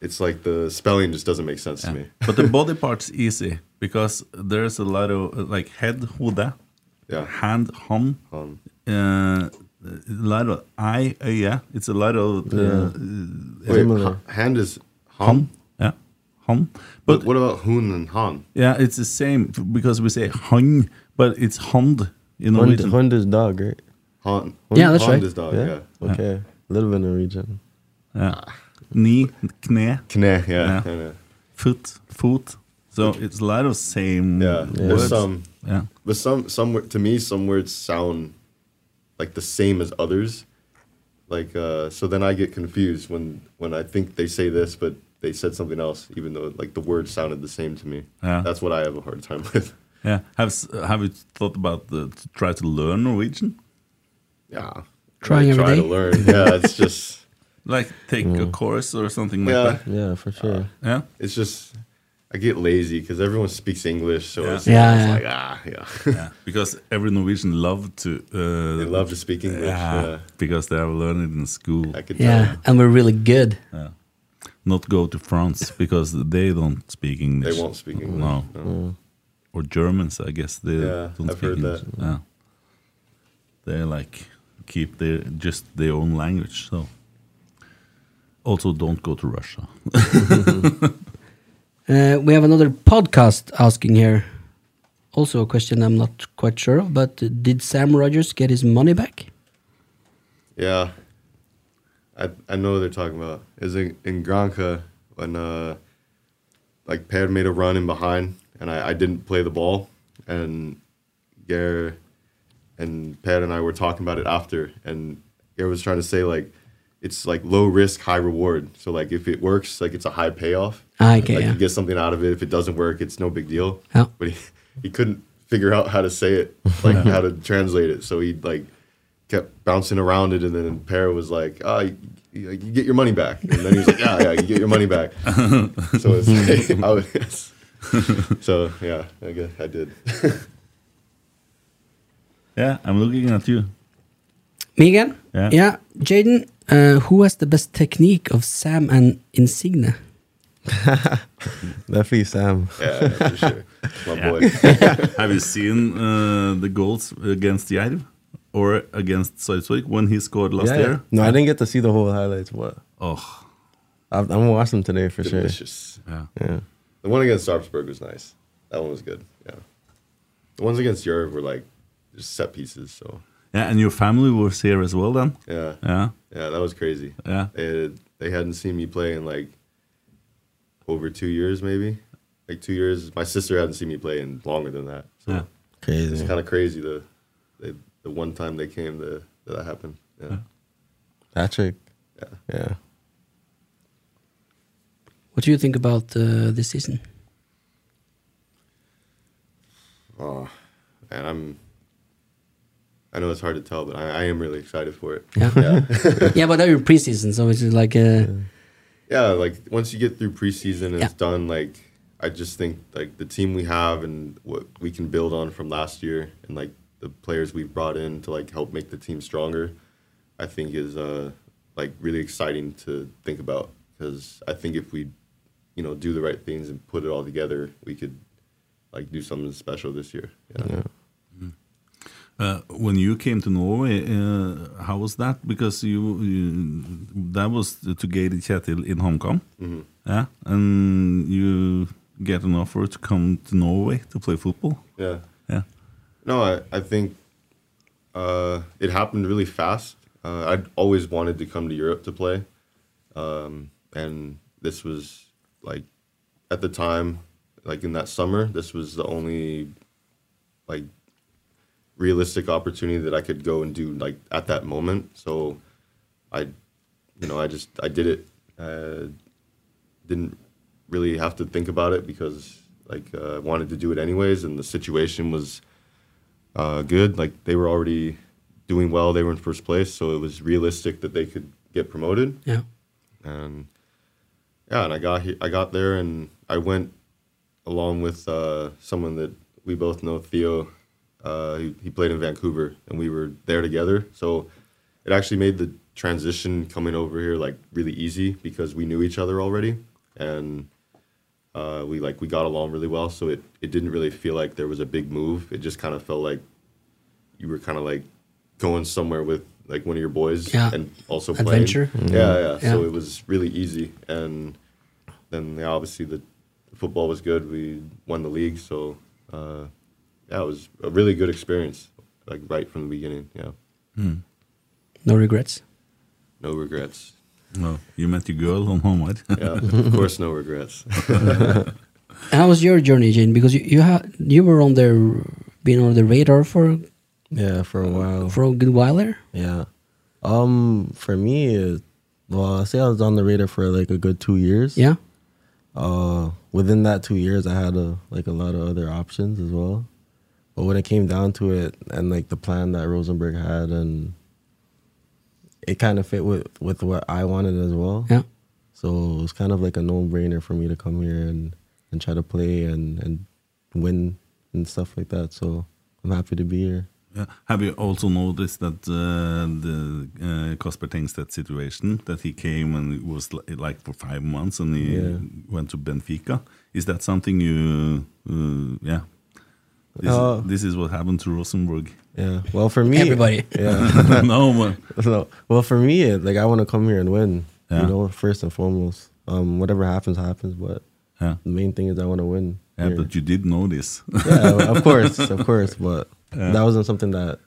[SPEAKER 6] it's like the spelling just doesn't make sense to me.
[SPEAKER 4] but the body part's easy because there's a lot of uh, like head, huda,
[SPEAKER 6] Yeah.
[SPEAKER 4] hand, hum,
[SPEAKER 6] Um,
[SPEAKER 4] uh, a lot of eye, uh, yeah. It's a lot of uh,
[SPEAKER 6] wait,
[SPEAKER 7] Similar.
[SPEAKER 6] ha- hand is
[SPEAKER 4] hum,
[SPEAKER 6] hum.
[SPEAKER 4] yeah, hum. But
[SPEAKER 6] But what about hoon and han?
[SPEAKER 4] Yeah, it's the same f- because we say hung, but it's hund in
[SPEAKER 7] Hund,
[SPEAKER 4] Norwegian.
[SPEAKER 7] Hund is dog, right?
[SPEAKER 6] Han.
[SPEAKER 5] Yeah, that's
[SPEAKER 6] Han
[SPEAKER 5] right.
[SPEAKER 6] is dog.
[SPEAKER 7] yeah?
[SPEAKER 6] Oh, Yeah.
[SPEAKER 7] Okay. A little bit Norwegian.
[SPEAKER 4] Yeah. Knee, kne, Yeah.
[SPEAKER 6] Kneh, yeah. Yeah. yeah.
[SPEAKER 4] foot, foot. So it's a lot of same
[SPEAKER 6] Yeah,
[SPEAKER 4] words.
[SPEAKER 6] There's some,
[SPEAKER 4] yeah.
[SPEAKER 6] but some, some wor- to me, some words sound like the same as others. Like, uh, so then I get confused when when I think they say this, but they said something else, even though like the words sounded the same to me.
[SPEAKER 4] Yeah.
[SPEAKER 6] That's what I have a hard time with.
[SPEAKER 4] Yeah. Have s- have you thought about the, to try to learn Norwegian?
[SPEAKER 6] Yeah,
[SPEAKER 5] Trying
[SPEAKER 6] I
[SPEAKER 5] every
[SPEAKER 6] try
[SPEAKER 5] day.
[SPEAKER 6] to learn. Yeah, it's just,
[SPEAKER 4] Like take a course or something like
[SPEAKER 6] Mm. Uh, yeah,
[SPEAKER 4] that.
[SPEAKER 7] Yeah, for sure.
[SPEAKER 4] Yeah.
[SPEAKER 6] it's just. I get lazy because everyone speaks English, so it's,
[SPEAKER 5] Yeah,
[SPEAKER 6] it's
[SPEAKER 5] yeah.
[SPEAKER 6] like ah, yeah.
[SPEAKER 4] yeah. Because every Norwegian love to uh,
[SPEAKER 6] they love to speak English.
[SPEAKER 4] yeah,
[SPEAKER 6] Yeah,
[SPEAKER 4] because they have learned it in school.
[SPEAKER 6] I could tell.
[SPEAKER 5] Yeah, and we're really good.
[SPEAKER 4] Not go to France because they don't speak English.
[SPEAKER 6] They won't speak English.
[SPEAKER 4] No. Oh. Or Germans, I guess they
[SPEAKER 6] Yeah,
[SPEAKER 4] don't
[SPEAKER 6] I've
[SPEAKER 4] speak
[SPEAKER 6] heard
[SPEAKER 4] English.
[SPEAKER 6] that.
[SPEAKER 4] Yeah. They like keep their just their own language. So also don't go to Russia.
[SPEAKER 5] Uh, we have another podcast asking here. Also, a question I'm not quite sure of, but uh, did Sam Rogers get his money back?
[SPEAKER 6] Yeah. I I know what they're talking about. Is in, in Granca when uh like Per made a run in behind and I, I didn't play the ball and Gare and Per and I were talking about it after and Gare was trying to say like it's like low risk, high reward. So like if it works, like it's a high payoff.
[SPEAKER 5] Ah, okay,
[SPEAKER 6] like
[SPEAKER 5] yeah.
[SPEAKER 6] you get something out of it. If it doesn't work, it's no big deal.
[SPEAKER 5] Yeah.
[SPEAKER 6] But he, he couldn't figure out how to say it, like how to translate it. So he like kept bouncing around it, and then Para was like, "Ah, you, you you get your money back." And then he was like, "Yeah, yeah, you get your money back." so it's like, I was, so yeah, I guess I did.
[SPEAKER 4] Yeah, I'm looking at you.
[SPEAKER 5] Me again?
[SPEAKER 4] Yeah.
[SPEAKER 5] Yeah. Jaden, uh, who has the best technique of Sam and Insigne?
[SPEAKER 7] Definitely Sam.
[SPEAKER 6] yeah, for sure, my
[SPEAKER 4] Yeah.
[SPEAKER 6] boy.
[SPEAKER 4] Have you seen uh, the goals against Jair or against Salzburg when he scored last
[SPEAKER 7] Yeah, yeah.
[SPEAKER 4] year?
[SPEAKER 7] No, I didn't get to see the whole highlights, but
[SPEAKER 4] Oh,
[SPEAKER 7] I've, I'm gonna watch them today for sure.
[SPEAKER 6] Delicious.
[SPEAKER 4] yeah.
[SPEAKER 7] Yeah.
[SPEAKER 6] The one against Sarpsborg was nice. That one was good. Yeah. The ones against Europe were like just set pieces. So
[SPEAKER 4] Yeah, and your family was here as well then?
[SPEAKER 6] yeah, yeah,
[SPEAKER 4] Yeah.
[SPEAKER 6] that was crazy.
[SPEAKER 4] Yeah.
[SPEAKER 6] They, they hadn't seen me play in like over two years, maybe like two years. My sister hadn't seen me play in longer than that. So
[SPEAKER 4] Yeah.
[SPEAKER 6] it's
[SPEAKER 7] Crazy.
[SPEAKER 6] kind of crazy. The, the the one time they came, the that, that happened. Yeah.
[SPEAKER 7] Patrick.
[SPEAKER 6] Yeah.
[SPEAKER 7] Yeah.
[SPEAKER 5] What do you think about uh, this season?
[SPEAKER 6] and I'm. I know it's hard to tell, but I, I am really excited for it.
[SPEAKER 5] Yeah.
[SPEAKER 6] Yeah.
[SPEAKER 5] yeah, but they're in preseason, so it's just like, uh,
[SPEAKER 6] yeah, like once you get through preseason and it's
[SPEAKER 5] Yeah.
[SPEAKER 6] done, like I just think like the team we have and what we can build on from last year and like the players we've brought in to like help make the team stronger, I think is uh like really exciting to think about because I think if we, you know, do the right things and put it all together, we could like do something special this year. Yeah.
[SPEAKER 4] Uh, when you came to Norway, uh, how was that? Because you, you that was to Gate Kjetil in Hong Kong. Yeah. And you get an offer to come to Norway to play football.
[SPEAKER 6] yeah.
[SPEAKER 4] Yeah.
[SPEAKER 6] No, I, I think uh, it happened really fast. Uh, I'd always wanted to come to Europe to play. Um, and this was like at the time, like in that summer, this was the only like realistic opportunity that I could go and do like at that moment. So I, you know, I just, I did it. Uh, didn't really have to think about it because like uh, I wanted to do it anyways. And the situation was, uh, good. Like they were already doing well. They were in first place, so it was realistic that they could get promoted.
[SPEAKER 5] yeah.
[SPEAKER 6] And yeah, and I got he- I got there, and I went along with uh, someone that we both know, Theo. Uh, he, he played in Vancouver, and we were there together. So it actually made the transition coming over here like really easy because we knew each other already, and uh, we like we got along really well. So it it didn't really feel like there was a big move. It just kind of felt like you were kind of like going somewhere with like one of your boys
[SPEAKER 5] Yeah.
[SPEAKER 6] and also
[SPEAKER 5] Adventure.
[SPEAKER 6] playing. Yeah, yeah, So
[SPEAKER 5] Yeah.
[SPEAKER 6] it was really easy, and then yeah, obviously the football was good. We won the league, so uh, yeah, it was a really good experience, like right from the beginning. Yeah,
[SPEAKER 5] No regrets.
[SPEAKER 6] no regrets.
[SPEAKER 4] No, you met your girl on home, right?
[SPEAKER 6] Yeah, of course, no regrets. Uh,
[SPEAKER 5] How was your journey, Jane? Because you you, ha- you were on their been on the radar for
[SPEAKER 7] Yeah, for a while.
[SPEAKER 5] for a good while there.
[SPEAKER 7] Yeah. Um, for me, it, well, I say I was on the radar for like a good two years.
[SPEAKER 5] Yeah,
[SPEAKER 7] Uh, within that two years, I had a like a lot of other options as well. But when it came down to it, and like the plan that Rosenberg had, and it kind of fit with with what I wanted as well.
[SPEAKER 5] yeah,
[SPEAKER 7] So it was kind of like a no brainer for me to come here and and try to play and and win and stuff like that. So I'm happy to be here.
[SPEAKER 4] Yeah. Uh, Have you also noticed that uh, the uh, Kasper Tengstedt situation that he came and it was li- like for five months and he
[SPEAKER 7] Yeah.
[SPEAKER 4] went to Benfica? Is that something you? Uh, yeah. This,
[SPEAKER 7] Uh,
[SPEAKER 4] this is what happened to Rosenborg.
[SPEAKER 7] Yeah. Well, for me,
[SPEAKER 5] everybody.
[SPEAKER 7] Yeah.
[SPEAKER 4] no, man.
[SPEAKER 7] So, well, for me, it, like I want to come here and win.
[SPEAKER 4] Yeah.
[SPEAKER 7] You know, first and foremost. Um, whatever happens, happens. But
[SPEAKER 4] Yeah.
[SPEAKER 7] the main thing is I want to win.
[SPEAKER 4] Yeah,
[SPEAKER 7] here.
[SPEAKER 4] but you did notice.
[SPEAKER 7] yeah, of course, of course. But that wasn't something that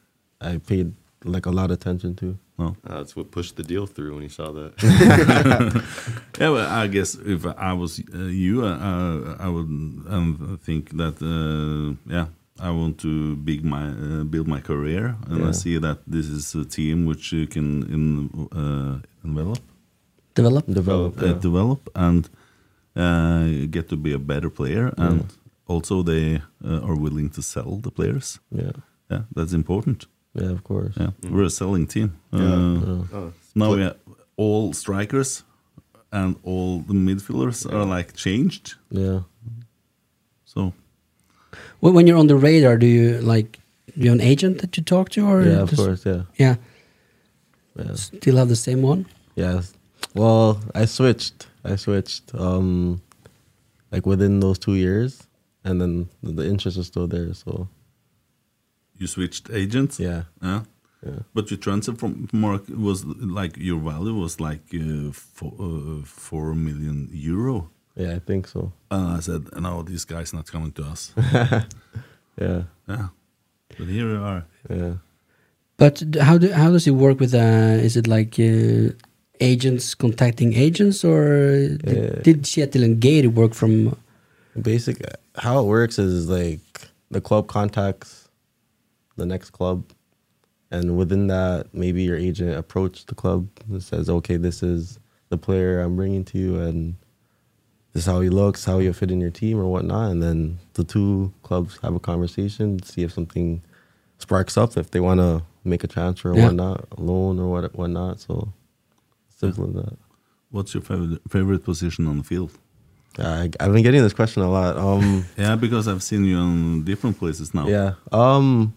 [SPEAKER 7] I paid like a lot of attention to.
[SPEAKER 4] no.
[SPEAKER 6] Uh, that's what pushed the deal through when he saw that.
[SPEAKER 4] Yeah, well, I guess if I was uh, you, uh, uh, I would um, think that uh, yeah, I want to big my uh, build my career, and I
[SPEAKER 7] Yeah.
[SPEAKER 4] see that this is a team which you can in, uh, envelop,
[SPEAKER 5] Develop.
[SPEAKER 7] Develop.
[SPEAKER 4] uh, develop, and uh, get to be a better player, and also they uh, are willing to sell the players.
[SPEAKER 7] yeah.
[SPEAKER 4] Yeah, that's important.
[SPEAKER 7] Yeah, of course.
[SPEAKER 4] Yeah, we're a selling team. Uh, now we have all strikers and all the midfielders are like changed.
[SPEAKER 7] Yeah.
[SPEAKER 4] So
[SPEAKER 5] When when you're on the radar, do you like you have an agent that you talk to, or
[SPEAKER 7] Yeah, of
[SPEAKER 5] just-
[SPEAKER 7] course. Yeah.
[SPEAKER 5] yeah,
[SPEAKER 7] Yeah.
[SPEAKER 5] still have the same one?
[SPEAKER 7] Yes. Well, I switched. I switched. Um, like within those two years, and then the- the interest is still there. So
[SPEAKER 4] you switched agents.
[SPEAKER 7] yeah,
[SPEAKER 4] Yeah.
[SPEAKER 7] Yeah.
[SPEAKER 4] But your transfer from mark was like your value was like uh, four, uh, four million euro.
[SPEAKER 7] yeah, I think so.
[SPEAKER 4] And I said, no, this guy's not coming to us.
[SPEAKER 7] Yeah,
[SPEAKER 4] yeah. But here we are.
[SPEAKER 7] yeah.
[SPEAKER 5] But d- how do how does it work with? Uh, is it like uh, agents contacting agents, or did,
[SPEAKER 7] Yeah.
[SPEAKER 5] did Seattle and Gate work from?
[SPEAKER 7] Basic. How it works is like the club contacts the next club, and within that, maybe your agent approached the club and says, "Okay, this is the player I'm bringing to you, and this is how he looks, how he'll fit in your team, or whatnot." And then the two clubs have a conversation, see if something sparks up, if they want to make a transfer or
[SPEAKER 5] Yeah.
[SPEAKER 7] whatnot, a loan or what whatnot. So simple as that.
[SPEAKER 4] What's your favorite, favorite position on the field?
[SPEAKER 7] I, I've been getting this question a lot. Um,
[SPEAKER 4] Yeah, because I've seen you on different places now.
[SPEAKER 7] Yeah. Um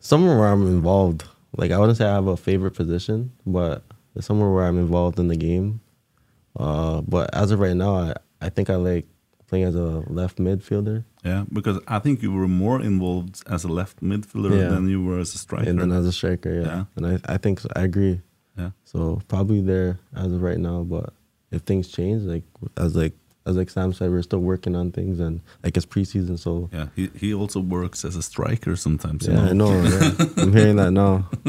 [SPEAKER 7] somewhere where I'm involved. Like I wouldn't say I have a favorite position, but it's somewhere where I'm involved in the game. Uh but as of right now I, I think I like playing as a left midfielder
[SPEAKER 4] Yeah, because I think you were more involved as a left midfielder
[SPEAKER 7] Yeah.
[SPEAKER 4] than you were as a striker.
[SPEAKER 7] and then as a striker, yeah.
[SPEAKER 4] Yeah.
[SPEAKER 7] And I, I think so, I agree.
[SPEAKER 4] yeah.
[SPEAKER 7] So probably there as of right now, but if things change, like as like as like Sam said, we're still working on things and like it's preseason so
[SPEAKER 4] Yeah, he, he also works as a striker sometimes.
[SPEAKER 7] yeah, I
[SPEAKER 4] you know?
[SPEAKER 7] know, yeah. I'm hearing that now.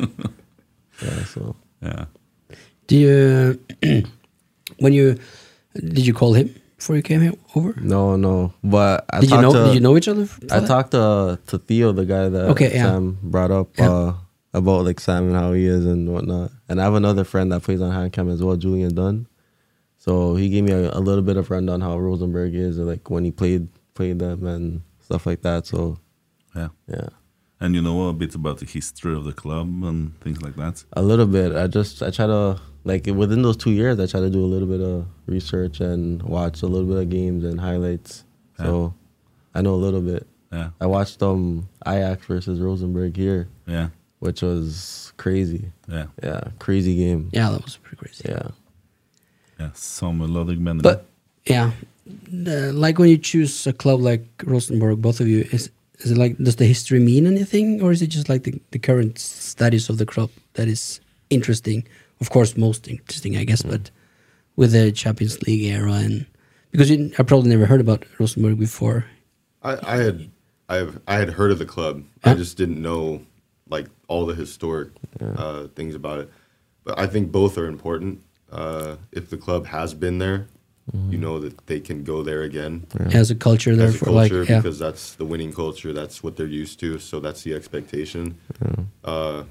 [SPEAKER 7] Yeah, so
[SPEAKER 4] Yeah.
[SPEAKER 5] Do you when you did you call him before you came here over?
[SPEAKER 7] No, no. But I
[SPEAKER 5] did you
[SPEAKER 7] talked
[SPEAKER 5] know?
[SPEAKER 7] To,
[SPEAKER 5] did you know each other? f-
[SPEAKER 7] I
[SPEAKER 5] for that?
[SPEAKER 7] talked to to Theo, the guy that
[SPEAKER 5] Okay, yeah.
[SPEAKER 7] Sam brought up
[SPEAKER 5] Yeah.
[SPEAKER 7] uh, about like Sam and how he is and whatnot. And I have another friend that plays on hand cam as well, Julian Dunn. So he gave me a, a little bit of rundown how Rosenberg is and like when he played played them and stuff like that. So
[SPEAKER 4] Yeah.
[SPEAKER 7] yeah,
[SPEAKER 4] And you know a bit about the history of the club and things like that.
[SPEAKER 7] a little bit. I just I try to like within those two years, I try to do a little bit of research and watch a little bit of games and highlights. So I know a little bit.
[SPEAKER 4] Yeah.
[SPEAKER 7] I watched um Ajax versus Rosenberg here,
[SPEAKER 4] Yeah.
[SPEAKER 7] which was crazy.
[SPEAKER 4] Yeah.
[SPEAKER 7] Yeah, crazy game.
[SPEAKER 5] Yeah, that was pretty crazy.
[SPEAKER 7] Yeah.
[SPEAKER 4] Yeah. Some melodic men.
[SPEAKER 5] But yeah, the- like when you choose a club like Rosenborg, both of you is is it like does the history mean anything, or is it just like the, the current status of the club that is interesting? Of course, most interesting, I guess,
[SPEAKER 6] Mm.
[SPEAKER 5] but with the Champions League era and because you, I probably never heard about Rosenborg before.
[SPEAKER 6] I, I had I've I had heard of the club.
[SPEAKER 5] Yeah.
[SPEAKER 6] I just didn't know like all the historic uh, things about it. But I think both are important. Uh, if the club has been there,
[SPEAKER 5] Mm-hmm.
[SPEAKER 6] you know that they can go there again
[SPEAKER 5] As a culture,
[SPEAKER 6] as a
[SPEAKER 5] therefore,
[SPEAKER 6] culture
[SPEAKER 5] like yeah,
[SPEAKER 6] because that's the winning culture. That's what they're used to. So that's the expectation. Uh,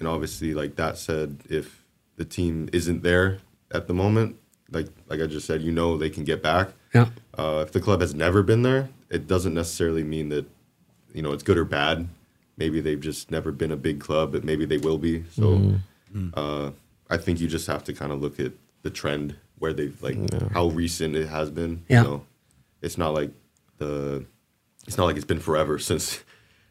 [SPEAKER 6] and obviously, like that said, if the team isn't there at the moment, like like I just said, you know they can get back.
[SPEAKER 5] yeah,
[SPEAKER 6] Uh, if the club has never been there, it doesn't necessarily mean that you know it's good or bad. Maybe they've just never been a big club, but maybe they will be. So
[SPEAKER 5] Mm-hmm.
[SPEAKER 6] Uh, I think you just have to kind of look at the trend where they've like how recent it has been.
[SPEAKER 5] Yeah.
[SPEAKER 6] You know, it's not like the it's not like it's been forever since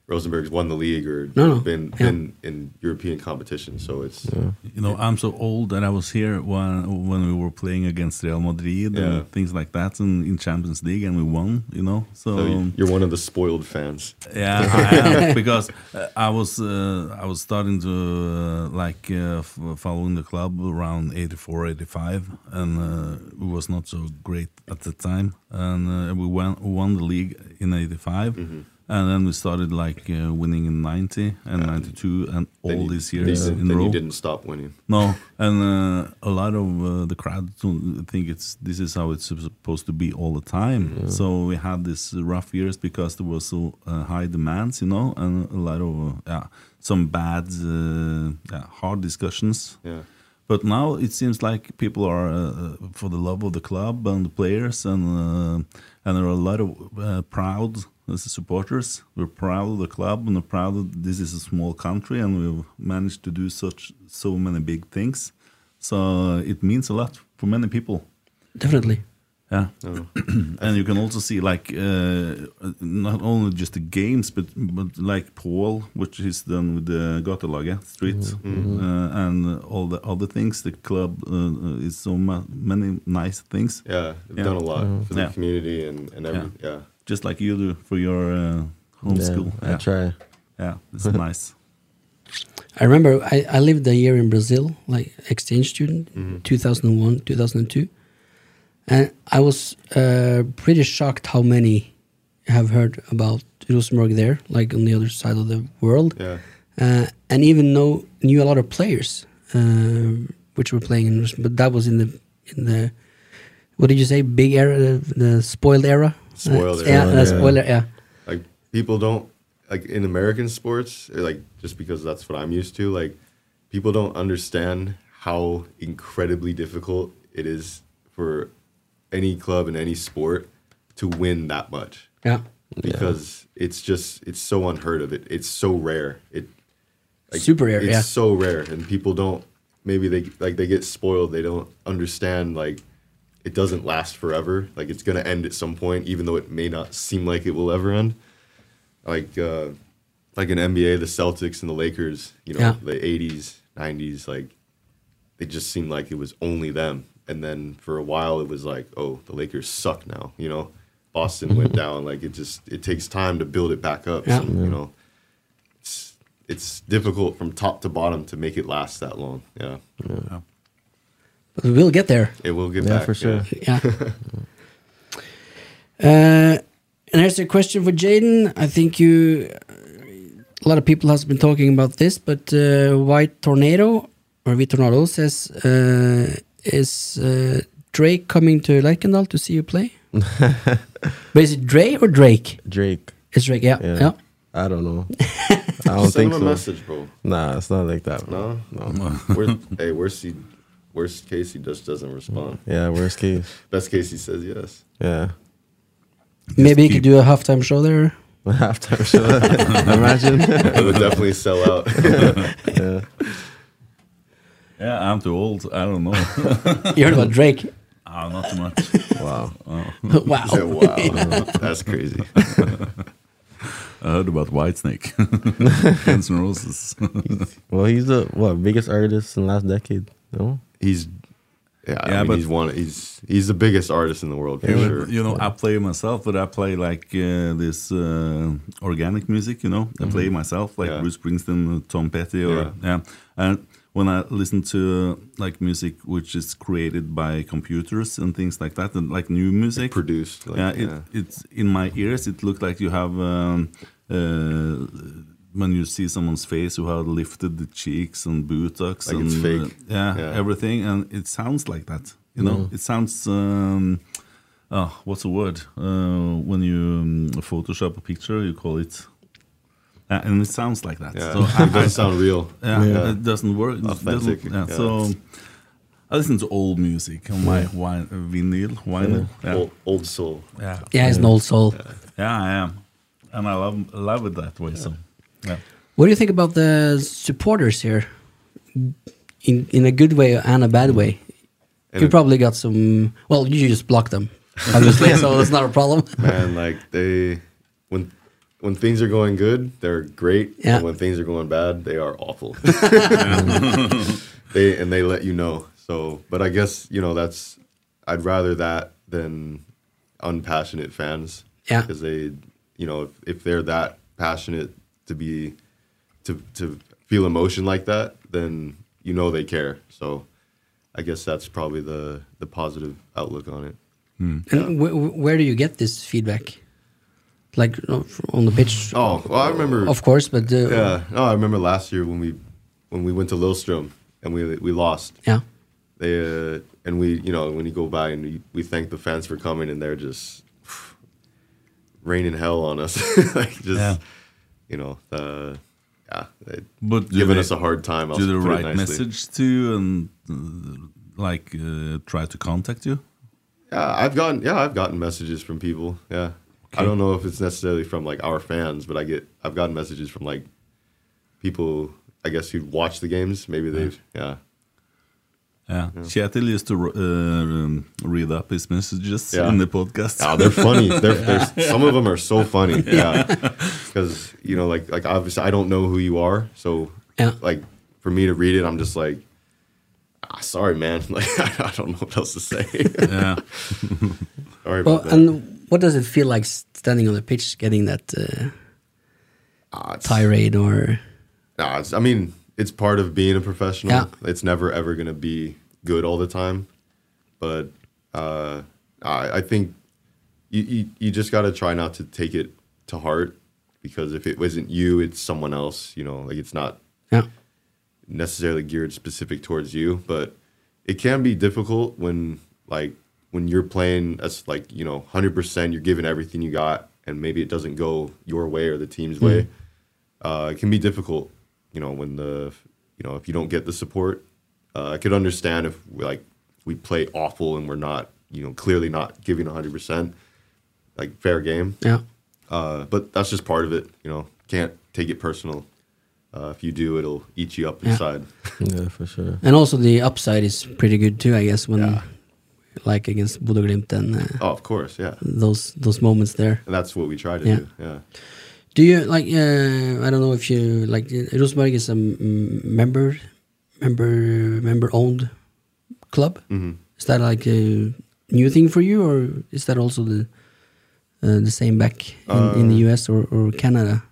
[SPEAKER 6] Rosenberg's won the league or
[SPEAKER 5] No, no.
[SPEAKER 6] been
[SPEAKER 5] Yeah.
[SPEAKER 6] been in European competition. So it's
[SPEAKER 4] you know, I'm so old that I was here when when we were playing against Real Madrid
[SPEAKER 6] Yeah.
[SPEAKER 4] and things like that in, in Champions League and we won, you know. So,
[SPEAKER 6] so you- you're one of the spoiled fans.
[SPEAKER 4] Yeah, I am because uh, I was uh, I was starting to uh, like uh, f- following the club around 84, 85 and uh, it was not so great at the time and uh, we won, won the league in 85
[SPEAKER 6] Mm-hmm.
[SPEAKER 4] and then we started like uh, winning in 90 and 92 and
[SPEAKER 6] Then
[SPEAKER 4] all
[SPEAKER 6] you-
[SPEAKER 4] these years
[SPEAKER 6] then,
[SPEAKER 4] in
[SPEAKER 6] then
[SPEAKER 4] row.
[SPEAKER 6] you didn't stop winning.
[SPEAKER 4] No, and uh, a lot of uh, the crowd don't think it's this is how it's supposed to be all the time. So we had these rough years because there was so uh, high demands, you know, and a lot of uh, yeah, some bad, uh, yeah, hard discussions.
[SPEAKER 6] Yeah.
[SPEAKER 4] But now it seems like people are uh, for the love of the club and the players, and uh, and there are a lot of uh, proud as supporters. We're proud of the club and we're proud that this is a small country and we've managed to do such so many big things. So uh, it means a lot for many people.
[SPEAKER 5] Definitely.
[SPEAKER 4] Yeah. and you can also see like uh, not only just the games, but but like Paul, which is done with the Gatelaget street
[SPEAKER 7] Mm-hmm.
[SPEAKER 4] uh, and all the other things. The club uh, is so ma- many nice things.
[SPEAKER 6] Yeah, they've
[SPEAKER 4] Yeah.
[SPEAKER 6] done a lot for the
[SPEAKER 4] Yeah.
[SPEAKER 6] community and and every, yeah.
[SPEAKER 4] Just like you do for your uh, homeschool.
[SPEAKER 7] I
[SPEAKER 4] yeah.
[SPEAKER 7] try.
[SPEAKER 4] Yeah, it's nice.
[SPEAKER 5] I remember I, I lived a year in Brazil, like exchange student,
[SPEAKER 6] Mm-hmm.
[SPEAKER 5] 2001, 2002. And I was uh, pretty shocked how many have heard about Rosenborg there, like on the other side of the world.
[SPEAKER 6] Yeah.
[SPEAKER 5] Uh, and even know knew a lot of players uh, which were playing in Rosenborg. But that was in the, in the what did you say, big era, the, the spoiled era?
[SPEAKER 6] Spoiled
[SPEAKER 5] Uh, yeah,
[SPEAKER 6] era,
[SPEAKER 5] the
[SPEAKER 7] yeah.
[SPEAKER 5] spoiler, yeah.
[SPEAKER 6] like people don't like in American sports, like just because that's what I'm used to, like people don't understand how incredibly difficult it is for any club in any sport to win that much
[SPEAKER 5] Yeah.
[SPEAKER 6] because it's just it's so unheard of it it's so rare it
[SPEAKER 5] Super rare,
[SPEAKER 6] it's
[SPEAKER 5] yeah.
[SPEAKER 6] so rare and people don't maybe they like they get spoiled they don't understand like it doesn't last forever like it's gonna end at some point even though it may not seem like it will ever end like uh like in nba the celtics and the lakers you know
[SPEAKER 5] Yeah.
[SPEAKER 6] the 80s 90s like it just seemed like it was only them. And then for a while, it was like, oh, the Lakers suck now. You know, Boston
[SPEAKER 7] Mm-hmm.
[SPEAKER 6] went down. Like it just it takes time to build it back up.
[SPEAKER 5] Yeah.
[SPEAKER 6] So, you know, it's it's difficult from top to bottom to make it last that long. Yeah,
[SPEAKER 5] But we'll get there.
[SPEAKER 6] it will get
[SPEAKER 7] Yeah,
[SPEAKER 6] back
[SPEAKER 7] for sure.
[SPEAKER 5] yeah. uh, and here's a question for Jaden. I think you, a lot of people has been talking about this, but uh, White Tornado or V Tornado says, uh, is uh, Drake coming to Leikendal to see you play? but is it Dre or Drake?
[SPEAKER 7] Drake.
[SPEAKER 5] It's Drake. Yeah, yeah.
[SPEAKER 7] Yeah. I don't know. I
[SPEAKER 6] Just
[SPEAKER 7] don't
[SPEAKER 6] send
[SPEAKER 7] think
[SPEAKER 6] them a
[SPEAKER 7] so.
[SPEAKER 6] message, bro.
[SPEAKER 7] Nah, it's not like that. bro.
[SPEAKER 6] No,
[SPEAKER 7] No.
[SPEAKER 6] worst, hey, worst he, worst case he just doesn't respond.
[SPEAKER 7] Yeah, worst case.
[SPEAKER 6] Best case he says yes.
[SPEAKER 7] Yeah.
[SPEAKER 5] Maybe you could do a halftime show there.
[SPEAKER 7] Halftime show. Imagine.
[SPEAKER 6] It would definitely sell out.
[SPEAKER 7] yeah.
[SPEAKER 4] Yeah, I'm too old. I don't know.
[SPEAKER 5] You heard about Drake?
[SPEAKER 4] Ah, not too much.
[SPEAKER 7] Wow.
[SPEAKER 5] wow.
[SPEAKER 6] Yeah, wow, that's crazy.
[SPEAKER 4] I heard about Whitesnake, Guns N' Roses.
[SPEAKER 7] Well, he's the what biggest artist in the last decade. No.
[SPEAKER 6] He's yeah, I
[SPEAKER 4] Yeah,
[SPEAKER 6] mean,
[SPEAKER 4] but-
[SPEAKER 6] he's one. He's he's the biggest artist in the world for
[SPEAKER 4] You know,
[SPEAKER 6] sure.
[SPEAKER 4] You know, I play myself, but I play like uh, this uh, organic music. You know, I play myself like
[SPEAKER 6] Mm-hmm. Yeah.
[SPEAKER 4] Bruce Springsteen, Tom Petty, or
[SPEAKER 6] Yeah.
[SPEAKER 4] yeah. And when I listen to uh, like music which is created by computers and things like that, and like new music,
[SPEAKER 6] produced. Like,
[SPEAKER 4] yeah, it, it's in my ears. It looked like you have um, uh, when you see someone's face, you have lifted the cheeks and buttocks,
[SPEAKER 6] Like
[SPEAKER 4] and
[SPEAKER 6] it's fake.
[SPEAKER 4] uh, yeah,
[SPEAKER 6] Yeah. Mm.
[SPEAKER 4] everything, and it sounds like that. You know, it sounds. Um, oh, what's the word uh, when you um, Photoshop a picture? You call it. Uh, and it sounds like that.
[SPEAKER 6] yeah.
[SPEAKER 4] So I-
[SPEAKER 6] it doesn't sound real.
[SPEAKER 4] yeah,
[SPEAKER 7] Yeah.
[SPEAKER 4] it doesn't work. It doesn't-
[SPEAKER 6] Authentic,
[SPEAKER 4] yeah,
[SPEAKER 6] yeah.
[SPEAKER 4] So I listen to old music on my wine, uh, vinyl, vinyl. Yeah.
[SPEAKER 6] Old, old soul.
[SPEAKER 4] yeah.
[SPEAKER 5] Yeah, he's an old soul.
[SPEAKER 4] Yeah, I am, and I love love it that way. So, yeah,
[SPEAKER 5] What do you think about the supporters here? In in a good way and a bad way.
[SPEAKER 6] And
[SPEAKER 5] you
[SPEAKER 6] it-
[SPEAKER 5] probably got some. Well, you just blocked them, obviously, so it's not a problem.
[SPEAKER 6] Man, like they when when things are going good, they're great.
[SPEAKER 5] Yeah.
[SPEAKER 6] And when things are going bad, they are awful. they and they let you know. So, but I guess you know that's I'd rather that than unpassionate fans.
[SPEAKER 5] Yeah.
[SPEAKER 6] Because they, you know, if, if they're that passionate to be to to feel emotion like that, then you know they care. So, I guess that's probably the the positive outlook on it.
[SPEAKER 5] And wh- wh- where do you get this feedback? Like you know, fr- on the pitch,
[SPEAKER 6] Oh, well, I remember.
[SPEAKER 5] of course, but uh, yeah,
[SPEAKER 6] Yeah, no, I remember last year when we when we went to Lillstrom and we we lost. They uh, and we, you know, when you go by and we, we thank the fans for coming and they're just raining hell on us, like just
[SPEAKER 4] Yeah.
[SPEAKER 6] you know, uh, yeah, they-
[SPEAKER 4] but do
[SPEAKER 6] giving
[SPEAKER 4] they-
[SPEAKER 6] us a hard time. I'll
[SPEAKER 4] do the
[SPEAKER 6] put it
[SPEAKER 4] right
[SPEAKER 6] nicely.
[SPEAKER 4] message to you and uh, like uh, try to contact you.
[SPEAKER 6] Yeah, I've gotten yeah, I've gotten messages from people. Yeah, I don't know if it's necessarily from like our fans, but I get I've gotten messages from like people I guess who watch the games. Maybe they've yeah.
[SPEAKER 4] Yeah. Kjetil used to uh, um, read up his messages
[SPEAKER 6] Yeah.
[SPEAKER 4] in the podcast.
[SPEAKER 6] Ah, they're funny. They're, they're some of them are so funny. Yeah, because you know, like like obviously I don't know who you are, so
[SPEAKER 5] Yeah.
[SPEAKER 6] like for me to read it, I'm just like, ah, sorry, man. Like I don't know what else to say.
[SPEAKER 4] yeah.
[SPEAKER 6] sorry
[SPEAKER 5] Well,
[SPEAKER 6] about that.
[SPEAKER 5] and what does it feel like standing on the pitch, getting that uh,
[SPEAKER 6] Ah, it's-
[SPEAKER 5] tirade or
[SPEAKER 6] Nah, it's, I mean, it's part of being a professional.
[SPEAKER 5] Yeah.
[SPEAKER 6] It's never ever going to be good all the time, but uh, I, I think you you, you just got to try not to take it to heart because if it wasn't you, it's someone else. You know, like it's not
[SPEAKER 5] yeah,
[SPEAKER 6] necessarily geared specific towards you, but it can be difficult when like when you're playing as like you know 100% you're giving everything you got and maybe it doesn't go your way or the team's way
[SPEAKER 5] Mm-hmm.
[SPEAKER 6] uh, it can be difficult you know when the you know if you don't get the support uh, i could understand if we, like we play awful and we're not you know clearly not giving 100% like fair game
[SPEAKER 5] yeah,
[SPEAKER 6] uh, but that's just part of it you know can't take it personal uh, if you do it'll eat you up
[SPEAKER 5] Yeah.
[SPEAKER 6] inside
[SPEAKER 7] Yeah, for sure.
[SPEAKER 5] and also the upside is pretty good too, I guess. When like against Bodo Glimt and uh,
[SPEAKER 6] oh of course yeah
[SPEAKER 5] those those moments there.
[SPEAKER 6] And that's what we try to
[SPEAKER 5] Yeah.
[SPEAKER 6] do. Yeah.
[SPEAKER 5] Do you like? Uh, I don't know if you like. uh, Rosenborg is a mm, member, member, member-owned club. Is that like a new thing for you, or is that also the uh, the same back in, in the U.S. or, or Canada?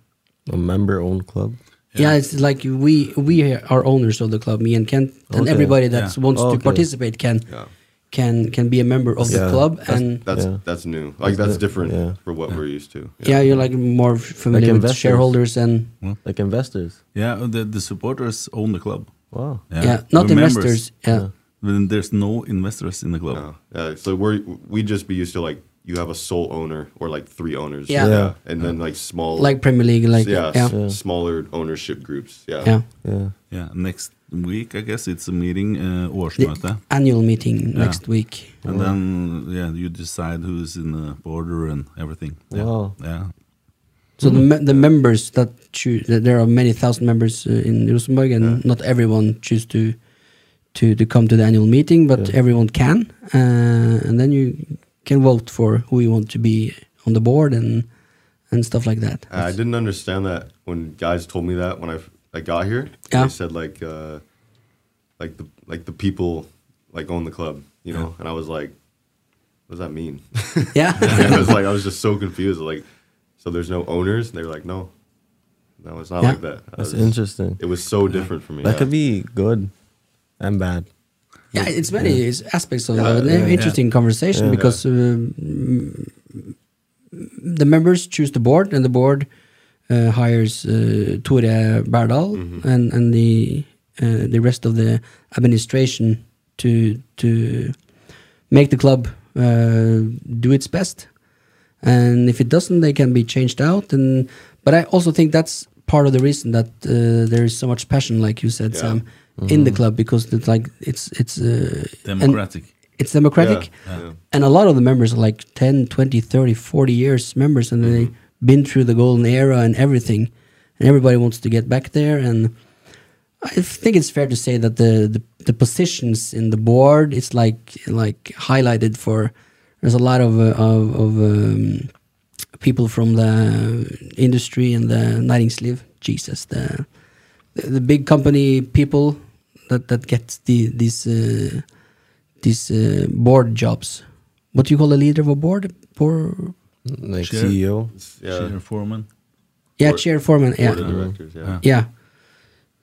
[SPEAKER 7] A member-owned club.
[SPEAKER 5] Yeah. it's like we we are owners of the club. Me and Kent and
[SPEAKER 7] Okay.
[SPEAKER 5] everybody that
[SPEAKER 4] Yeah.
[SPEAKER 5] wants to
[SPEAKER 7] Okay.
[SPEAKER 5] participate can
[SPEAKER 6] Yeah.
[SPEAKER 5] can can be a member of the
[SPEAKER 7] Yeah.
[SPEAKER 5] club.
[SPEAKER 6] That's
[SPEAKER 5] and
[SPEAKER 6] that's,
[SPEAKER 7] Yeah.
[SPEAKER 6] that's new. Like that's
[SPEAKER 7] the-
[SPEAKER 6] different
[SPEAKER 7] yeah.
[SPEAKER 6] for what we're used to.
[SPEAKER 5] yeah. you're like more familiar with
[SPEAKER 7] investors.
[SPEAKER 5] shareholders and
[SPEAKER 7] Like investors.
[SPEAKER 4] Yeah, the, the supporters own the club.
[SPEAKER 7] Wow.
[SPEAKER 5] yeah, not
[SPEAKER 4] We're members.
[SPEAKER 5] investors. Yeah.
[SPEAKER 4] Then there's no investors in the club.
[SPEAKER 6] No. Yeah, so we're we just be used to like you have a sole owner or like three owners.
[SPEAKER 5] Yeah.
[SPEAKER 7] Yeah.
[SPEAKER 6] And then like small
[SPEAKER 5] like Premier League, like
[SPEAKER 6] yeah,
[SPEAKER 5] yeah,
[SPEAKER 6] s- smaller ownership groups. Yeah.
[SPEAKER 5] yeah.
[SPEAKER 7] Yeah.
[SPEAKER 4] Yeah, next week I guess it's a meeting, uh, årsmøte,
[SPEAKER 5] annual meeting next week.
[SPEAKER 4] and then yeah, you decide who's in the border and everything. Yeah.
[SPEAKER 7] Wow.
[SPEAKER 4] Yeah,
[SPEAKER 5] So the me- the members that choose, that there are many thousand members uh, in Rosenborg, and not everyone choose to to to come to the annual meeting, but everyone can, uh, and then you can vote for who you want to be on the board and and stuff like that.
[SPEAKER 6] I didn't understand that when guys told me that when I, f- I got here.
[SPEAKER 5] Yeah.
[SPEAKER 6] They said like uh, like the like the people like own the club, you know? And I was like, what does that mean?
[SPEAKER 5] yeah,
[SPEAKER 6] I was like, I was just so confused. Like, so there's no owners? And they were like, no, no, it's not
[SPEAKER 5] Yeah.
[SPEAKER 6] like that. I
[SPEAKER 7] That's
[SPEAKER 6] was-
[SPEAKER 7] interesting.
[SPEAKER 6] It was so different for me.
[SPEAKER 7] That
[SPEAKER 6] yeah.
[SPEAKER 7] could be good and bad.
[SPEAKER 5] yeah, it's many it's aspects of an
[SPEAKER 6] yeah,
[SPEAKER 5] interesting conversation because um, the members choose the board, and the board uh, hires uh, Tore Berdal
[SPEAKER 6] Mm-hmm.
[SPEAKER 5] and and the uh, the rest of the administration to to make the club uh, do its best. And if it doesn't, they can be changed out. And but I also think that's part of the reason that uh, there is so much passion, like you said,
[SPEAKER 6] Yeah.
[SPEAKER 5] Sam, in the club because it's like it's it's uh, and-
[SPEAKER 4] democratic.
[SPEAKER 5] it's democratic
[SPEAKER 6] Yeah.
[SPEAKER 5] and a lot of the members are like 10 20 30 40 years members and they've been through the golden era and everything and everybody wants to get back there and i think it's fair to say that the the, the positions in the board it's like like highlighted for there's a lot of uh, of, of um, people from the industry and the nighting sleeve jesus the the big company people that that gets the these uh, these uh, board jobs. What do you call a leader of a board? Board
[SPEAKER 7] Like E
[SPEAKER 4] Sure.
[SPEAKER 7] CEO.
[SPEAKER 6] yeah.
[SPEAKER 4] Chair foreman.
[SPEAKER 5] yeah,
[SPEAKER 6] Board-
[SPEAKER 5] chair foreman. Yeah,
[SPEAKER 6] Board of directors. Yeah.
[SPEAKER 5] yeah.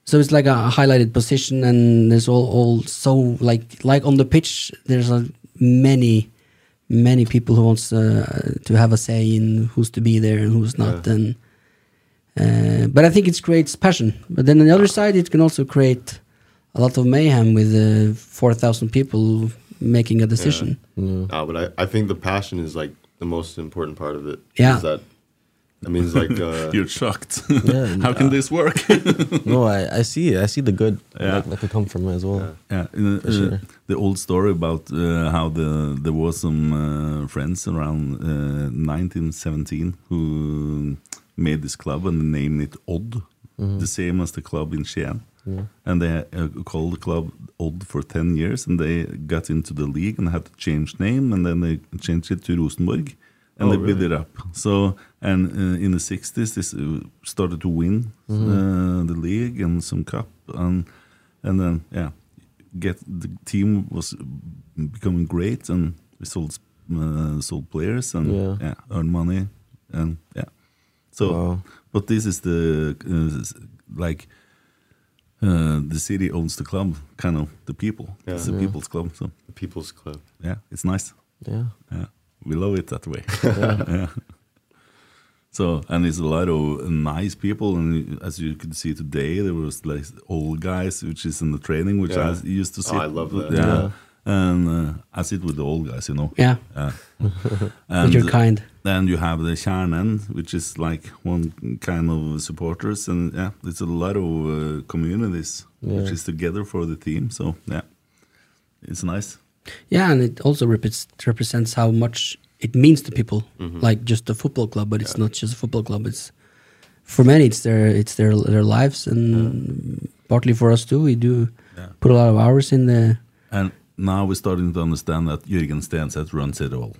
[SPEAKER 5] So it's like a highlighted position, and there's all all so like like on the pitch. There's a many many people who wants uh, to have a say in who's to be there and who's not. And uh, but I think it creates passion. But then on the other side, it can also create a lot of mayhem with uh, four thousand people making a decision.
[SPEAKER 6] Uh, but I, I think the passion is like the most important part of it.
[SPEAKER 5] Yeah.
[SPEAKER 6] Is that That means like uh,
[SPEAKER 4] You're shocked.
[SPEAKER 7] Yeah,
[SPEAKER 4] How can this work?
[SPEAKER 7] No, I, I see it. I see the good
[SPEAKER 4] Yeah.
[SPEAKER 7] that, that could come from it as well.
[SPEAKER 4] Yeah, uh, uh,
[SPEAKER 7] sure.
[SPEAKER 4] the old story about uh, how the there was some uh, friends around uh, 1917 who made this club and named it Odd,
[SPEAKER 6] Mm-hmm.
[SPEAKER 4] the same as the club in Skien. And they uh, called the club Odd for 10 years, and they got into the league and had to change name, and then they changed it to Rosenborg, and
[SPEAKER 6] Oh,
[SPEAKER 4] they
[SPEAKER 6] really?
[SPEAKER 4] built it up. So, and uh, in the 60s, this uh, started to win
[SPEAKER 6] Mm-hmm.
[SPEAKER 4] uh, the league and some cup, and and then yeah, get the team was becoming great, and we sold uh, sold players and
[SPEAKER 7] Yeah.
[SPEAKER 4] yeah. earned money, and yeah. So,
[SPEAKER 7] Wow.
[SPEAKER 4] but this is the uh, s- like uh, the city owns the club, kind of the people.
[SPEAKER 6] Yeah.
[SPEAKER 4] It's a
[SPEAKER 7] Yeah.
[SPEAKER 4] people's club, so
[SPEAKER 6] the People's Club.
[SPEAKER 4] yeah, it's nice.
[SPEAKER 7] Yeah.
[SPEAKER 4] Yeah, we love it that way. Yeah. So and it's a lot of nice people, and as you could see today, there was like old guys, which is in the training, which
[SPEAKER 6] Yeah. Oh,
[SPEAKER 4] I used to see.
[SPEAKER 6] I love that.
[SPEAKER 4] Yeah,
[SPEAKER 7] Yeah.
[SPEAKER 4] and uh, I sit with the old guys, you know.
[SPEAKER 5] Yeah,
[SPEAKER 4] Yeah.
[SPEAKER 5] but
[SPEAKER 4] and
[SPEAKER 5] you're kind.
[SPEAKER 4] then you have the Kärnan, which is like one kind of supporters, and yeah, it's a lot of uh, communities which
[SPEAKER 7] Yeah.
[SPEAKER 4] is together for the team. So yeah, it's nice.
[SPEAKER 5] Yeah, and it also repres represents how much it means to people.
[SPEAKER 4] Mm-hmm.
[SPEAKER 5] Like just a football club, but it's not just a football club. It's for many, it's their it's their their lives, and partly for us too. We do put a lot of hours in the.
[SPEAKER 4] And now we're starting to understand that Jürgen Stenseth runs it all.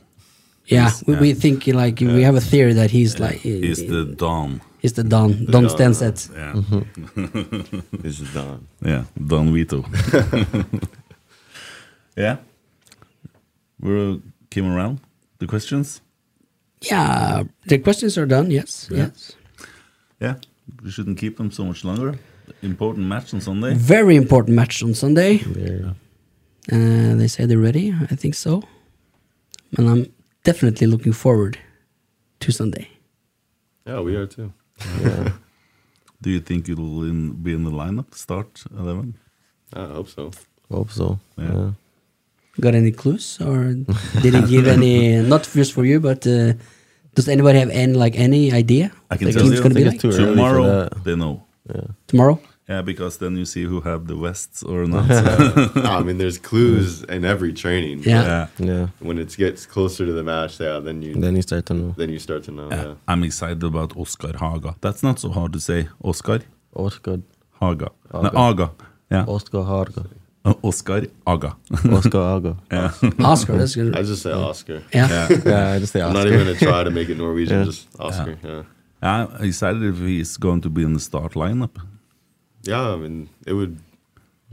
[SPEAKER 5] Yeah,
[SPEAKER 4] He's-
[SPEAKER 5] we,
[SPEAKER 4] yeah.
[SPEAKER 5] we think like we have a theory that he's like
[SPEAKER 4] He's the Dom.
[SPEAKER 5] he's the Don Don
[SPEAKER 6] Don, yeah.
[SPEAKER 5] Stansett.
[SPEAKER 4] Yeah,
[SPEAKER 7] Mm-hmm.
[SPEAKER 6] This is Don.
[SPEAKER 4] yeah, Don Vito. yeah, we uh, came around the questions.
[SPEAKER 5] Yeah, the questions are done. Yes, yes.
[SPEAKER 4] Yeah, we shouldn't keep them so much longer. Important match on Sunday.
[SPEAKER 5] Very important match on Sunday.
[SPEAKER 7] There.
[SPEAKER 5] Uh, they say they're ready. I think so. And I'm definitely looking forward to Sunday.
[SPEAKER 6] Yeah, we are too.
[SPEAKER 4] Do you think it'll in, be in the lineup? Start eleven.
[SPEAKER 6] I hope so.
[SPEAKER 7] Hope so.
[SPEAKER 4] Yeah.
[SPEAKER 7] Yeah.
[SPEAKER 5] Got any clues, or did he give any? Not just for you, but uh, does anybody have any like any idea?
[SPEAKER 4] I can
[SPEAKER 5] what the
[SPEAKER 4] tell
[SPEAKER 5] game's
[SPEAKER 4] you.
[SPEAKER 5] gonna be
[SPEAKER 7] Think
[SPEAKER 5] like
[SPEAKER 7] it's too early for
[SPEAKER 4] Tomorrow
[SPEAKER 7] that.
[SPEAKER 4] they know.
[SPEAKER 5] tomorrow.
[SPEAKER 4] Yeah, because then you see who have the vests or not.
[SPEAKER 6] Nah, I mean, there's clues in every training.
[SPEAKER 5] Yeah.
[SPEAKER 4] yeah.
[SPEAKER 7] Yeah.
[SPEAKER 6] When it gets closer to the match, yeah, then you
[SPEAKER 7] Then
[SPEAKER 6] then,
[SPEAKER 7] you start to know.
[SPEAKER 6] you start to know. Yeah.
[SPEAKER 4] I'm excited about Oscar Haga. That's not so hard to say. Oscar
[SPEAKER 7] Oscar.
[SPEAKER 4] Haga. No,
[SPEAKER 7] Haga.
[SPEAKER 4] Aga. Yeah.
[SPEAKER 7] Oscar Harga.
[SPEAKER 4] Uh, Oscar Aga.
[SPEAKER 7] Oscar Haga.
[SPEAKER 4] yeah.
[SPEAKER 5] Oscar, that's good.
[SPEAKER 6] I just say Oscar.
[SPEAKER 5] Yeah.
[SPEAKER 7] yeah, I just say
[SPEAKER 6] I'm
[SPEAKER 7] Oscar.
[SPEAKER 6] not even gonna try to make it Norwegian.
[SPEAKER 7] Yeah.
[SPEAKER 6] Just Oscar. Yeah.
[SPEAKER 4] I'm excited if he's going to be in the start lineup.
[SPEAKER 6] Yeah. I mean, it would.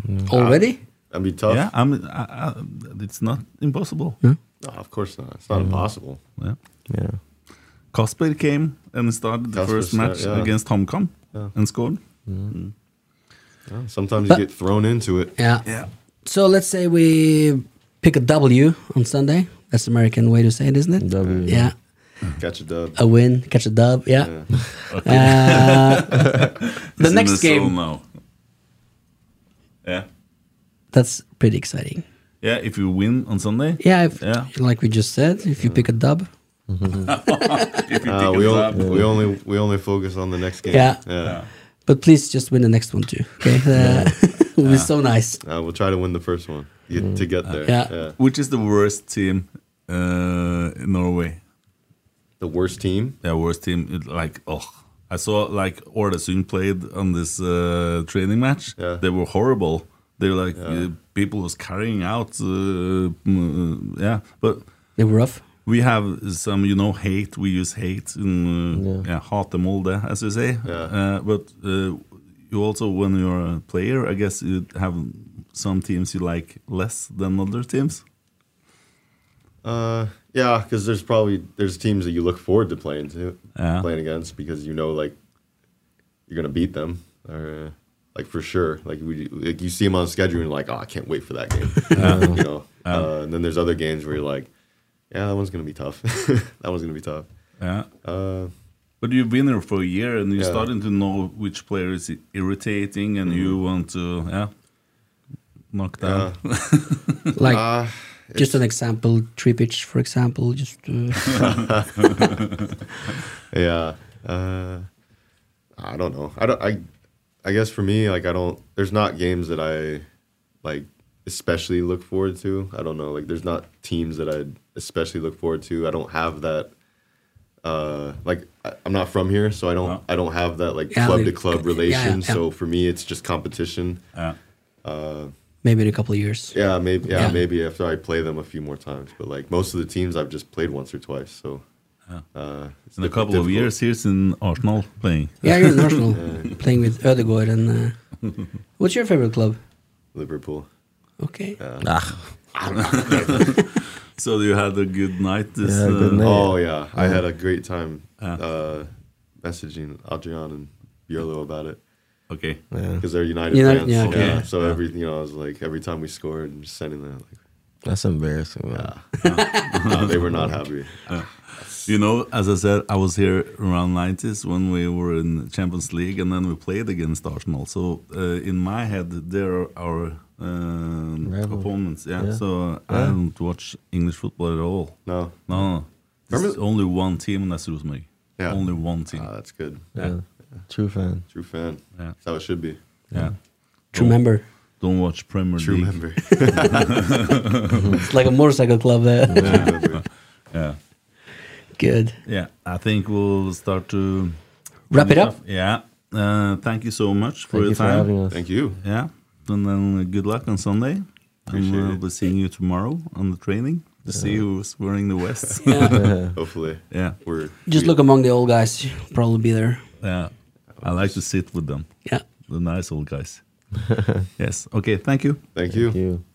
[SPEAKER 5] already.
[SPEAKER 6] That'd be tough.
[SPEAKER 4] Yeah, I'm. I, I, it's not impossible.
[SPEAKER 6] No, of course not. It's not impossible.
[SPEAKER 4] Yeah.
[SPEAKER 7] yeah.
[SPEAKER 4] Kasper came and started the
[SPEAKER 6] Kasper
[SPEAKER 4] first
[SPEAKER 6] start-
[SPEAKER 4] match
[SPEAKER 6] yeah.
[SPEAKER 4] against HomKam
[SPEAKER 6] Yeah.
[SPEAKER 4] and scored.
[SPEAKER 6] Sometimes
[SPEAKER 5] But-
[SPEAKER 6] you get thrown into it.
[SPEAKER 5] Yeah. So let's say we pick a W on Sunday. That's the American way to say it, isn't it?
[SPEAKER 7] W.
[SPEAKER 5] Yeah.
[SPEAKER 6] Catch a dub.
[SPEAKER 5] A win, catch a dub. Yeah.
[SPEAKER 6] Yeah.
[SPEAKER 5] Uh, the
[SPEAKER 4] He's in
[SPEAKER 5] next
[SPEAKER 4] zone
[SPEAKER 5] game.
[SPEAKER 4] now. Yeah.
[SPEAKER 5] That's pretty exciting.
[SPEAKER 4] Yeah, if you win on Sunday.
[SPEAKER 5] Yeah, if,
[SPEAKER 4] Yeah.
[SPEAKER 5] Like we just said, if you pick a dub.
[SPEAKER 4] If you
[SPEAKER 6] Uh,
[SPEAKER 4] pick
[SPEAKER 6] we,
[SPEAKER 4] us
[SPEAKER 6] o-
[SPEAKER 4] up.
[SPEAKER 6] we only we only focus on the next game.
[SPEAKER 5] Yeah.
[SPEAKER 6] yeah.
[SPEAKER 5] But please just win the next one too. Okay. Uh, it would be so nice.
[SPEAKER 6] Uh, we'll try to win the first one get, to get there.
[SPEAKER 5] Mm. Yeah.
[SPEAKER 4] Which is the worst team uh, in Norway?
[SPEAKER 6] The worst team.
[SPEAKER 4] Yeah, worst team. It, like, oh, I saw like Ordesund played on this uh, training match.
[SPEAKER 6] Yeah.
[SPEAKER 4] They were horrible. They were like uh, people was carrying out. Uh, mm, yeah, but
[SPEAKER 5] They were rough.
[SPEAKER 4] we have some, you know, hate. We use hate and uh, yeah.
[SPEAKER 7] Yeah.
[SPEAKER 4] hot them all there, as you say.
[SPEAKER 6] Yeah.
[SPEAKER 4] Uh, but uh, you also, when you're a player, I guess you have some teams you like less than other teams.
[SPEAKER 6] Uh, yeah, because there's probably there's teams that you look forward to playing to
[SPEAKER 4] Yeah.
[SPEAKER 6] playing against because you know like you're gonna beat them or uh, like for sure like we like you see them on schedule and you're like oh I can't wait for that game you know uh, and then there's other games where you're like yeah that one's gonna be tough that one's gonna be tough
[SPEAKER 4] Yeah.
[SPEAKER 6] uh,
[SPEAKER 4] But you've been there for a year, and you're
[SPEAKER 6] Yeah.
[SPEAKER 4] starting to know which player is irritating, and you want to yeah, knock down.
[SPEAKER 5] Like
[SPEAKER 6] uh,
[SPEAKER 5] just an example, Tripic, for example, just uh,
[SPEAKER 6] yeah Uh, I don't know. I don't. I, I guess for me, like I don't. There's not games that I like especially look forward to. I don't know. Like there's not teams that I especially look forward to. I don't have that. Uh, like I, I'm not from here, so I don't. I don't have that like
[SPEAKER 5] Yeah,
[SPEAKER 6] club to
[SPEAKER 5] like-
[SPEAKER 6] club
[SPEAKER 5] yeah,
[SPEAKER 6] relation.
[SPEAKER 5] yeah.
[SPEAKER 6] So for me, it's just competition.
[SPEAKER 4] Yeah.
[SPEAKER 5] Maybe in a couple of years.
[SPEAKER 6] Yeah, maybe. Yeah,
[SPEAKER 5] Yeah.
[SPEAKER 6] maybe after I play them a few more times. But like most of the teams, I've just played once or twice. So uh, it's
[SPEAKER 4] Uh-huh. In a
[SPEAKER 6] diff-
[SPEAKER 4] couple of
[SPEAKER 6] difficult.
[SPEAKER 4] years, here's in Arsenal playing.
[SPEAKER 5] Yeah, you're in Arsenal playing with Ødegaard and. Uh, what's your favorite club?
[SPEAKER 6] Liverpool.
[SPEAKER 5] Okay.
[SPEAKER 7] Ah,
[SPEAKER 4] So you had a good night. This,
[SPEAKER 7] Yeah, good
[SPEAKER 4] uh,
[SPEAKER 7] night.
[SPEAKER 6] Oh yeah, I had a great time uh, messaging Adrian and Biolo about it
[SPEAKER 4] Okay.
[SPEAKER 7] yeah,
[SPEAKER 6] because they're United
[SPEAKER 5] United-
[SPEAKER 6] fans.
[SPEAKER 5] yeah,
[SPEAKER 6] Yeah,
[SPEAKER 5] okay.
[SPEAKER 6] so every you know, I was like every time we scored, and just sending them. Like,
[SPEAKER 7] that's embarrassing. Man.
[SPEAKER 6] no, they were not happy.
[SPEAKER 4] You know, as I said, I was here around 90s when we were in Champions League and then we played against Arsenal. So uh, in my head, they're our um,
[SPEAKER 7] Rival.
[SPEAKER 4] opponents. Yeah.
[SPEAKER 7] Yeah.
[SPEAKER 4] So I don't watch English football at all.
[SPEAKER 6] No,
[SPEAKER 4] No, no. There's
[SPEAKER 6] Remember-
[SPEAKER 4] only one team, and that's Rosemary.
[SPEAKER 6] Yeah.
[SPEAKER 4] Only one team.
[SPEAKER 6] Ah, that's good.
[SPEAKER 7] Yeah. true fan.
[SPEAKER 6] True fan.
[SPEAKER 4] Yeah.
[SPEAKER 6] That's how it should be.
[SPEAKER 4] yeah.
[SPEAKER 5] True member.
[SPEAKER 4] Don't watch Premier
[SPEAKER 6] True
[SPEAKER 4] League.
[SPEAKER 6] member.
[SPEAKER 5] It's like a motorcycle club there.
[SPEAKER 6] True member.
[SPEAKER 4] Yeah.
[SPEAKER 5] Good.
[SPEAKER 4] Yeah. I think we'll start to
[SPEAKER 5] Wrap it up.
[SPEAKER 4] Yeah. Uh, thank you so much for
[SPEAKER 7] Thank
[SPEAKER 4] your
[SPEAKER 7] you for
[SPEAKER 4] time.
[SPEAKER 7] having us.
[SPEAKER 6] Thank you.
[SPEAKER 4] Yeah. And then uh, good luck on Sunday.
[SPEAKER 6] Appreciate
[SPEAKER 4] and we'll
[SPEAKER 6] it.
[SPEAKER 4] be seeing you tomorrow on the training to see who's wearing the vest.
[SPEAKER 7] Yeah.
[SPEAKER 6] Hopefully,
[SPEAKER 4] yeah.
[SPEAKER 6] we're
[SPEAKER 5] Just
[SPEAKER 6] we-
[SPEAKER 5] look among the old guys. You'll probably be there.
[SPEAKER 4] Yeah. I like to sit with them,
[SPEAKER 5] Yeah.
[SPEAKER 4] the nice old guys. yes. Okay. Thank you.
[SPEAKER 6] Thank you.
[SPEAKER 7] Thank you.